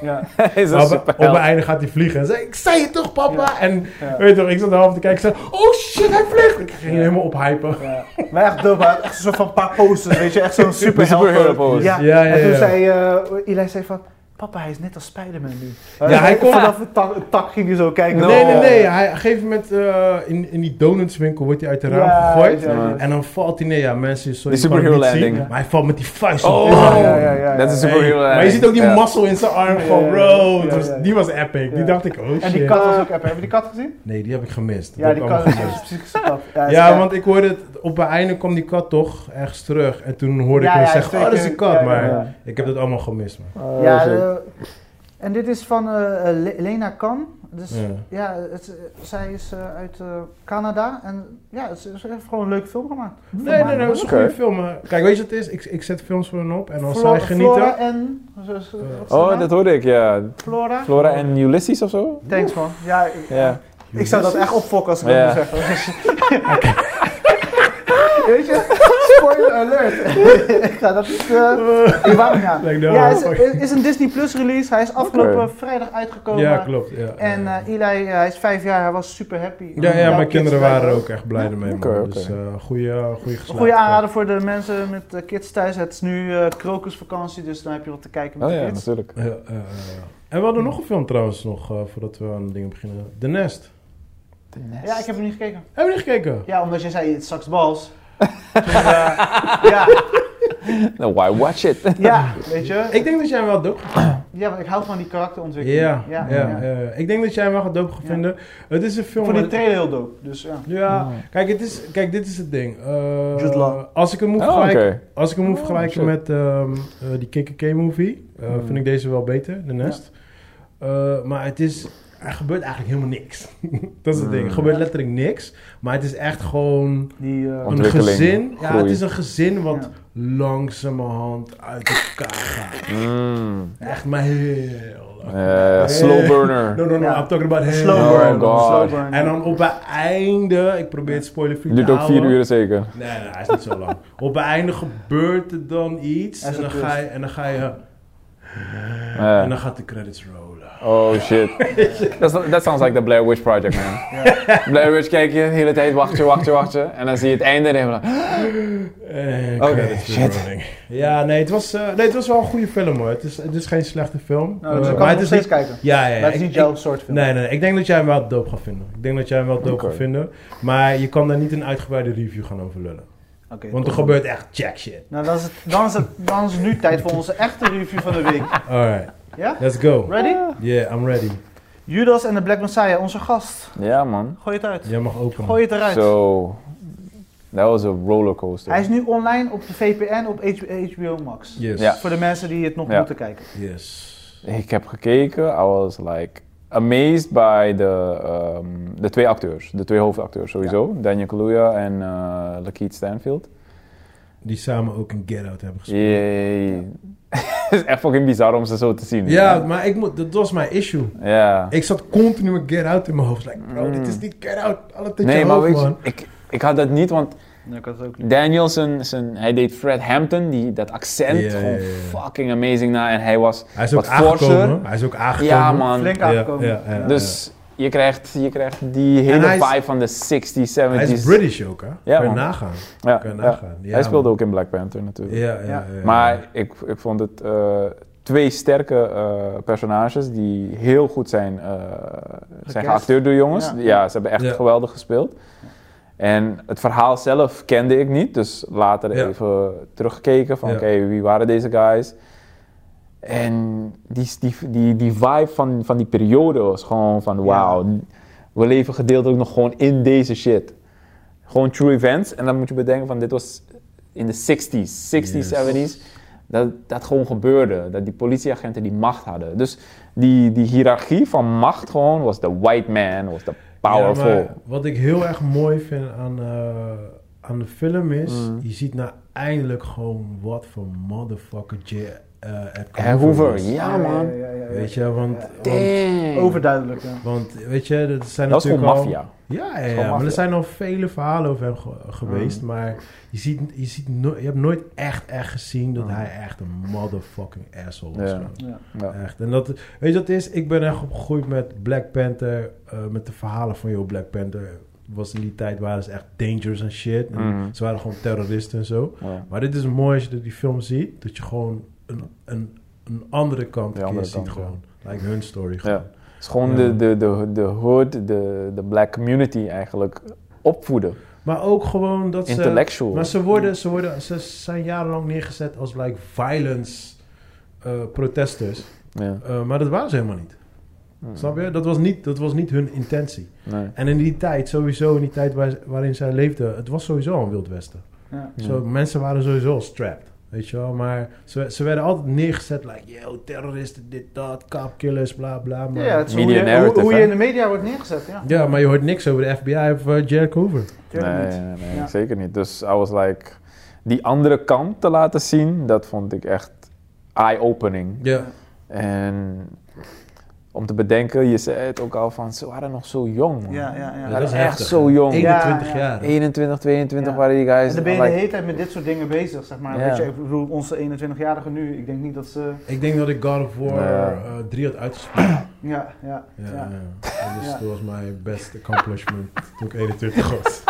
B: Ja,
C: is
A: Maar
C: een
A: op, op het
C: superheld.
A: einde gaat hij vliegen. En zei, ik zei het toch, papa?
B: Ja.
A: En
B: ja,
A: weet je toch, ik zat de half te kijken. Ik zei, oh shit, hij vliegt! Ik ging helemaal ophypen.
B: ja. Maar echt dope, hij had echt een soort van paar poses, weet je, echt zo'n superheld.
C: superhero pose.
B: Ja.
A: Ja, ja,
B: en toen
A: ja.
B: zei eh Eli zei van, papa, hij is net als Spider-Man nu.
A: Ja, hij kon-
B: Vanaf het tak, het tak ging hij zo kijken. Oh.
C: No.
A: Nee, nee, nee. Hij, op een gegeven moment eh, in, in die donutswinkel wordt hij uit de raam
B: Ja,
A: gegooid.
B: ja, ja.
A: En dan valt hij neer. Ja, mensen, sorry,
C: Die
A: je kan het
C: superhero
A: niet zien,
C: landing.
A: maar hij valt met die vuist. op.
C: Oh,
A: Ja, ja,
B: ja, ja.
C: dat is een
A: Hey,
C: superhero.
A: maar je ziet ook die
C: Ja.
A: muscle in zijn arm.
B: Ja,
A: Gewoon,
B: ja,
A: bro.
B: ja,
A: het was-
B: ja, ja.
A: Die was epic.
B: Ja.
A: Die dacht ik, oh shit.
B: En die kat was ook app. Heb je die kat gezien?
A: Nee, die heb ik gemist.
B: Ja,
A: Dat
B: die
A: heb ik
B: kat
A: allemaal
B: is een
A: gemist.
B: psychische kat. Ja,
A: Ja,
B: ze-
A: want ik hoorde het, op het einde kwam die kat toch ergens terug. En toen hoorde
B: Ja,
A: ik hem
B: ja,
A: zeggen, oh, dat is
B: zeker.
A: die kat.
B: Ja, ja,
A: maar
C: ja.
A: ik heb dat allemaal gemist, man.
C: Oh,
B: Ja,
C: shit.
B: eh, en dit is van eh, eh, Le- Lena Kan. Dus ja,
A: Ja.
B: het, eh, zij is eh, uit eh, Canada. En ja, ze ze heeft gewoon een leuke film gemaakt.
A: Nee, nee, nee, dat is een
C: Oké.
A: goede film. maar- Kijk, weet je wat het is? Ik, ik zet films voor hen op en als zij
B: Flora-
A: genieten...
B: Flora en... wat is de
C: Oh,
B: naam?
C: dat hoorde ik, ja.
B: Flora?
C: Flora en Ulysses of zo?
B: Thanks man. Ja, ik,
C: Ja.
B: ik zou dat echt opfokken als ik
C: Ja.
B: dat moet zeggen. Weet je? Spoiler alert. ik ga dat niet... eh, ik wou niet aan.
A: Like, no.
B: Ja, is, is, is een Disney Plus release. Hij is afgelopen
C: Oké.
B: vrijdag uitgekomen.
A: Ja, klopt. Ja,
B: En
A: ja.
B: eh, Eli, eh, hij is vijf jaar, hij was super happy.
A: ja, ja,
B: Jouw
A: mijn
B: kids
A: kinderen
B: thuis.
A: waren er ook echt blij ermee.
C: Oké,
A: man.
C: oké.
A: Dus eh goede, goede
B: Een
A: geslaagd.
B: goede aanrader voor de mensen met eh, kids thuis. Het is nu eh krokusvakantie, dus dan heb je wat te kijken met
C: Oh
B: de
C: ja,
B: kids.
C: natuurlijk.
A: Ja, ja, ja, ja. En we hadden nog een film trouwens nog, eh, voordat we aan dingen beginnen. The Nest.
B: Ja, ik heb hem niet gekeken.
A: Hebben jullie gekeken?
B: Ja, omdat jij zei, het straks bals. Toen, eh, ja,
C: Nou, why watch it?
B: ja, weet je.
A: Ik denk dat jij hem wel dope
B: ja, want ik hou van die karakterontwikkeling.
A: Ja,
B: ja,
A: ja,
B: ja.
A: eh, ik denk dat jij hem wel gaat dope gaan
B: Ja.
A: vinden. Het is een
B: Ik
A: film...
B: vond die
A: waar-
B: trailer heel dope, dus ja.
A: ja,
C: Oh.
A: kijk, het is, kijk, dit is het ding. Eh,
B: Jude Law.
A: als ik hem moet
C: Oh, oké.
A: vergelijken, Als ik hem moet
C: Oh,
A: vergelijken
C: shit.
A: met ehm, eh, die KKK-movie, eh,
C: Hmm.
A: vind ik deze wel beter, de Nest. Eh, maar het is, er gebeurt eigenlijk helemaal niks. dat is het ding. Er gebeurt
B: Hmm.
A: letterlijk niks. Maar het is echt gewoon
B: Die, eh,
C: Want-
A: een
C: Ontwikkeling,
A: gezin. Ja,
C: groei.
A: het is een gezin wat
B: Ja.
A: langzamerhand uit elkaar gaat.
C: Mm.
A: Echt maar heel. lang.
C: Eh, slow burner.
A: No, no, no,
B: Ja.
A: I'm talking about heel.
B: slow
C: Oh,
B: burn.
C: God.
B: slow burn.
A: En dan op het einde, ik probeer het spoilerfree te
C: Duurt ook vier
A: houden.
C: uur zeker.
A: Nee, nee, hij is niet zo lang. Op het einde gebeurt er dan iets.
B: Hij is
A: En dan,
B: een
A: ga je, en dan ga je.
C: Ja.
A: En dan gaat de credits rollen.
C: Oh shit. That's- That sounds like the Blair Witch Project, man. Blair Witch kijk je de hele tijd, wacht je, wacht je, wacht je. En dan zie je het einde en dan denk je van,
B: Oh,
A: En
C: Oké,
A: Eh, credits
C: shit.
A: rolling. Ja, nee het, was, eh, nee, het was wel een goede film hoor. Het is, het is geen slechte film.
B: Nou,
A: Eh,
B: dus je kan
A: maar
B: hem
A: het
B: nog
A: is
B: steeds
A: niet.
B: kijken.
A: Ja, ja, ja.
B: Maar het is
A: Ik-
B: niet
A: ik-
B: jouw soort film.
A: Nee, nee, nee, ik denk dat jij hem wel dope gaat vinden. Ik denk dat jij hem wel dope
C: Oké.
A: gaat vinden. Maar je kan daar niet een uitgebreide review gaan over lullen.
B: Oké.
A: Want er gebeurt echt jack shit.
B: Nou, dan is, het, dan, is het, dan is het nu tijd voor onze echte review van de week.
A: Alright,
B: Ja?
A: let's go.
B: Ready?
A: Yeah, I'm ready.
B: Judas en de Black Messiah, onze gast.
C: ja man.
B: Gooi het uit.
A: Jij mag openen.
B: Gooi het eruit.
C: Zo. that was a rollercoaster.
B: Hij is nu online op de VPN op H- HBO Max.
A: Yes.
C: Ja.
B: Voor de mensen die het nog
C: Ja.
B: moeten kijken.
A: Yes.
C: Ik heb gekeken, I was like amazed by de, ehm, de twee acteurs, de twee hoofdacteurs sowieso. Daniel Kaluuya en eh Lakeith Stanfield.
A: Die samen ook in Get Out hebben gespeeld.
C: Jee. Het is echt fucking bizar om ze zo te zien.
A: Ja, maar ik moet, dat was mijn issue.
C: Ja.
A: Ik zat continu met Get Out in mijn hoofd. Like, bro,
C: Mm.
A: dit is niet Get Out. Alle tijd
C: Nee,
A: je
C: maar
A: hoofd,
C: weet je,
A: man.
C: ik, ik had dat niet, want
B: Nee, ik had het ook
C: Daniel, zijn, zijn, hij deed Fred Hampton, die, dat accent,
A: Ja, ja,
C: gewoon
A: ja, ja.
C: fucking amazing na. En hij was,
A: Hij is ook
C: wat forser.
A: aangekomen. Hij is ook aangekomen.
C: ja man.
B: Flink
A: Ja,
B: aangekomen.
A: ja, ja, ja.
C: Dus je krijgt, je krijgt die hele
A: hij is-
C: vibe van de 60s, 70s.
A: Hij is British ook, hè?
C: Ja,
A: Kun je
C: man.
A: nagaan.
C: Ja,
A: Kun je
C: ja.
A: nagaan. Ja,
C: hij speelde
A: man.
C: ook in Black Panther natuurlijk.
A: Ja, ja, ja, ja.
C: Maar ik, ik vond het eh, twee sterke eh, personages die heel goed zijn, eh zijn geacteerd door jongens.
B: Ja.
C: Ja, ze hebben echt
A: Ja.
C: geweldig gespeeld. En het verhaal zelf kende ik niet, dus later
A: Ja.
C: even teruggekeken van
A: Ja.
C: oké, wie waren deze guys? En die, die, die, die vibe van, van die periode was gewoon van wauw, we leven gedeeltelijk nog gewoon in deze shit. Gewoon true events. En dan moet je bedenken van dit was in de 60s, 60s,
A: Yes.
C: 70s. Dat, dat gewoon gebeurde. Dat die politieagenten die macht hadden. Dus die, die hiërarchie van macht gewoon was de white man, was de powerful.
A: Ja, maar wat ik heel erg mooi vind aan, eh, aan de film is...
C: Mm.
A: je ziet nou eindelijk gewoon wat voor motherfucker J. eh, Edgar
C: Hè, Hoover,
A: is.
C: ja man.
B: ja, ja, ja.
A: Weet je, want...
B: Ja.
A: want
C: Damn.
B: Overduidelijk, ja.
A: want, weet je, er zijn
C: dat is gewoon
A: natuurlijk al...
C: maffia.
A: Ja, ja,
C: gewoon
A: ja, maar
C: maffia.
A: er zijn al vele verhalen over hem ge- geweest.
C: Mm.
A: Maar je, ziet, je, ziet no- je hebt nooit echt, echt gezien dat
C: Mm.
A: hij echt een motherfucking asshole was.
C: Ja.
A: man.
B: Ja.
C: Ja.
A: Echt. En dat, weet je wat het is? Ik ben echt opgegroeid met Black Panther. eh, met de verhalen van, joh, Black Panther was in die tijd waren ze echt dangerous en shit. En
C: Mhm.
A: Ze waren gewoon terroristen en zo.
C: Ja.
A: Maar dit is mooi als je die film ziet. Dat je gewoon een, een, een andere kant een
C: De
A: keer
C: andere
A: ziet
C: kant, ja.
A: gewoon. Like hun story
C: Ja.
A: gewoon.
C: Het is gewoon de, de, de, de hood, de, de black community eigenlijk opvoeden.
A: Maar ook gewoon dat ze...
C: Intellectual.
A: Maar ze, worden, ze, worden, ze zijn jarenlang neergezet als like violence eh, protesters.
C: Ja.
A: Eh, maar dat waren ze helemaal niet.
B: Hmm.
C: Mm.
A: Snap je? Dat was niet, dat was niet hun intentie.
C: Nee.
A: En in die tijd, sowieso in die tijd waar- waarin zij leefde, het was sowieso een wild westen.
B: Ja.
C: Ja.
A: Zo, mensen waren sowieso al strapped, weet je wel. Maar ze, ze werden altijd neergezet, like, yo, terroristen, dit, dat, kapkillers, bla, bla. Maar...
B: Ja,
A: Ja,
B: het is hoe
C: Media
B: je, hoe,
C: narrative,
B: hoe je
C: hè?
B: in de media wordt neergezet, ja.
A: maar je hoort niks over de FBI of eh, Jack Hoover.
B: Tuurlijk
C: Nee,
B: niet.
C: nee, nee,
B: Ja.
C: zeker niet. Dus I was like, die andere kant te laten zien, dat vond ik echt eye-opening.
A: Ja.
C: En om te bedenken, je zei het ook al van, ze waren nog zo jong. Man.
B: Ja, ja, ja.
C: dat is
A: is
C: echt
A: heftig,
C: zo
A: hè.
C: jong.
A: 21
B: Ja, ja.
A: jaar.
C: 21, 22
B: Ja.
C: waren die guys.
B: En dan ben je de
C: like,
B: hele tijd met dit soort dingen bezig, zeg maar.
C: Ja.
B: Weet je, ik bedoel, onze 21-jarigen nu, ik denk niet dat ze...
A: Ik denk dat ik God of War
C: Ja.
A: eh, 3 had uitgespeeld.
B: Ja, ja,
A: Ja,
B: ja.
A: ja. En Dus
B: Ja.
A: dat was mijn best accomplishment toen ik 21 was.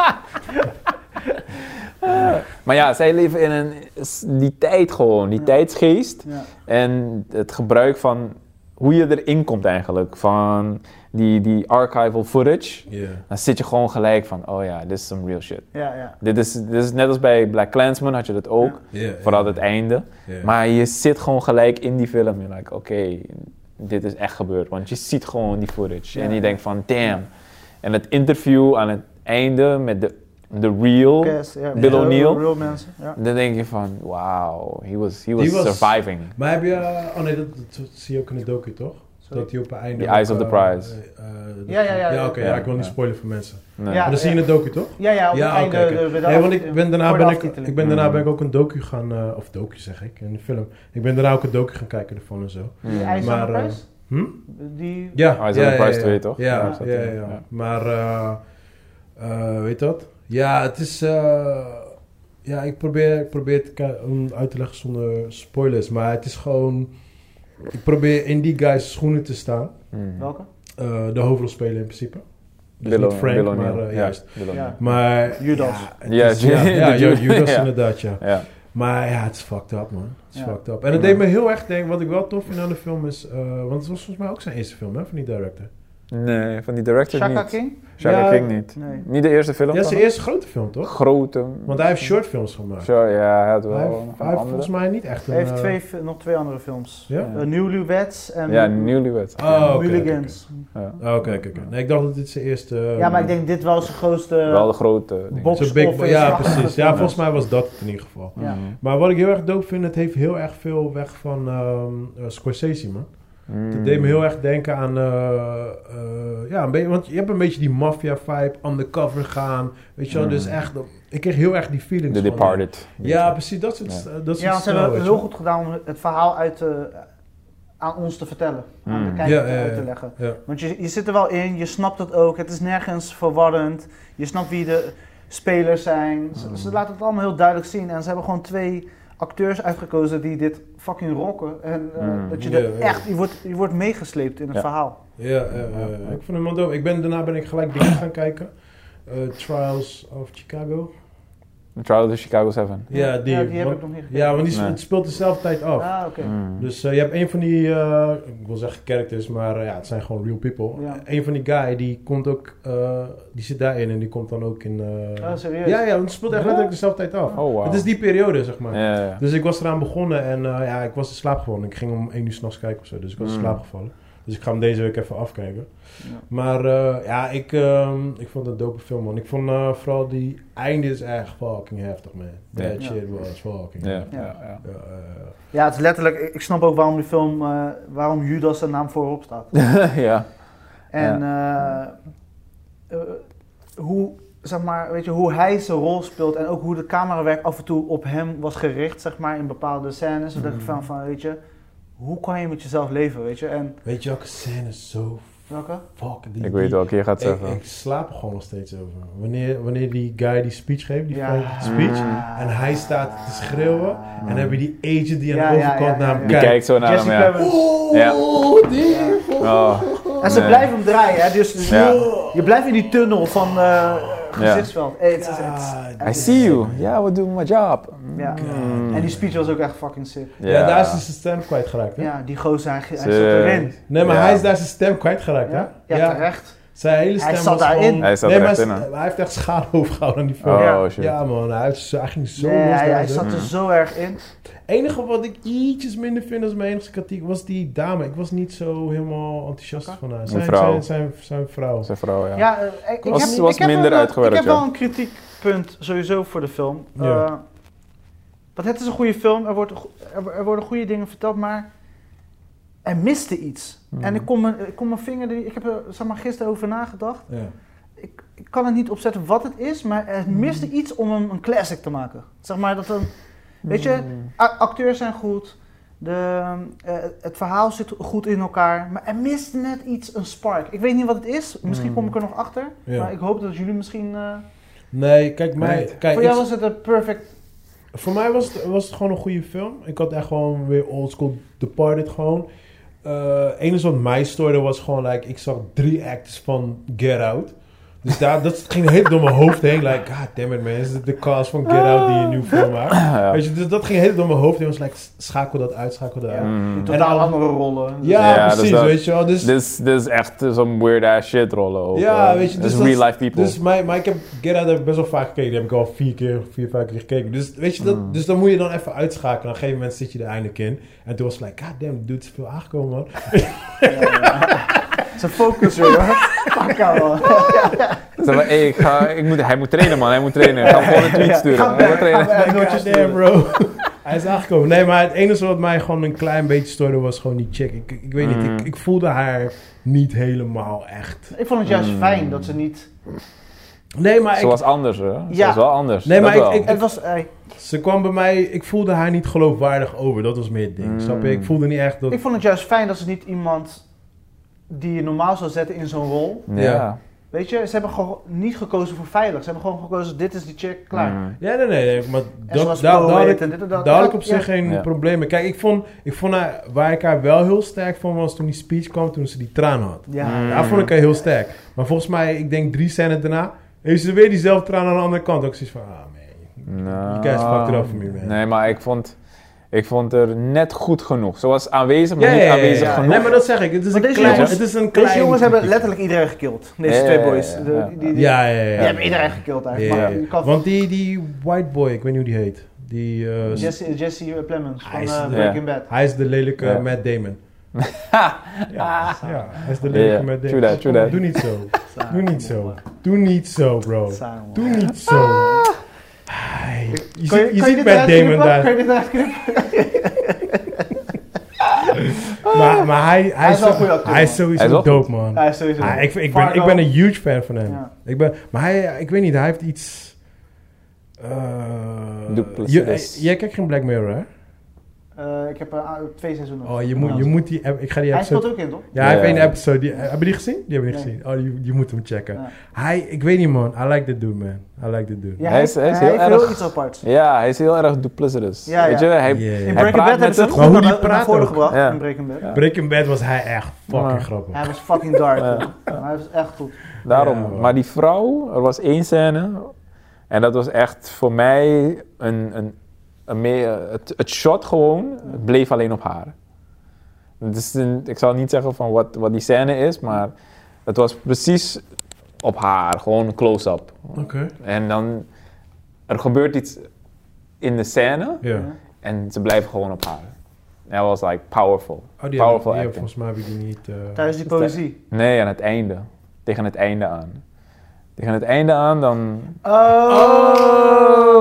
C: Maar ja, zij leven in een, s- die tijd gewoon, die
B: Ja.
C: tijdsgeest.
B: ja.
C: En het gebruik van hoe je erin komt eigenlijk. Van die, die archival footage.
A: Ja.
C: Dan zit je gewoon gelijk van, oh ja, dit is some real shit.
B: Ja, ja.
C: Dit is, dit is net als bij Black Clansman had je dat ook.
B: Ja.
A: Ja, ja.
C: Vooral het einde.
A: Ja.
C: Maar je zit gewoon gelijk in die film. Je like, oké, dit is echt gebeurd. Want je ziet gewoon die footage.
B: Ja.
C: En je denkt van, damn. En het interview aan het einde met de, de real.
B: Yes, ja.
C: Bill
B: Real-
C: O'Neill.
B: Real mensen, ja.
C: Dan denk je van, wauw, he was, he was,
A: He was-
C: surviving.
A: Maar heb je... eh, oh nee, dat, dat zie je ook in de docu, toch?
B: Sorry.
A: Dat hij op het einde...
C: The Eyes
A: ook,
C: of the
A: eh,
C: Prize.
A: eh, eh, dat-
B: Ja, ja, ja, ja.
A: oké, ja,
C: Ja,
A: ik wil niet
C: ja.
A: spoilen voor mensen.
C: Nee.
B: Ja.
A: maar dat zie je in de docu, toch?
B: Ja, ja, op het
A: Ja,
B: einde...
A: oké,
B: de-
A: oké.
B: de- de-
A: Nee, want ik ben daarna
B: voor de
A: ben ik,
B: aftiteling.
A: ik ben daarna
C: Mm.
A: ben ik ook een docu gaan, eh, of docu zeg ik, een film. Ik ben daarna ook een docu gaan kijken ervan en zo.
B: Die
C: Mm.
B: IJs aan de
A: Maar, eh,
B: prijs?
A: Hm?
B: Die...
A: Ja,
C: Eyes
A: ja,
C: on the
A: ja,
C: Prize
A: ja,
C: 2, toch?
A: Ja,
C: Ja,
A: ja,
C: zat
A: ja,
C: erin,
A: ja.
C: ja.
A: Maar, eh, eh, weet dat? Ja, het is, eh, ja, ik probeer, ik probeer te ki- om uit te leggen zonder spoilers, maar het is gewoon, ik probeer in die guys schoenen te staan,
C: Mm.
B: Welke?
A: Eh, de hoofdrolspeler in principe. Dus
C: Bill
A: niet
C: O-
A: Frank,
C: Bill O'Neill.
A: maar eh,
C: Ja,
A: juist.
C: Bill O'Neill.
B: Ja.
A: Maar,
B: Judas.
A: Ja, het
C: Ja,
A: is- ja,
C: Ju-
A: ja,
C: Ju-
A: Judas
C: ja.
A: inderdaad, ja.
C: Ja.
A: Maar ja, het is fucked up, man. Het is
B: Ja.
A: fucked up. En het
C: Ja.
A: deed me heel erg denken, wat ik wel tof vind aan de film is... eh, want het was volgens mij ook zijn eerste film, hè, van die director.
C: Nee, van die director
B: Shaka
C: niet.
B: King?
C: Shaka
A: Ja.
C: King niet.
B: Nee.
A: Eh,
C: Niet de eerste film
A: Ja,
C: van
A: zijn eerste grote film,
C: hem?
A: toch?
C: Grote.
A: Want hij heeft shortfilms gemaakt.
C: Sure, ja, hij had wel
A: hij heeft,
C: nog
A: hij
C: een
A: heeft
C: eh, andere.
A: volgens mij niet echt een...
B: Hij heeft
A: eh,
B: twee, f- nog twee andere films.
A: Ja?
C: Ja.
B: Eh, Newlyweds en...
C: Ja, Newlywed.
A: Oh, oké,
B: Mulligans.
C: Ja.
A: Oké, Oh, oké, oké. Nee, ik dacht dat dit zijn eerste... eh,
B: Ja, maar ik denk dit wel zijn grootste...
C: Wel de grote. dingen.
B: Bob-
A: zijn big-
B: office.
A: Ja, precies. Ja,
B: Ja.
A: volgens mij was dat het in ieder geval.
B: Ja.
C: Mm.
A: Maar wat ik heel erg dope vind, het heeft heel erg veel weg van ehm, eh, Scorsese, man.
C: Hmm.
A: Het deed me heel erg denken aan, eh, eh, ja, een beetje, want je hebt een beetje die maffia vibe, undercover gaan, weet je wel,
C: Mm.
A: dus echt, ik kreeg heel erg die feelings
C: The
A: van-
C: Departed.
A: Ja, precies, dat soort, dat soort
B: Ja, want ze
A: stijl,
B: hebben
A: weet
B: het
A: je
B: heel goed gedaan om het verhaal uit, eh, aan ons te vertellen. Aan de
C: Mm.
B: kijker
A: Hmm. Ja,
B: te-
A: ja, ja.
B: uit te leggen.
A: wel. Ja.
B: Want je, je zit er wel in, je snapt het ook. Het is nergens verwarrend. Je snapt wie de spelers zijn. Ze,
A: Hmm.
B: ze laten het allemaal heel duidelijk zien. En ze hebben gewoon twee acteurs uitgekozen die dit fucking rocken. En eh,
C: Mm.
B: dat je
A: Ja,
B: er
A: ja.
B: echt, je wordt, je wordt meegesleept in het
C: Ja.
B: verhaal.
A: Ja, eh,
C: Ja,
A: eh,
C: ja.
A: ik vond hem wel dope. Ik ben, daarna ben ik gelijk dingen gaan kijken. Eh, Trials of Chicago.
C: The Trial of Chicago 7.
A: Ja, die.
B: ja, heb
A: want,
B: ik nog niet gekeken.
A: ja, want die
C: Nee.
A: het speelt dezelfde tijd af.
B: Ah, oké.
C: Mm.
A: Dus eh, je hebt een van die, eh, ik wil zeggen characters, maar eh, ja, het zijn gewoon real people.
B: Ja.
A: Een van die guy, die komt ook, eh, die zit daarin en die komt dan ook in... eh,
B: Ah, serieus?
A: ja, ja, want het speelt echt letterlijk dezelfde tijd af.
C: Oh, wow.
A: Het is die periode, zeg maar.
C: Ja, ja.
A: Dus ik was eraan begonnen en eh, ja, ik was in slaap gevallen. Ik ging om 1 uur s'nachts kijken of zo, dus ik was in
C: Mm.
A: slaap gevallen. Dus ik ga hem deze week even afkijken.
B: Ja.
A: Maar eh, ja, ik, ehm, ik vond het een dope film, man. Ik vond eh, vooral die einde is echt fucking heftig, man. That
C: Ja.
A: shit was fucking
C: Ja,
A: heftig.
C: ja, ja.
A: Ja, eh,
B: Ja, het is letterlijk, ik ik snap ook waarom die film, eh, waarom Judas zijn naam voorop staat.
C: ja.
B: En eh, hoe, zeg maar, weet je, hoe hij zijn rol speelt en ook hoe de camerawerk af en toe op hem was gericht, zeg maar, in bepaalde scènes. Dan dacht ik
A: Mhm.
B: van, van, weet je, hoe kan je met jezelf leven, weet je? En
A: Weet je welke scène is zo
B: welke?
A: fucking... die-
C: Ik weet welke je gaat
A: die- Ik,
C: zeggen.
A: ik slaap er gewoon nog steeds over. Wanneer, wanneer die guy die speech geeft, die
B: Ja.
A: ja. speech,
B: Ah.
A: en hij staat te schreeuwen, en
C: Mhm.
A: dan heb je die agent die
B: Ja,
A: aan de
B: ja,
A: overkant
B: ja,
A: naar
B: ja,
A: hem
B: ja.
C: Die kijkt zo naar
B: Jesse
C: hem, ja.
B: Plemons.
A: Oh,
C: Ja.
A: die-
C: Oh,
B: En ze
C: Nee.
B: blijven hem draaien, hè? Dus, dus
C: Ja.
A: Oh,
B: je blijft in die tunnel van eh, gezichtsveld. Eh, het is- het is-
A: God.
B: het
C: I
B: is-
C: see you. Yeah, we're doing my job.
B: Ja.
C: Mm.
B: En die speech was ook echt fucking sick.
A: Ja, daar is hij zijn stem kwijtgeraakt, hè?
B: Ja, die gozer, hij, hij zat
C: Sick.
B: erin.
A: Nee, maar
C: Ja.
A: hij is daar zijn stem kwijtgeraakt, hè?
B: Ja, ja, terecht.
A: Zijn hele stem
B: Hij zat
A: was
B: daarin.
A: gewoon-
C: Hij zat
A: nee,
C: er
A: maar
C: echt
A: hij
C: in.
A: is-
C: hè?
A: hij heeft echt schade overgehouden aan die film.
B: Ja.
C: Oh, shit.
A: Ja man, hij, is- hij ging zo
B: nee,
A: los
B: hij, hij
A: daarin.
B: zat
C: Mhm.
B: er zo erg in.
A: enige wat ik ietsjes minder vind als mijn enige kritiek was die dame. Ik was niet zo helemaal enthousiast van haar. Zijn,
C: vrouw.
A: zijn, zijn, zijn vrouw.
C: Zijn vrouw, ja.
B: Ja, eh, ik, ik
C: Was-
B: heb,
C: was
B: ik heb
C: minder
B: wel,
C: uitgewerkt,
B: Ik heb
C: ja.
B: wel een kritiekpunt sowieso voor de film.
A: Ja.
B: Eh, want het is een goede film, er, wordt, go- er, er worden goede dingen verteld, maar er miste iets.
C: Mhm.
B: En ik kon, mijn, ik kon mijn vinger, er niet- ik heb er zeg maar, gisteren over nagedacht.
A: Ja.
B: Ik, ik kan het niet opzetten wat het is, maar er miste
C: Mhm.
B: iets om hem een classic te maken. Zeg maar dat een, weet je,
C: Mm.
B: A- acteurs zijn goed, de, eh, het verhaal zit goed in elkaar, maar er mist net iets, een spark. Ik weet niet wat het is, misschien
C: Mm.
B: kom ik er nog achter,
A: Hmm. Ja.
B: maar ik hoop dat jullie misschien... eh,
A: Nee, kijk, mij,
C: Nee.
A: kijk
B: voor
A: ik-
B: jou was het een perfect...
A: voor mij was het, was het gewoon een goede film. Ik had echt gewoon weer oldschool Departed gewoon. Eh enige wat mij stoorde was gewoon, like, ik zag drie actors van Get Out. Dus daar, dat ging heel door mijn hoofd heen. Like, god damn it man, is dit de cast van Get Out die je nu film maakt?
C: Ja.
A: Weet je, dus dat ging heel door mijn hoofd heen. was like, schakel dat uit, schakel dat uit.
C: Mm.
B: En
A: dan-
B: andere rollen.
A: Hmm. Ja,
C: Ja, dus
A: precies,
C: dat-
A: weet je wel. Dus,
C: Dit is- dit is echt zo'n weird ass shit rollen. over.
A: ja,
B: eh,
A: weet je.
C: Dit
A: Dus
C: is
A: dat-
C: real life people.
A: Dus mijn, mijn, ik heb Get Out heb ik best wel vaak gekeken. Die heb ik al vier keer, vier, vijf keer gekeken. Dus weet je, dat,
B: Hmm.
C: Mm.
A: dus dan moet je dan even uitschakelen. Op een gegeven moment zit je er eindelijk in. En toen was het like, god damn, die dude is veel aangekomen, man.
B: Zijn focus weer, hoor. Fuck jou, man.
C: Zeg maar, hey, ik ga, ik moet, hij moet trainen, man. Hij moet trainen. Ik ga hem gewoon een tweet sturen.
B: Ga
C: Hij moet trainen.
B: Ja,
A: Like,
B: nooitjes
A: god damn, bro. Hij is aangekomen. Nee, maar het enige wat mij gewoon een klein beetje stoorde was gewoon die chick. Ik, ik weet
C: Mm.
B: Hmm.
A: niet, ik, ik voelde haar niet helemaal echt.
B: Ik vond het juist
C: Mm.
A: Hmm.
B: fijn dat ze niet...
A: Nee, maar
C: Ze
A: ik,
C: was anders, hè? Ze
B: Ja.
C: was wel anders.
A: Nee,
C: Dat
A: maar ik-
C: wel.
A: ik-
B: Het was... eh,
A: ze kwam bij mij, ik voelde haar niet geloofwaardig over. Dat was meer het ding,
C: Mm.
A: snap je? Ik voelde niet echt dat...
B: Hmm. ik vond het juist fijn dat ze niet iemand die je normaal zou zetten in zo'n rol.
C: Ja.
B: Weet je, ze hebben gewoon niet gekozen voor veilig. Ze hebben gewoon gekozen, dit is die chick, klaar.
C: Mm.
A: Ja, nee, nee, nee, maar
B: En ze
A: Hmm. dat,
B: was
A: daar,
B: pro
A: daar,
B: en dit en dat.
A: daar had ik op
B: Ja,
A: zich geen
C: Ja.
A: problemen. Kijk, ik vond, ik vond haar, waar ik haar wel heel sterk van was toen die speech kwam, toen ze die tranen had.
B: Ja.
C: Mm.
A: Daar vond ik haar heel sterk. Maar volgens mij, ik denk drie scènes daarna, heeft ze weer diezelfde traan aan de andere kant. Ook zoiets van, ah man. You
C: Nou,
A: guys fucked it up for me, man.
C: Nee, maar ik vond, ik vond er net goed genoeg. Ze was aanwezig, maar
A: Ja,
C: niet
A: ja, ja, ja,
C: aanwezig
A: ja.
C: genoeg.
A: Nee, maar dat zeg ik. Het is,
B: Maar
A: een
B: deze
A: klein,
C: jongens-
A: het is een klein...
B: Deze jongens hebben
A: kritiek.
B: letterlijk iedereen gekild. Deze
C: Ja,
B: twee
C: ja, ja,
B: boys.
C: ja,
B: De-
C: ja.
B: die, die, die-
A: Ja, ja,
B: die
A: ja.
B: hebben iedereen gekild eigenlijk.
A: Ja,
B: maar
A: ja.
B: je kan-
A: Want die, die white boy, ik weet niet hoe die heet. Die, eh,
B: Jesse, Jesse Plemons
A: Hij
B: van
A: is-
B: eh,
A: ja.
B: Breaking Bad.
A: Hij is de lelijke
C: Ja.
A: Matt Damon. ja, ja, hij is de lelijke
C: Ja,
A: Matt Damon.
C: true that, true that.
A: Doe niet zo.
B: Samen,
A: Doe niet zo.
B: man.
A: Doe niet zo, bro.
B: Samen, man.
A: Doe niet zo. Ai, Je
B: Kan
A: ziet, je
B: kan
A: ziet
B: dit
A: Matt
B: eruit
A: Damon
B: knippen? Kan
A: daar.
B: je dit eruit knippen?
A: Maar, maar hij, hij,
B: Hij is
A: is zo-
B: wel een goede acteur,
A: hij is
B: man.
A: sowieso
C: Hij is wel
A: dope, man.
B: Ja, sowieso.
A: Ah, ik, ik, ben, ik ben een huge fan van hem.
B: Ja.
A: Ik ben, maar hij, ik weet niet, hij heeft iets... eh,
C: Duplicitous.
A: je- jij kijkt geen Black Mirror, hè?
B: Eh, ik heb eh, ah, twee seizoenen.
A: Oh, je moet, je moet die... ep- Ik ga die
B: Hij
A: episode...
B: speelt ook in, toch?
A: Ja, hij
C: Ja.
A: heeft één episode. Die, eh, heb je die gezien? Die hebben we niet
B: Nee.
A: gezien. Oh, je, je moet hem checken.
B: Ja.
A: Hij, ik weet niet man. I like the dude man. I like the dude.
B: Ja,
C: Hij is- hij is heel
B: heeft heel
C: erg-
B: iets aparts.
C: Ja, hij is heel erg duplicitous.
B: Ja, ja.
C: Weet je, hij,
A: Yeah.
C: hij
B: In Breaking
C: praat
B: Bad hebben
C: met
B: ze het
A: Maar
C: het...
B: goed
A: hoe
B: naar,
A: die
B: naar
A: praat
B: voren
A: ook.
B: gebracht
C: Ja.
B: in Breaking Bad.
C: Ja.
A: Breaking Bad was hij echt fucking
C: Ja.
A: grappig.
B: Hij was fucking dark.
C: Ja.
B: man. Maar hij was echt goed.
C: Daarom.
A: Ja, man.
C: maar die vrouw, er was één scène. En dat was echt voor mij een... een, een meer, het, het shot gewoon het bleef alleen op haar. Het is een- ik zal niet zeggen van wat, wat die scène is, maar het was precies op haar. Gewoon een close-up.
A: Oké.
C: En dan, er gebeurt iets in de scène
A: Ja.
B: Ja.
C: en ze blijven gewoon op haar. That was like powerful.
A: Oh, die
C: Powerful
A: hebben, die hebben-
C: acting.
A: volgens mij heb ik die niet... eh,
B: Daar is die poëzie.
C: Nee, aan het einde. Tegen het einde aan. Tegen het einde aan dan...
B: Oh!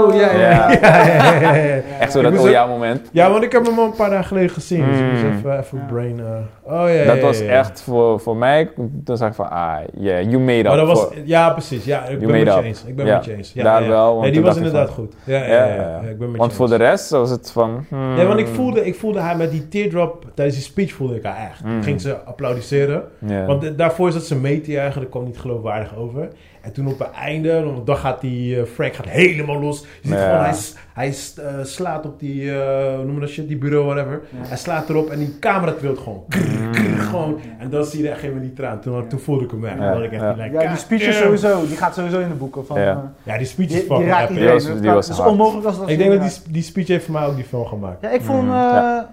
B: Oh, ja, ja.
C: Ja.
A: ja, ja, ja, ja.
C: Echt zo
A: Ik
C: dat
A: moest
C: oh
A: ook-
C: ja moment.
A: Ja, want ik heb hem al een paar dagen geleden gezien. Dus ik
C: Mm.
A: moest even, even
B: Ja.
A: brain... eh, oh ja,
C: Dat
A: ja,
C: was
A: ja, ja.
C: echt voor, voor mij, toen zag ik van, ah, yeah, you made up.
A: Maar dat was,
C: voor-
A: ja, precies. Ja, ik ben
C: made
A: met je
C: up.
A: eens. Ik ben
C: Ja,
A: met je eens. Ja,
C: daar
A: ja.
C: wel, want
A: Nee, die
C: toen
A: was
C: dacht ik
A: inderdaad
C: van-
A: goed. Ja, ja,
C: Ja,
A: ja,
C: ja,
A: ja.
C: ja.
A: Ik ben met
C: Want
A: je
C: voor
A: eens.
C: de rest was het van... hmm.
A: Nee, want ik voelde, ik voelde haar met die teardrop... Tijdens die speech voelde ik haar echt.
C: Mm.
A: Ging ze applaudisseren.
C: Ja.
A: Want eh, daarvoor zat ze mee te juichen. Dat kwam niet geloofwaardig over. En toen op het einde... Want dan gaat die eh, Frank gaat helemaal los. Je ziet
C: Ja.
A: gewoon, hij, s- hij s- eh, slaat op die... eh, hoe noem je dat shit? Die bureau, whatever. Hij slaat erop en die camera trilt gewoon.
C: Mm.
A: Krrr, krrr, gewoon. En dan zie je echt helemaal die traan. Toen, toen voelde ik hem echt.
C: Ja,
A: Toen had ik echt
C: ja.
A: die lijn,
B: Ja, die
A: "God
B: speech is
A: damn."
B: sowieso, die gaat sowieso in de boeken. Van,
C: Ja.
B: eh,
A: Ja, die speech is
B: die, die
A: fucking
B: raakt
A: epic.
B: iedereen.
C: Die was- die was
B: het is
C: hard.
B: onmogelijk als dat
A: Ik
B: ze
A: denk dat
B: niet
A: die, die speech heeft voor mij ook die film gemaakt.
B: raakt. Ja, ik vond
C: Mm,
B: eh,
C: ja.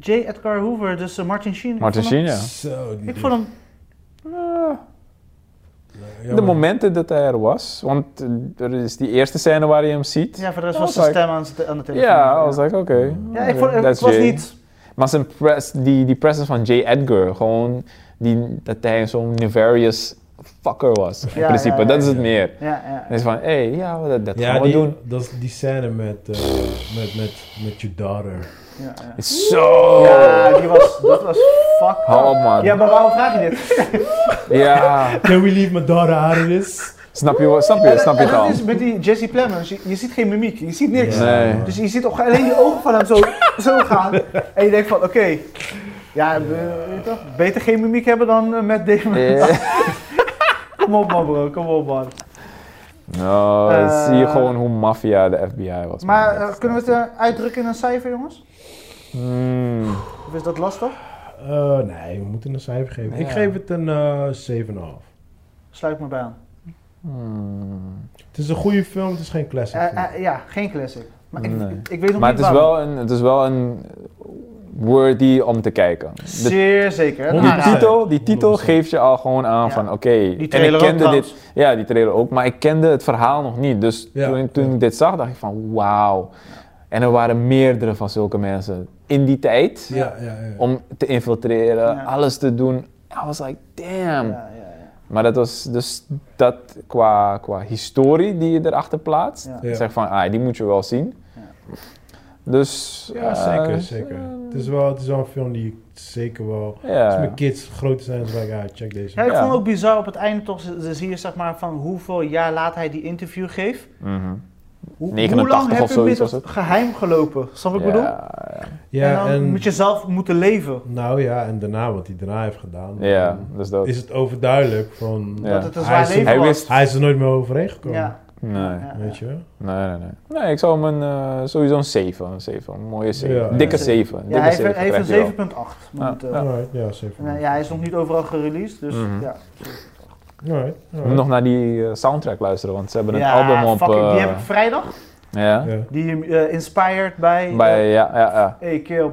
B: J. Edgar Hoover, dus eh, Martin Sheen. ik
C: Martin
B: vond hem-
C: Sheen, ja.
A: Zo, die
B: Ik vond hem...
A: Ja,
C: De
A: maar-
C: momenten dat hij er was, want eh, er is die eerste scène waar je hem ziet. Ja,
B: Ja, voor de rest
C: Dat
B: was
C: was
B: zijn stem aan, z'n- aan de telefoon.
C: I was like, oké.
B: Ja, ik vond, het
C: That's
B: was
C: Jay.
B: niet...
C: Maar zijn pres, die, die presence van J. Edgar, gewoon die, dat hij zo'n nefarious fucker was. In
B: Ja,
C: principe,
B: ja, ja,
C: dat is
A: ja.
C: het meer.
B: Ja, ja.
C: Hij is van, hé, hey, ja, dat, dat
A: Ja,
C: gaan we
A: die,
C: doen.
A: Dat is die scène met, eh met, met, met your daughter.
B: ja, ja.
C: Is Zo!
B: Ja, die was, dat was fuck.
C: Hou op, man.
B: Ja, maar waarom vraag je dit?
C: Ja.
A: Can we leave my daughter out of this?
C: Snap je, wat- snap je, snap je
B: En
C: het al?
B: dat is met die Jesse Plemons, je, je ziet geen mimiek, je ziet niks.
A: Ja.
C: Nee.
B: Dus je ziet ook alleen die ogen van hem zo, zo gaan. En je denkt van, oké, ja, we- weet je toch, beter geen mimiek hebben dan eh, met Damon.
C: Eh,
B: Kom op man bro, kom op man.
C: Nou, dan
B: Eh.
C: zie je gewoon hoe maffia de FBI was.
B: Maar
C: man.
B: eh, kunnen we het eh, uitdrukken in een cijfer jongens?
C: Hmm.
B: Of is dat lastig?
A: Eh, nee, we moeten een cijfer geven. Ik
C: Ja.
A: geef het een eh 7,5.
B: Sluit me bij aan.
C: Hmm.
A: Het is een goede film, het is geen classic.
B: Eh,
A: film.
B: eh, ja, geen classic. Maar ik,
C: Nee.
B: ik, ik weet nog
C: Maar
B: niet
C: het is,
B: waarom.
C: wel een, het is wel een worthy om te kijken. De,
B: Zeer zeker. Nou Een
C: die,
A: Honderd
B: aanrader.
C: titel, die titel
A: 100%.
C: geeft je al gewoon aan
B: Ja.
C: van oké.
B: Die
C: en ik
B: trailer ook
C: kende
B: trouwens.
C: dit. Ja, die trailer ook. Maar ik kende het verhaal nog niet. Dus
A: Ja.
C: toen, toen ik dit zag, dacht ik van wauw. En er waren meerdere van zulke mensen in die tijd
A: ja,
B: eh,
A: ja, ja.
C: om te infiltreren,
B: Ja.
C: alles te doen. I was like, damn.
B: Ja, ja, ja.
C: Maar dat was dus dat qua, qua historie die je erachter plaatst.
B: Ja.
A: Ja.
C: Zeg van, ah, die moet je wel zien. Dus...
A: Ja,
C: eh,
A: zeker, zeker. Het is, wel, het is wel een film die ik zeker wel... Als
C: Ja.
A: mijn kids groter zijn, dan zeg ik, ja, check deze.
B: Ja, ik
C: Ja.
B: vond het ook bizar op het einde toch, ze- ze zie je zeg maar van hoeveel jaar later hij die interview geeft.
C: Mhm.
B: Hoe,
C: 89
B: hoe lang
C: of
B: heb je
C: zoiets
B: dit
C: was het.
B: geheim gelopen? Snap wat ik bedoel?
C: Ja,
B: en
A: Ja,
B: dan
A: en...
B: moet je zelf moeten leven.
A: Nou ja, en daarna, wat hij daarna heeft gedaan.
C: ja, dus dat.
A: is het overduidelijk van...
C: Ja.
B: Dat het een
A: Hij
B: zwaar
A: is-
B: leven
C: hij
B: was.
C: wist...
A: Hij is er nooit meer overheen gekomen.
B: Ja.
C: Nee.
B: ja,
A: Weet je?
C: nee, nee, nee. Nee, ik zou hem een, eh, sowieso een 7. Een 7, een mooie 7.
A: Ja.
C: Dikke
B: Ja.
C: 7.
B: Ja,
C: dikke
B: hij heeft,
C: zeven
B: hij heeft
C: krijg je wel.
B: een 7.8 momenteel. Ja.
A: Alright, ja, zeker.
B: eh, Ja. hij is nog niet overal gereleased, dus
C: Mhm.
B: ja.
A: Alright,
C: Je moet nog naar die eh, soundtrack luisteren, want ze hebben een
B: ja,
C: album op...
B: fucking, die
C: eh,
B: heb ik vrijdag.
C: ja.
A: Ja.
B: Die eh, inspired bij...
C: Bij, ja, ja, ja.
B: Hey kill.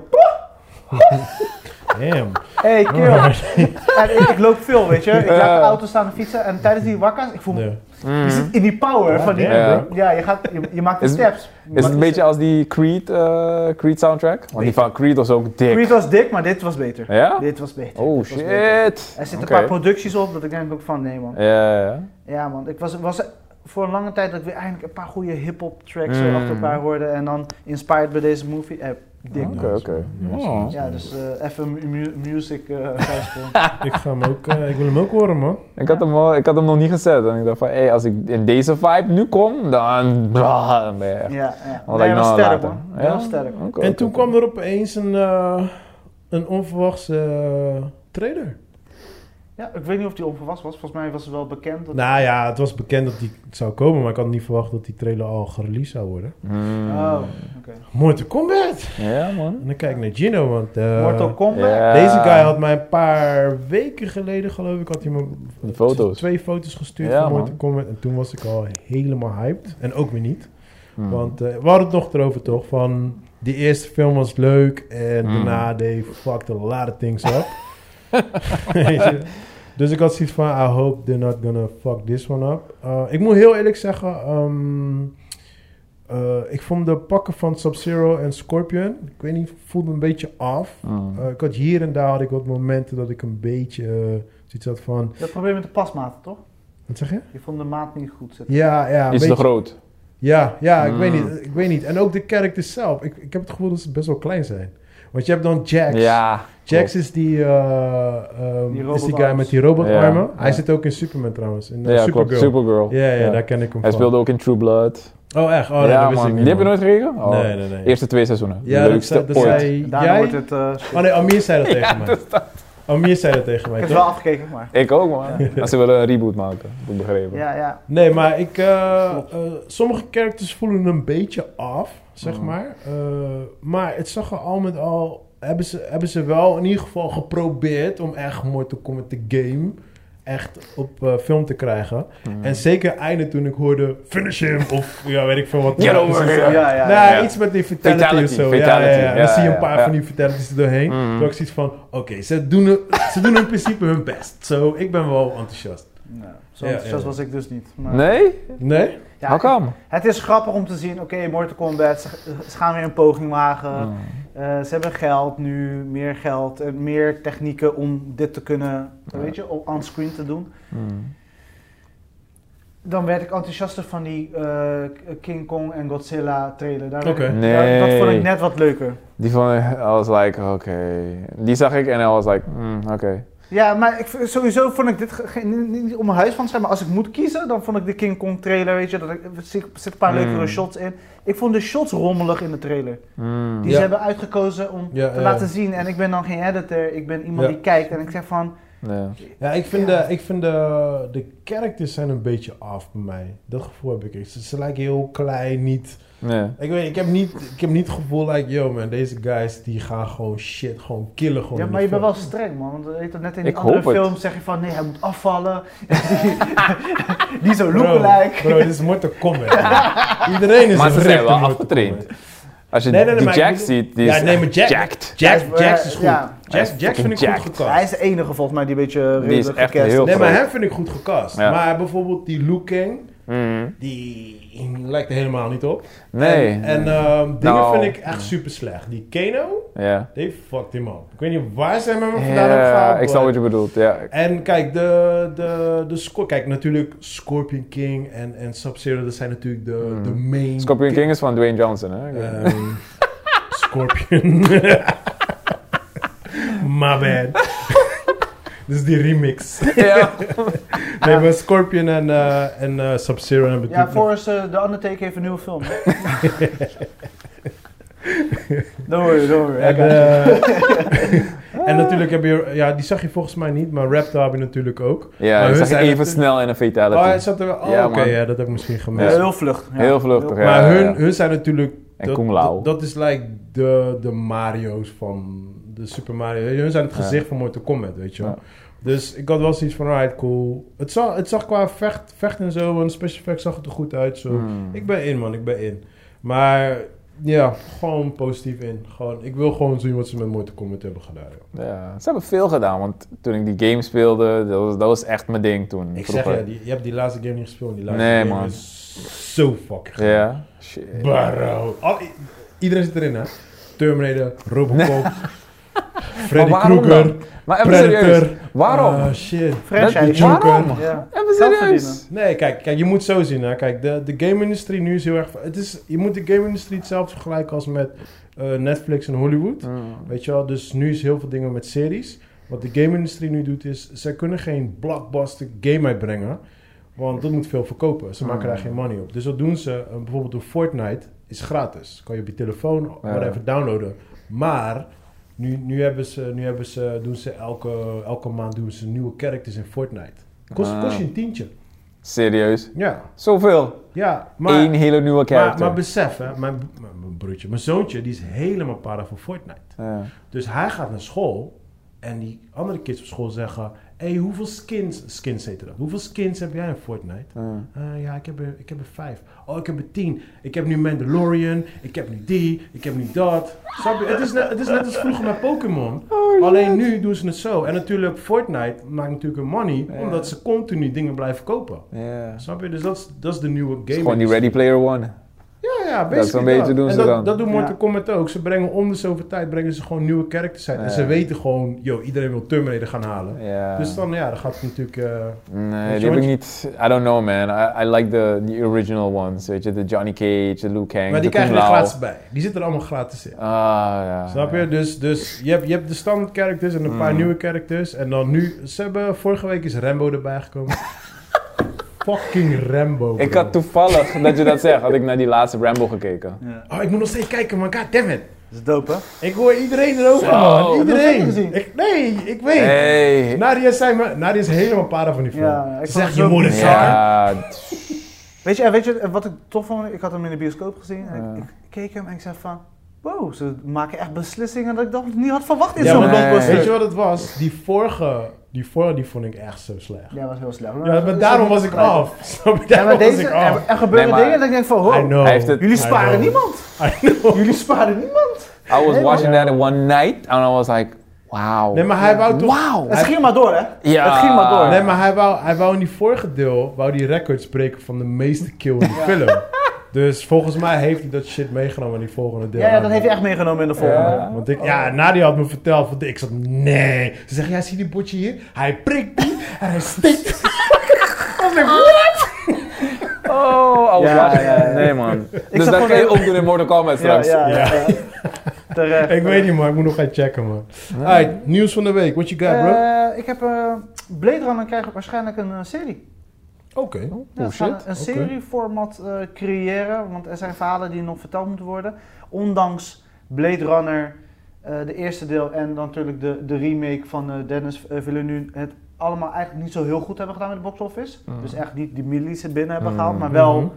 A: Damn.
B: Hey kill.
A: Alright.
B: en ik, ik loop veel, weet je. Ik
C: Ja.
B: laat de auto staan en fietsen. En tijdens die wakka's, ik voel me...
A: Ja.
B: Je
C: Mhm.
B: zit in die power
A: Ja,
B: van die...
A: damn,
C: Ja.
A: bro.
B: Ja, je, gaat, je, je maakt de
C: Is-
B: steps. Je
C: Is
B: maakt
C: het een
B: de
C: beetje
B: steps.
C: als die Creed, eh, Creed soundtrack? Want die van Creed was ook dik.
B: Creed was dik, maar dit was beter.
C: Ja?
B: Dit was beter.
C: Oh
B: Dit was beter.
C: shit!
B: Er zitten
C: Oké.
B: een paar producties op dat ik denk ook van, nee man.
C: Ja, ja, ja.
B: Ja man, ik was, was voor een lange tijd dat ik weer eindelijk een paar goede hip-hop tracks
C: Mm.
B: eh, achter elkaar hoorde. En dan inspired bij deze movie. Eh, dik.
C: Oké,
A: Nice,
C: oké.
A: nice, nice,
C: Oh.
A: nice.
B: Ja, dus eh, even mu- mu- music eh luisteren.
A: Ik ga hem ook... eh, ik wil hem ook horen, man.
C: Ik, had hem al, ik had hem nog niet gezet. En ik dacht van, hé, als ik in deze vibe nu kom, dan, blah, dan ben je echt...
B: Ja, ja.
C: Wat
B: Nee,
C: ik
B: was
C: nou
B: sterk
C: later.
B: man.
C: Ja?
B: Ja? was sterk.
C: Oké,
A: En
C: oké,
A: toen
C: oké.
A: kwam er opeens een, eh, een onverwachte eh, trailer.
B: Ja, ik weet niet of die onverwacht was. Volgens mij was het wel bekend. Dat...
A: Nou ja, het was bekend dat die zou komen, maar ik had niet verwacht dat die trailer al gereleased zou worden.
C: Hmm.
B: Oh, oké.
A: Mortal Kombat!
C: Ja, man.
A: En dan kijk ik naar Gino, want... eh,
B: Mortal Kombat.
C: Ja.
A: Deze guy had mij een paar weken geleden, geloof ik, had hij me
C: De foto's.
A: twee foto's gestuurd
C: Ja,
A: van
C: man.
A: Mortal Kombat. En toen was ik al helemaal hyped. En ook weer niet.
C: Hmm.
A: Want eh, we hadden het nog erover, toch? Van die eerste film was leuk en
C: Mm.
A: daarna they fucked a lot of things up. Weet je? dus ik had zoiets van, I hope they're not gonna fuck this one up. Eh, ik moet heel eerlijk zeggen, ehm, eh, ik vond de pakken van Sub-Zero en Scorpion, ik weet niet, voelde een beetje af.
C: Hmm.
A: Eh, ik had hier en daar had ik wat momenten dat ik een beetje eh, zoiets had van,
B: Dat probleem met de pasmaat, toch?
A: wat zeg je?
B: Je vond de maat niet goed zitten.
A: Ja, ja. een
C: Iets te
A: beetje-
C: groot.
A: Ja, ja ik,
C: Mm.
A: weet niet, ik weet niet. En ook de characters zelf. Ik, ik heb het gevoel dat ze best wel klein zijn. Want je hebt dan Jax.
C: Ja.
A: Jax is die, eh, ehm,
B: Die
A: is die guy
B: robotarms.
A: met die robotarmen.
C: Ja,
A: Hij
C: ja.
A: zit ook in Superman trouwens. In eh,
C: Ja, klopt.
A: Supergirl.
C: Supergirl.
A: Ja, ja, daar ken ik hem
C: Hij
A: van.
C: speelde ook in True Blood.
A: Oh, echt? Oh, nee,
C: ja,
A: dat wist
C: man.
A: ik
C: Die
A: niet.
C: heb je
A: man.
C: nooit gekregen? Oh.
A: Nee, nee, nee.
C: Eerste twee seizoenen.
A: ja, dat
C: Leukste
A: zei- dat
C: ooit.
A: zei
B: Daarna
A: jij.
B: wordt het... eh,
A: Oh nee, Amir zei dat tegen mij.
C: dat-
A: Amir zei dat tegen
B: ik
A: mij,
B: heb het wel
A: toch?
B: afgekeken, maar...
C: Ik ook, man. Als ze willen een reboot maken, heb ik begrepen.
B: Ja, ja.
A: Nee, maar ik... eh, eh, sommige characters voelen een beetje af, zeg
C: Mm.
A: maar. Eh, maar het zag er al met al... Hebben ze, hebben ze wel in ieder geval geprobeerd om echt Mortal Kombat de game echt op eh, film te krijgen.
C: Mm.
A: En zeker einde toen ik hoorde finish him of ja, weet ik veel wat.
C: Get over
A: Dus,
B: Ja,
C: here.
B: ja, ja.
A: nou,
C: ja.
A: iets met die fatality,
C: Fatality,
A: of zo.
C: fatality.
A: Ja, ja, ja. En dan
C: Ja,
A: zie je
C: ja,
A: een paar
C: ja.
A: van die fatalities er doorheen.
C: Mm.
A: Toen had ik zoiets van, oké, ze, doen het- ze doen in principe hun best. Zo, ik ben wel enthousiast.
B: Nou, zo
A: Ja,
B: enthousiast
A: ja.
B: was ik dus niet. Maar...
C: Nee?
A: Nee?
B: Ja,
C: How come?
B: Het is grappig om te zien, oké, Mortal Kombat, ze, ze gaan weer een poging wagen.
C: Hmm.
B: Eh, ze hebben geld nu, meer geld en meer technieken om dit te kunnen,
C: Ja.
B: weet je, op- onscreen te doen.
C: Mm.
B: Dan werd ik enthousiaster van die eh, King Kong en Godzilla trailer. Daar werd
A: Oké.
B: ik-
C: Nee.
B: daar- dat vond ik net wat leuker.
C: Die vond ik, I was like, oké. Die zag ik en I was like, mm, oké.
B: Ja, maar ik, v- sowieso vond ik dit ge- geen- niet, niet om mijn huis van te zijn, maar als ik moet kiezen, dan vond ik de King Kong trailer, weet je, dat ik, er zit- zitten een paar
C: Mm.
B: leukere shots in. Ik vond de shots rommelig in de trailer.
C: Mm.
B: Die
A: Ja.
B: ze hebben uitgekozen om
A: Ja,
B: te
A: ja.
B: laten zien. En ik ben dan geen editor, ik ben iemand
A: Ja.
B: die kijkt en ik zeg van,
C: Ja.
A: Ja, ik vind, De, ik vind de, de characters zijn een beetje af bij mij. Dat gevoel heb ik. Ze, ze lijken heel klein, niet...
C: Ja.
A: Ik weet, ik heb niet, ik heb niet het gevoel, like, yo man, deze guys die gaan gewoon shit, gewoon killen gewoon.
B: Ja,
A: in
B: maar
A: de
B: je bent
A: film.
B: wel streng, man. Want je weet dat net in die
C: Ik
B: andere
C: hoop het.
B: film zeg je van nee, hij moet afvallen. die zo lookalike.
A: Bro, bro, dit is Mortal Kombat. man. Iedereen is
C: Maar ze
A: een
C: zijn
A: richter
C: wel
A: Mortal
C: afgetraind.
A: Kombat.
C: Als je
A: Nee, nee, nee,
C: die
A: maar
C: Jack
A: ik bedoel-
C: ziet, die
A: Ja,
C: is
A: nee, maar
C: echt
A: Jack-
C: jacked.
A: Jack,
B: Hij is-
A: Jack is goed.
B: ja.
A: Jack,
C: Hij is
A: Jack vind ik
C: fucking
A: goed
B: Hij
A: gecast.
B: is de enige volgens mij die een beetje
C: Die is
B: redelijk
C: echt
B: gecast
C: heel
A: Nee,
B: is.
A: maar
C: groot.
A: hem vind ik goed gecast.
C: Ja.
A: Maar bijvoorbeeld die Liu Kang, Hmm.
C: Mm.
A: die lijkt er helemaal niet op.
C: Nee.
A: En, en ehm, dingen
C: Nou.
A: vind ik echt super slecht. Die Kano,
C: Ja.
A: die fucked hem op. Ik weet niet waar ze hem vandaan hebben
C: Ja,
A: gehaald.
C: ik snap
A: maar-
C: wat je bedoelt. Ja.
A: En kijk, de, de, de score. Kijk, natuurlijk Scorpion King en, en Sub-Zero, dat zijn natuurlijk de,
C: Mm.
A: de main.
C: Scorpion King is van Dwayne Johnson, hè?
A: Ehm, Scorpion. My bad. dus die remix.
C: ja.
A: Nee, maar Scorpion en, eh, en eh, Sub-Zero hebben
B: Ja,
A: natuurlijk-
B: Forrest, eh, de Undertaker heeft een nieuwe film. don't worry, don't worry.
A: En,
B: I got you.
A: eh, en natuurlijk heb je, ja, die zag je volgens mij niet, maar Raptor heb je natuurlijk ook.
C: Ja,
A: Maar
C: dat
A: hun
C: zag
A: zijn
C: ik even
A: natuurlijk-
C: snel in een
A: Oh, hij
C: fatality.
A: zat er wel. Oh,
C: Ja,
A: oké,
C: man.
A: ja, dat heb ik misschien
B: Ja,
A: gemist.
B: heel vluchtig. ja.
C: Heel vluchtig, ja.
A: Maar hun,
C: ja.
A: hun zijn natuurlijk.
C: En
A: dat-
C: Kung Lao.
A: Dat, dat is like de, de Mario's van de Super Mario. Hun zijn het
C: Ja.
A: gezicht van Mortal Kombat, weet je wel.
C: Ja.
A: Dus ik had wel zoiets van, alright, cool. Het zag, het zag qua vecht, vecht en zo, en special effects zag het er goed uit. Zo.
C: Mm.
A: Ik ben in, man, ik ben in. Maar ja, gewoon positief in. Gewoon, ik wil gewoon zien wat ze met Mortal Kombat hebben gedaan. joh.
C: Ja, ze hebben veel gedaan, want toen ik die game speelde, dat was, dat was echt mijn ding toen.
A: Ik zeg
C: Mm, vroeger.
A: ja, die, je hebt die laatste game niet gespeeld. Die laatste
C: Nee,
A: game
C: man.
A: is zo fucking goed.
C: Ja, shit.
A: Bro. Al- Oh, i- iedereen zit erin, hè? Terminator, Robocop,
C: Maar
A: Freddy
C: waarom
A: Krueger,
C: dan? Maar even serieus,
A: Predator.
C: waarom?
A: Ah, shit.
B: Franchise.
A: Joker.
C: Waarom?
B: Ja.
C: Even
B: Geld
C: serieus.
B: verdienen.
A: Nee, kijk, kijk, je moet zo zien, hè. Kijk, de, de game-industrie nu is heel erg... Het is, je moet de game-industrie hetzelfde vergelijken als met eh, Netflix en Hollywood.
C: Mm.
A: Weet je wel, dus nu is heel veel dingen met series. Wat de game-industrie nu doet is, zij kunnen geen blockbuster game uitbrengen. Want dat moet veel verkopen. Ze maken
C: Mm.
A: daar geen money op. Dus wat doen ze? Eh, Bijvoorbeeld door Fortnite is gratis. Kan je op je telefoon
C: Ja.
A: whatever downloaden. Maar nu, nu, hebben ze, nu hebben ze, doen ze elke, elke maand doen ze nieuwe characters in Fortnite. Kost,
C: Ah.
A: kost je een tientje.
C: Serieus.
A: Ja,
C: Zoveel.
A: ja. Maar,
C: Eén hele nieuwe
A: maar,
C: character.
A: maar besef, hè, mijn, mijn broertje, mijn zoontje, die is helemaal para voor Fortnite.
C: Ja.
A: Dus hij gaat naar school en die andere kids op school zeggen: Hé, hey, hoeveel skins, skins heet dat? Hoeveel skins heb jij in Fortnite?
C: Ja.
A: "Eh, ja, ik heb, er, ik heb er vijf. Oh, ik heb er tien. Ik heb nu Mandalorian. Ik heb nu die. Ik heb nu dat. Snap je? Het is net, het is net als vroeger met Pokémon. Alleen nu doen ze het zo. En natuurlijk, Fortnite maakt natuurlijk hun money
C: Ja.
A: omdat ze continu dingen blijven kopen.
C: Ja.
A: Snap je? Dus dat is, dat is de nieuwe game.
C: Gewoon die Ready Player One.
A: Ja, ja, basically
C: Dat is een beetje doen
A: En
C: ze
A: dat,
C: dan.
A: Dat doen Mortal
B: Ja.
A: Kombat ook. Ze brengen om de zoveel tijd brengen ze gewoon nieuwe characters uit. En
C: Ja.
A: ze weten gewoon, yo, iedereen wil Terminator gaan halen.
C: Ja.
A: Dus dan, ja, dan gaat het natuurlijk... eh,
C: Nee,
A: Weet je
C: die heb
A: wat
C: ik
A: je-
C: niet. I don't know, man. I, I like the, the original ones. Weet je, de Johnny Cage, de Liu
A: maar die
C: Kang. de Kung
A: krijgen er
C: Lao.
A: gratis bij. Die zitten er allemaal gratis in.
C: Ah, ja.
A: Snap je? Dus, dus je, hebt, je hebt de standaard characters en een paar
C: Mm.
A: nieuwe characters. En dan nu... Ze hebben... Vorige week is Rambo erbij gekomen. Fucking Rambo.
C: Ik
A: bro.
C: had toevallig, dat je dat zegt, had ik naar die laatste Rambo gekeken.
B: Ja.
A: Oh, ik moet nog steeds kijken, man. God damn it.
B: Dat is dope, hè?
A: Ik hoor iedereen erover,
C: Zo.
A: man.
B: Heb je nog
A: Iedereen.
B: steeds gezien?
A: Ik, nee, ik weet.
C: Hey!
A: Nadia, zei me, Nadia is helemaal para van die film.
B: Ja, ik vond
A: zeg
B: het
A: je
B: zo-
A: moeder zakken.
C: Ja,
B: Weet je, en weet je eh, wat ik tof vond? Ik had hem in de bioscoop gezien. En
C: Ja.
B: ik, ik keek hem en ik zei van... Wow, ze maken echt beslissingen dat ik dat niet had verwacht in
A: Ja,
B: zo'n
A: maar-
B: blockbuster.
A: Weet je wat het was? Die vorige, die vorige die vond ik echt zo slecht.
B: Ja, was heel slecht.
A: Ja, maar daarom was ik af. Snap je?
B: Ja,
A: Daarom
B: maar
A: was
B: deze,
A: ik af.
B: er, er gebeuren
C: Nee, maar-
B: dingen dat ik denk van...
A: I
B: Wow,
A: know.
C: Hij heeft het-
B: jullie
A: I
B: sparen
A: know.
B: niemand.
A: I know.
B: Jullie sparen niemand.
C: I was
B: Hey,
C: watching
A: man.
C: that in one night and I was like, wow.
A: Nee, maar hij wou toch...
C: Wow!
B: Het ging maar door, hè?
C: Ja.
B: Het ging maar door.
A: Nee, maar hij wou, hij wou in die vorige deel... wou die record spreken van de meeste kill in de film. Dus volgens mij heeft hij dat shit meegenomen in die volgende deel.
B: Ja, ja, dat heeft Oh. hij echt meegenomen in de volgende.
C: Ja.
A: Want ik, ja, Nadia had me verteld, want ik zat, nee. Ze zegt, ja, zie die botje hier? Hij prikt die en hij stikt. Ik denk, what?
C: Oh, I was
B: Ja,
C: watching
B: ja,
C: that.
B: ja.
C: Nee, man. dus
B: zag
C: dat
B: gewoon
C: kan je
B: heel-
C: ook doen in Mortal Kombat
B: Ja,
C: straks.
B: ja, ja.
A: Ja.
B: ja. Terecht.
A: Ik weet niet, man. Ik moet nog gaan checken, man. Alright, nieuws van de week. What you got, bro?
B: Eh, ik heb eh Blade Runner krijgt waarschijnlijk een eh, serie.
A: Oké.
B: Ja,
C: Oh,
B: ze Eh, nou, gaan
C: shit.
B: een serieformat eh, creëren, want er zijn verhalen die nog verteld moeten worden. Ondanks Blade Runner, eh, de eerste deel en dan natuurlijk de, de remake van eh, Dennis eh, Villeneuve het allemaal eigenlijk niet zo heel goed hebben gedaan met de box office.
C: Mm.
B: Dus echt niet die millies er binnen hebben
C: Mm.
B: gehaald, maar wel, eh,
A: Mhm.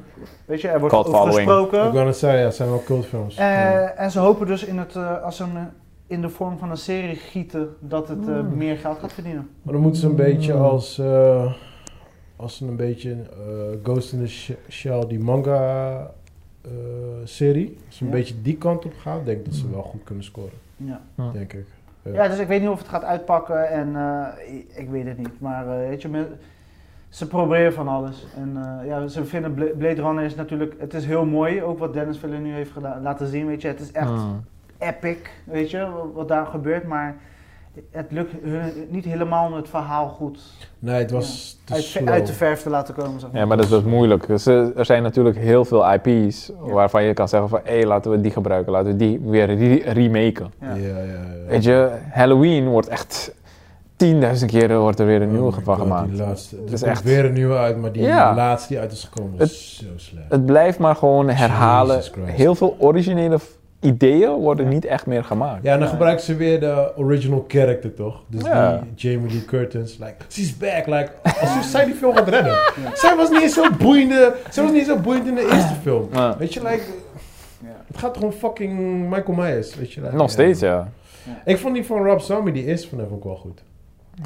B: weet je, er wordt
C: Cult
B: over
C: following.
B: gesproken.
A: Ik wou net zeggen, ja, het zijn wel cultfilms.
B: Eh,
C: Mm.
B: En ze hopen dus in het, eh, als ze hem eh, in de vorm van een serie gieten, dat het eh,
C: Mm.
B: meer geld gaat verdienen.
A: Maar dan moeten ze een beetje als... eh, als een beetje eh, Ghost in the Sh- Shell, die manga... eh, serie. Als ze een
B: Ja.
A: beetje die kant op gaan, denk ik dat ze wel goed kunnen scoren.
B: Ja.
A: Denk ik.
B: ja, dus ik weet niet of het gaat uitpakken en eh, ik- ik weet het niet. Maar eh, weet je, men- ze proberen van alles. En eh, ja, ze vinden Bla- Blade Runner is natuurlijk, het is heel mooi, ook wat Dennis Villeneuve heeft gedaan, laten zien, weet je. Het is echt
C: Mm.
B: epic, weet je, wa- wat daar gebeurt, maar... Het lukt hun niet helemaal om het verhaal goed
A: Nee, het was te
B: uit,
A: slow.
B: uit de verf te laten komen. Zeg maar.
C: Ja, maar dat is dus moeilijk. Dus, eh, er zijn natuurlijk heel veel IP's waarvan je kan zeggen van, hé, laten we die gebruiken, laten we die weer re- remaken.
A: Ja,
B: Ja.
A: ja, ja.
C: Weet je, Halloween wordt echt 10.000 keren wordt er weer een nieuwe
A: Oh my
C: van
A: God,
C: gemaakt.
A: Die laatste. Er
C: is
A: komt
C: echt-
A: weer een nieuwe uit, maar die
C: Ja.
A: laatste die uit is gekomen was zo slecht.
C: Het blijft maar gewoon herhalen.
A: Jesus Christ.
C: Heel veel originele f- ideeën worden niet echt meer gemaakt.
A: ja, en dan gebruiken ze weer de original character, toch? Dus
C: Ja.
A: die Jamie Lee Curtis, like, she's back, like, alsof zij die film gaat redden. Zij was niet eens zo boeiende, zij was niet eens zo boeiend in de eerste film.
C: Ja.
A: Weet je, like,
B: Ja.
A: het gaat gewoon fucking Michael Myers, weet je. like,
C: Nog steeds, ja.
A: Ik vond die van Rob Zombie, die eerste van hem ook wel goed.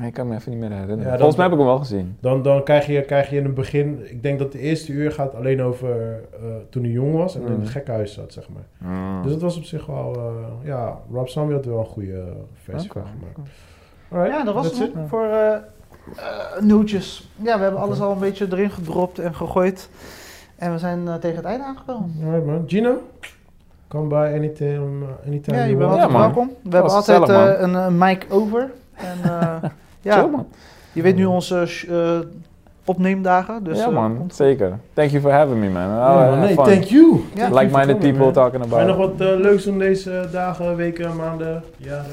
C: Ik kan me even niet meer herinneren.
A: Ja, dat-
C: Volgens mij heb ik hem wel gezien.
A: Dan, dan krijg, je, krijg je in het begin, ik denk dat de eerste uur gaat alleen over eh, toen hij jong was en in
C: Mm.
A: het gekkenhuis zat, zeg maar. Dus dat was op zich wel, eh, ja, Rob Zombie had er wel een goede eh, versie
C: Oké.
A: van gemaakt. Alright,
B: Ja, dat was
A: that's
B: het
A: it.
B: voor eh, eh, nieuwtjes. Ja, we hebben alles al een beetje erin gedropt en gegooid. En we zijn eh, tegen het einde aangekomen.
A: Alright man, Gino, come by anytime, uh, anytime
B: Ja, je
A: you
B: bent
A: want.
B: altijd
C: man.
B: welkom. We hebben
C: was
B: altijd
C: gezellig,
B: eh, een eh, mic over. En eh, ja,
C: Chill, man.
B: je weet nu onze sh- eh, opneemdagen. Dus,
C: ja,
B: eh,
C: man.
B: komt-
C: Zeker. Thank you for having me, man. Oh, eh,
A: Ja, man, nee, thank you.
B: Ja.
A: Thank you
C: Like-minded
A: for coming,
C: people
A: man.
C: talking about
A: Ga je nog
C: it.
A: wat eh, leuks doen deze dagen, weken, maanden, jaren?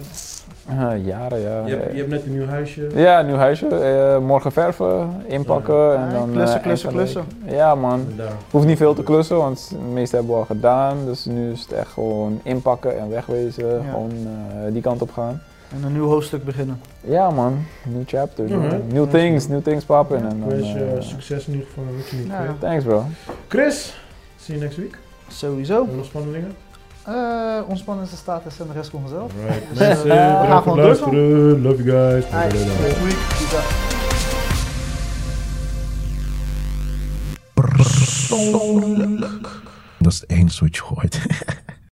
C: Eh, jaren, ja.
A: Je hebt, je hebt net een nieuw huisje.
C: Ja, nieuw huisje. eh, morgen verven, inpakken.
B: Ja,
C: en dan, eh,
B: klussen,
C: eind
B: klussen,
C: van de week.
B: klussen.
C: Ja, man.
A: Daar.
C: hoeft niet veel te klussen, want de meeste hebben we al gedaan. Dus nu is het echt gewoon inpakken en wegwezen.
B: Ja.
C: Gewoon eh, die kant op gaan.
B: En een nieuw hoofdstuk beginnen.
C: Ja man, new chapter.
A: Ja, hè?
C: New things, new things poppen. En
A: Ik
C: dan,
A: wens je
C: eh,
A: succes in ieder geval met je nieuwe
B: Ja.
A: project.
C: thanks bro.
A: Chris, see you next week.
B: Sowieso.
A: Nog spanningen?
B: Eh ontspannende status en de rest komt vanzelf.
A: Alright, mensen,
B: Mensen, we gaan
A: bedankt voor
B: gewoon
A: het luisteren. Love you guys.
B: Hi,
A: Blablabla.
B: next week. Peace out.
D: Dat is het enige wat je gooit.